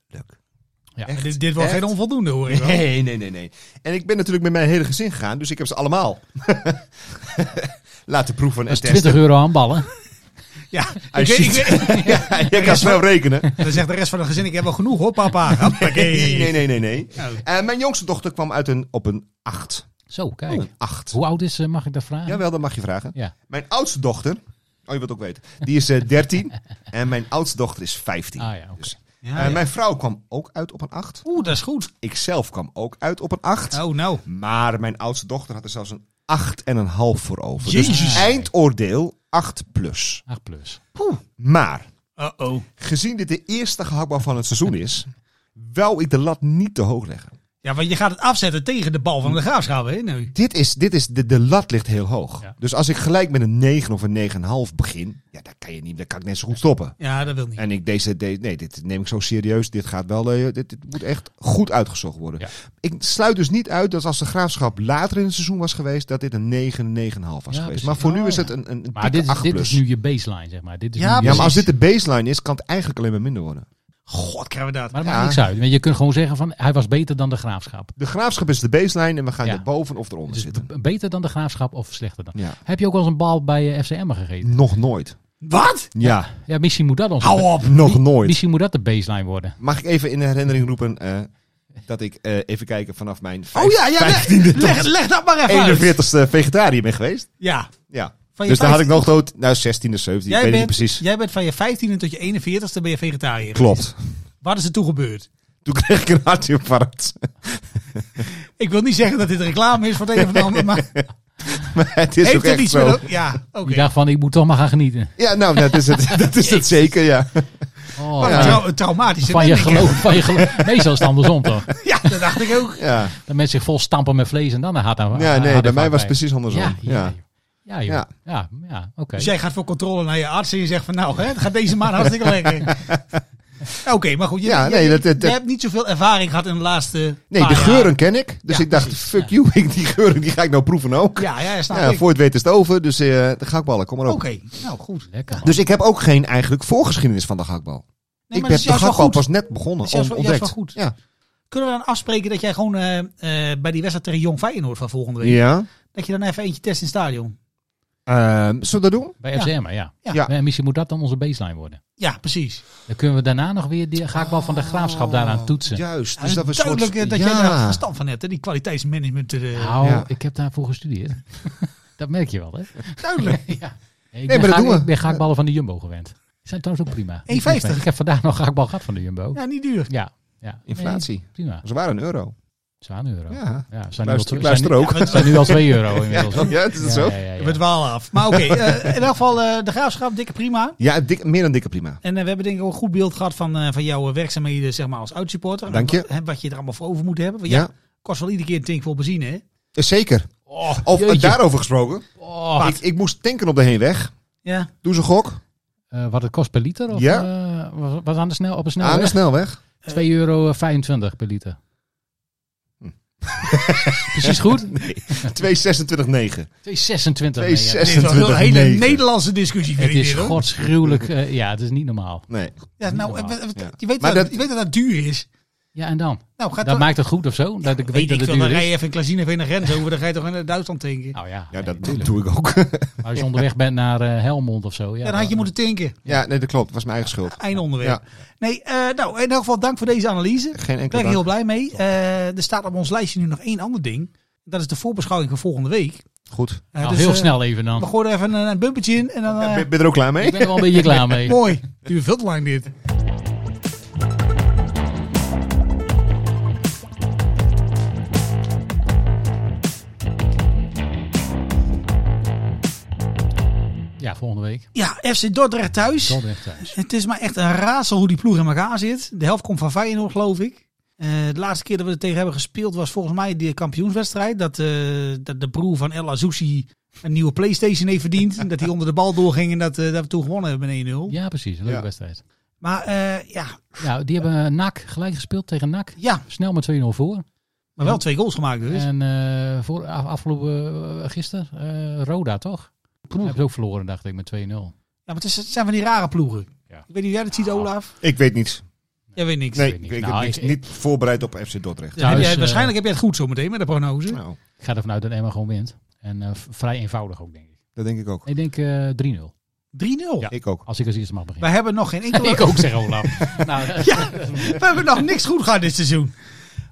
S7: Ja,
S8: Echt,
S6: dit, dit wordt
S8: echt.
S6: geen onvoldoende hoor ik wel.
S8: Nee, nee, nee, nee. En ik ben natuurlijk met mijn hele gezin gegaan, dus ik heb ze allemaal laten proeven
S7: Dat
S8: en
S7: is
S8: testen.
S7: 20 euro aan ballen.
S6: Ja,
S8: Ah,
S6: ik weet, ik
S8: shit.
S6: weet,
S8: ja, je kan snel rekenen.
S6: dan zegt de rest van het gezin, ik heb wel genoeg hoor papa. Hoppakee.
S8: Nee, nee, nee, nee.
S6: Nou,
S8: Eh, mijn jongste dochter kwam uit een, op een 8.
S7: Zo, kijk.
S8: Een 8.
S7: Oh. Hoe oud is ze, mag ik dat vragen?
S8: Jawel, dat mag je vragen.
S7: Ja.
S8: Mijn oudste dochter, oh je wilt het ook weten, die is eh, 13 en mijn oudste dochter is 15.
S7: Ah ja, oké.
S8: Dus,
S6: ja,
S8: eh,
S6: ja.
S8: Mijn vrouw kwam ook uit op een 8.
S6: Oeh, dat is goed.
S8: Ik zelf kwam ook uit op een 8.
S6: Oh nou.
S8: Maar mijn oudste dochter had er zelfs een 8,5 voor over. Dus
S6: Jezus.
S8: eindoordeel 8 plus.
S7: 8 plus.
S8: Maar
S6: Uh-oh.
S8: gezien dit de eerste gehaktbal van het seizoen is, wou ik de lat niet te hoog leggen.
S6: Ja, want je gaat het afzetten tegen de bal van de graafschap hè nu.
S8: Dit is, dit is de, de lat ligt heel hoog.
S7: Ja.
S8: Dus als ik gelijk met een 9 of een 9,5 begin, ja, dan kan je niet, dan kan ik net zo goed stoppen.
S6: Ja, dat wil niet.
S8: En ik deze, de- nee, dit neem ik zo serieus. Dit gaat wel, eh, dit, dit moet echt goed uitgezocht worden.
S7: Ja.
S8: Ik sluit dus niet uit dat als de graafschap later in het seizoen was geweest, dat dit een 9, 9,5 was
S7: Ja,
S8: geweest.
S7: precies.
S8: Maar voor nu
S7: Oh,
S8: is
S7: ja.
S8: het een, een, een
S7: Maar dit is,
S8: 8
S7: dit
S8: plus.
S7: is nu je baseline, zeg maar. Dit is
S6: Ja,
S8: ja,
S7: nu je
S8: maar als
S7: basis.
S8: dit de baseline is, kan het eigenlijk alleen maar minder worden.
S6: God, krijgen we dat.
S7: Maar dat
S8: Ja.
S7: maakt niks uit. Want Je kunt gewoon zeggen van, hij was beter dan de graafschap.
S8: De graafschap is de baseline en we gaan
S7: Ja.
S8: er boven of eronder
S7: Dus
S8: zitten.
S7: b- beter dan de graafschap of slechter dan.
S8: Ja.
S7: Heb je ook wel eens een bal bij eh, FC Emmen gegeten?
S8: Nog nooit.
S6: Wat?
S8: Ja,
S7: Ja, misschien moet dat ons...
S6: Hou op.
S8: nog nooit.
S7: Misschien moet dat de baseline worden.
S8: Mag ik even in herinnering roepen eh, dat ik eh, even kijken vanaf mijn vijf-
S6: Oh ja, ja. le-
S8: 15e
S6: Leg, leg dat maar even uit.
S8: 41ste vegetariër ben geweest.
S6: Ja.
S8: Ja.
S6: Van je
S8: dus daar had ik
S6: 15e
S8: nog dood, nou 16e, 17e, ik weet
S6: Jij
S8: het niet
S6: bent,
S8: precies.
S6: jij bent van je 15e tot je 41e ben je vegetariër.
S8: Klopt.
S6: Wat is er toe gebeurd?
S8: Toen kreeg ik een hartinfarct.
S6: Ik wil niet zeggen dat dit reclame is voor het een of het ander, maar
S8: Maar het is ook
S6: heeft het
S8: echt
S6: iets
S8: zo.
S6: met... Ja, oké.
S7: Ik dacht van, ik moet toch maar gaan genieten.
S8: Ja, nou, dat is het, dat is het zeker, ja.
S7: Oh,
S6: Wat een
S7: ja.
S6: trau- een traumatische
S7: Van je
S6: wending, hè?
S7: geloof. Van je geloof. Meestal is het andersom toch?
S6: Ja, dat dacht ik ook.
S8: Ja,
S7: Dat mensen zich vol stampen met vlees en dan een hard aan.
S8: ja nee, bij mij was het precies andersom.
S7: Ja,
S8: Ja,
S7: ja. Ja, joh.
S8: Ja.
S7: ja. ja, oké.
S6: Dus jij gaat voor controle naar je arts en je zegt van nou, hè, het gaat deze maand hartstikke lekker. Oké, maar goed. Je,
S8: Ja,
S6: je-
S8: nee, dat- dat-
S6: je hebt niet zoveel ervaring gehad in de laatste
S8: Nee,
S6: paar
S8: de
S6: jaar.
S8: geuren ken ik. Dus
S6: Ja,
S8: ik dacht,
S6: precies,
S8: fuck you, ik- die geuren die ga ik nou proeven ook.
S6: Ja, ja, snap
S8: Ja,
S6: ik.
S8: voor het weten is het over, dus eh de gehaktballen, kom maar
S6: Oké,
S8: op.
S6: nou goed.
S7: Lekker. man.
S8: Dus ik heb ook geen eigenlijk voorgeschiedenis van de gehaktbal.
S6: Nee,
S8: ik
S6: maar dat
S8: heb
S6: is
S8: de
S6: juist wel
S8: gehaktbal
S6: goed.
S8: pas net begonnen,
S6: Dat is juist wel-
S8: ontdekt.
S6: juist wel goed.
S8: Ja.
S6: Kunnen we dan afspreken dat jij gewoon eh, eh, bij die wedstrijd tegen Jong Feyenoord van volgende week,
S8: ja.
S6: dat je dan even eentje test in het stadion?
S8: Ehm, zullen we dat doen?
S7: Bij
S6: Ja.
S7: FCM, maar ja.
S6: Ja.
S8: Ja.
S7: En misschien moet dat dan onze baseline worden.
S6: Ja, precies.
S7: Dan kunnen we daarna nog weer die gaakbal van de graafschap daaraan toetsen.
S8: Juist.
S6: Ja,
S8: Dus dat we een soort-
S6: duidelijk eh, dat
S8: ja.
S6: jij daar verstand van hebt, hè? die kwaliteitsmanagement. eh,
S7: Nou,
S8: Ja.
S7: ik heb daarvoor gestudeerd. dat merk je wel, hè?
S6: duidelijk.
S7: ja. Ik,
S8: maar
S7: ben
S8: dat
S7: gaak-
S8: doen we.
S7: ik ben gaakballen van de Jumbo gewend. Die zijn trouwens ook prima.
S6: 1,50.
S7: Ik heb vandaag nog gaakbal gehad van de Jumbo. Ja.
S6: Ja, niet duur.
S7: ja. Nee,
S8: Inflatie.
S7: prima.
S8: Ze waren een euro.
S7: Zwaan euro. Ja.
S8: Ja.
S7: ze zijn nu al
S8: Luister,
S7: twee-
S8: ik luister
S7: zijn nu-
S8: ook.
S6: Ja,
S7: zijn nu al 2 euro inmiddels.
S8: Ja, ja, is het zo?
S7: Ja, ja, ja.
S6: We dwalen af. Maar oké, eh, in elk geval eh, de graafschap, dikke prima.
S8: Ja, dik, meer dan dikke prima.
S6: En eh, we hebben denk ik ook een goed beeld gehad van, eh, van jouw werkzaamheden zeg maar, als uitsupporter.
S8: Dank je.
S6: En Wat, hè, wat je er allemaal voor over moet hebben. Want Oh, ja,
S8: Ja,
S6: kost wel iedere keer een tank vol benzine, hè?
S8: zeker.
S6: Oh,
S8: of eh,
S7: jeetje.
S8: daarover gesproken.
S7: Oh,
S8: Ik, ik moest tanken op de heenweg.
S6: Ja.
S8: Doe ze gok.
S7: eh, wat het kost per liter? Of,
S8: Ja.
S7: eh, was, was aan de snel, op een
S8: aan de
S7: snelweg? 2,25
S8: snelweg.
S7: euro eh, per liter.
S8: Hm.
S7: Precies goed?
S8: 2,26,9.
S7: 2,26. Nee, ja.
S6: Dit is wel een
S8: 2,26,9.
S6: hele Nederlandse discussie, vind
S7: Het
S6: ik
S7: is
S6: dit, hoor.
S7: godsgruwelijk. eh, ja, het is niet normaal.
S8: Nee.
S6: Ja, nou, eh, eh,
S8: Ja.
S6: je, weet
S8: Maar
S6: dat,
S8: dat-
S6: je weet dat dat duur is.
S7: Ja, en dan?
S6: Nou, gaat
S7: Dat
S6: toch-
S7: maakt het goed of zo? Dat ik weet
S6: Weet
S7: dat
S6: ik
S7: het
S6: veel, dan
S7: duur
S6: rij je
S7: is?
S6: even in Klazine of naar Rente over, dan ga je toch naar Duitsland tanken.
S7: Nou ja,
S8: Ja,
S7: nee,
S8: dat
S7: tuurlijk.
S8: doe ik ook.
S7: Maar als je onderweg bent naar eh, Helmond of zo. Ja,
S6: Ja, dan had je moeten tanken.
S8: ja, nee, dat klopt. Dat was mijn eigen schuld.
S6: Einde onderwerp. Nee, eh, nou, in elk geval dank voor deze analyse.
S8: Geen
S6: Ik ben
S8: enkel
S6: er heel
S8: dank.
S6: blij mee. Eh, er staat op ons lijstje nu nog één ander ding. Dat is de voorbeschouwing van volgende week.
S8: Goed.
S6: Eh,
S7: Nou,
S6: dus,
S7: heel
S6: eh,
S7: snel even dan.
S6: We gooien er even een, een bumpertje in en dan... eh,
S8: Ben ben je er ook klaar mee?
S7: Ik ben er wel een beetje klaar mee.
S6: Mooi. Duurt veel te lang dit.
S7: Ja, volgende week.
S6: Ja, FC Dordrecht thuis.
S7: Dordrecht thuis.
S6: Het is maar echt een raadsel hoe die ploeg in elkaar zit. De helft komt van Feyenoord, geloof ik. Eh, de laatste keer dat we er tegen hebben gespeeld was volgens mij de kampioenswedstrijd. Dat, eh, dat de broer van El Azoussi een nieuwe Playstation heeft verdiend. En dat hij onder de bal doorging en dat, eh, dat we toen gewonnen hebben met 1-0.
S7: Ja, precies. Leuke
S8: Ja.
S7: wedstrijd.
S6: Maar eh, ja,
S7: Ja, die hebben eh, NAC gelijk gespeeld tegen NAC.
S6: ja,
S7: Snel met 2-0 voor.
S6: Maar wel twee goals gemaakt dus.
S7: En eh, voor, af- afgelopen eh, gisteren, eh, Roda toch? Hebben ze ook verloren, dacht ik, met 2-0.
S6: Ja, maar het, is- het zijn van die rare ploegen.
S7: Ja. Nou.
S6: Ik weet niet hoe jij dat ziet, Olaf.
S8: Ik weet niets.
S6: Jij weet niks.
S8: Nee,
S7: weet
S8: ik,
S7: niet.
S8: ik
S7: Nou,
S8: heb niks,
S7: ik-
S8: niet voorbereid op FC Dordrecht.
S6: Ja, heb
S7: Thuis,
S6: jij-
S7: eh,
S6: waarschijnlijk heb jij het goed zo meteen met de prognose.
S8: Nou,
S7: Ik ga ervan uit dat Emma gewoon wint. En eh, v- vrij eenvoudig ook, denk ik.
S8: dat denk ik ook.
S7: Ik denk eh, 3-0.
S6: 3-0.
S7: Ja.
S8: Ik ook.
S7: Als ik als eerste mag
S6: We
S7: beginnen.
S6: hebben nog geen enkele...
S7: ik ook, zeg Olaf. nou, eh,
S6: Ja, we hebben nog niks goed gehad dit seizoen.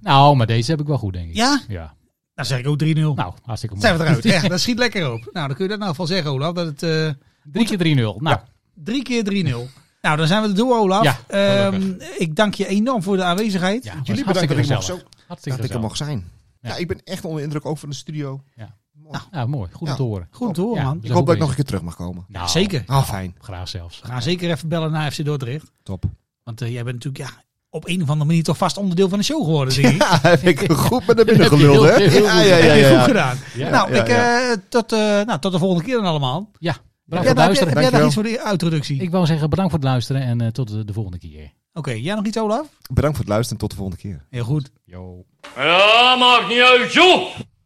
S7: nou, maar deze heb ik wel goed, denk ik.
S6: Ja?
S7: Ja.
S6: Nou zeg ik ook 3-0. Nou,
S7: Nou, hartstikke mooi.
S6: zijn we eruit. Echt, dat schiet lekker op. Nou, dan kun je dat nou van zeggen, Olaf. Dat het eh,
S7: Drie keer 3-0. Nou,
S6: drie keer 3-0. Nou, dan zijn we er door, Olaf.
S7: Ja,
S6: Ehm,
S7: gelukkig.
S6: ik dank je enorm voor de aanwezigheid.
S7: ja, was
S8: Jullie bedankt
S7: hartstikke
S8: dat ik, mocht
S7: gezellig.
S8: zo,
S7: Hartstikke
S8: dat ik er
S7: gezellig.
S8: mocht zijn.
S7: Ja.
S8: Ja. ik ben echt onder indruk ook van de studio.
S7: Ja, mooi. Goed om
S8: Ja.
S7: te horen.
S6: Goed door,
S7: Ja,
S6: man.
S7: we
S8: Ik
S7: zijn
S8: hoop dat
S7: goed
S8: ik nog een
S7: bezig.
S8: keer terug mag komen.
S7: Nou,
S6: Zeker.
S8: Ah, fijn.
S7: Graag zelfs.
S6: We gaan zeker even bellen naar FC Dordrecht.
S8: Top.
S6: Want eh, jij bent natuurlijk ja, op een of andere manier toch vast onderdeel van de show geworden, denk ik.
S8: Ja, heb ik goed met naar binnen geluld, hè?
S7: Heel, heel goed.
S8: Ja, ja, ja.
S6: Heb je
S8: ja,
S6: goed gedaan.
S7: Ja.
S6: nou,
S8: ja,
S6: ik, eh, tot, eh, nou, tot de volgende keer dan allemaal.
S7: Bedankt
S6: ja,
S7: voor
S6: daar,
S7: het
S6: heb, jij-
S7: luisteren.
S6: heb jij nog
S8: Dankjewel.
S6: iets voor de introductie?
S7: Ik wou zeggen bedankt voor het luisteren en eh, tot de, de volgende keer.
S6: Oké, jij nog iets, Olaf?
S8: Bedankt voor het luisteren en tot de volgende keer.
S6: Heel goed.
S7: Yo.
S2: Ja, maakt niet uit, joh!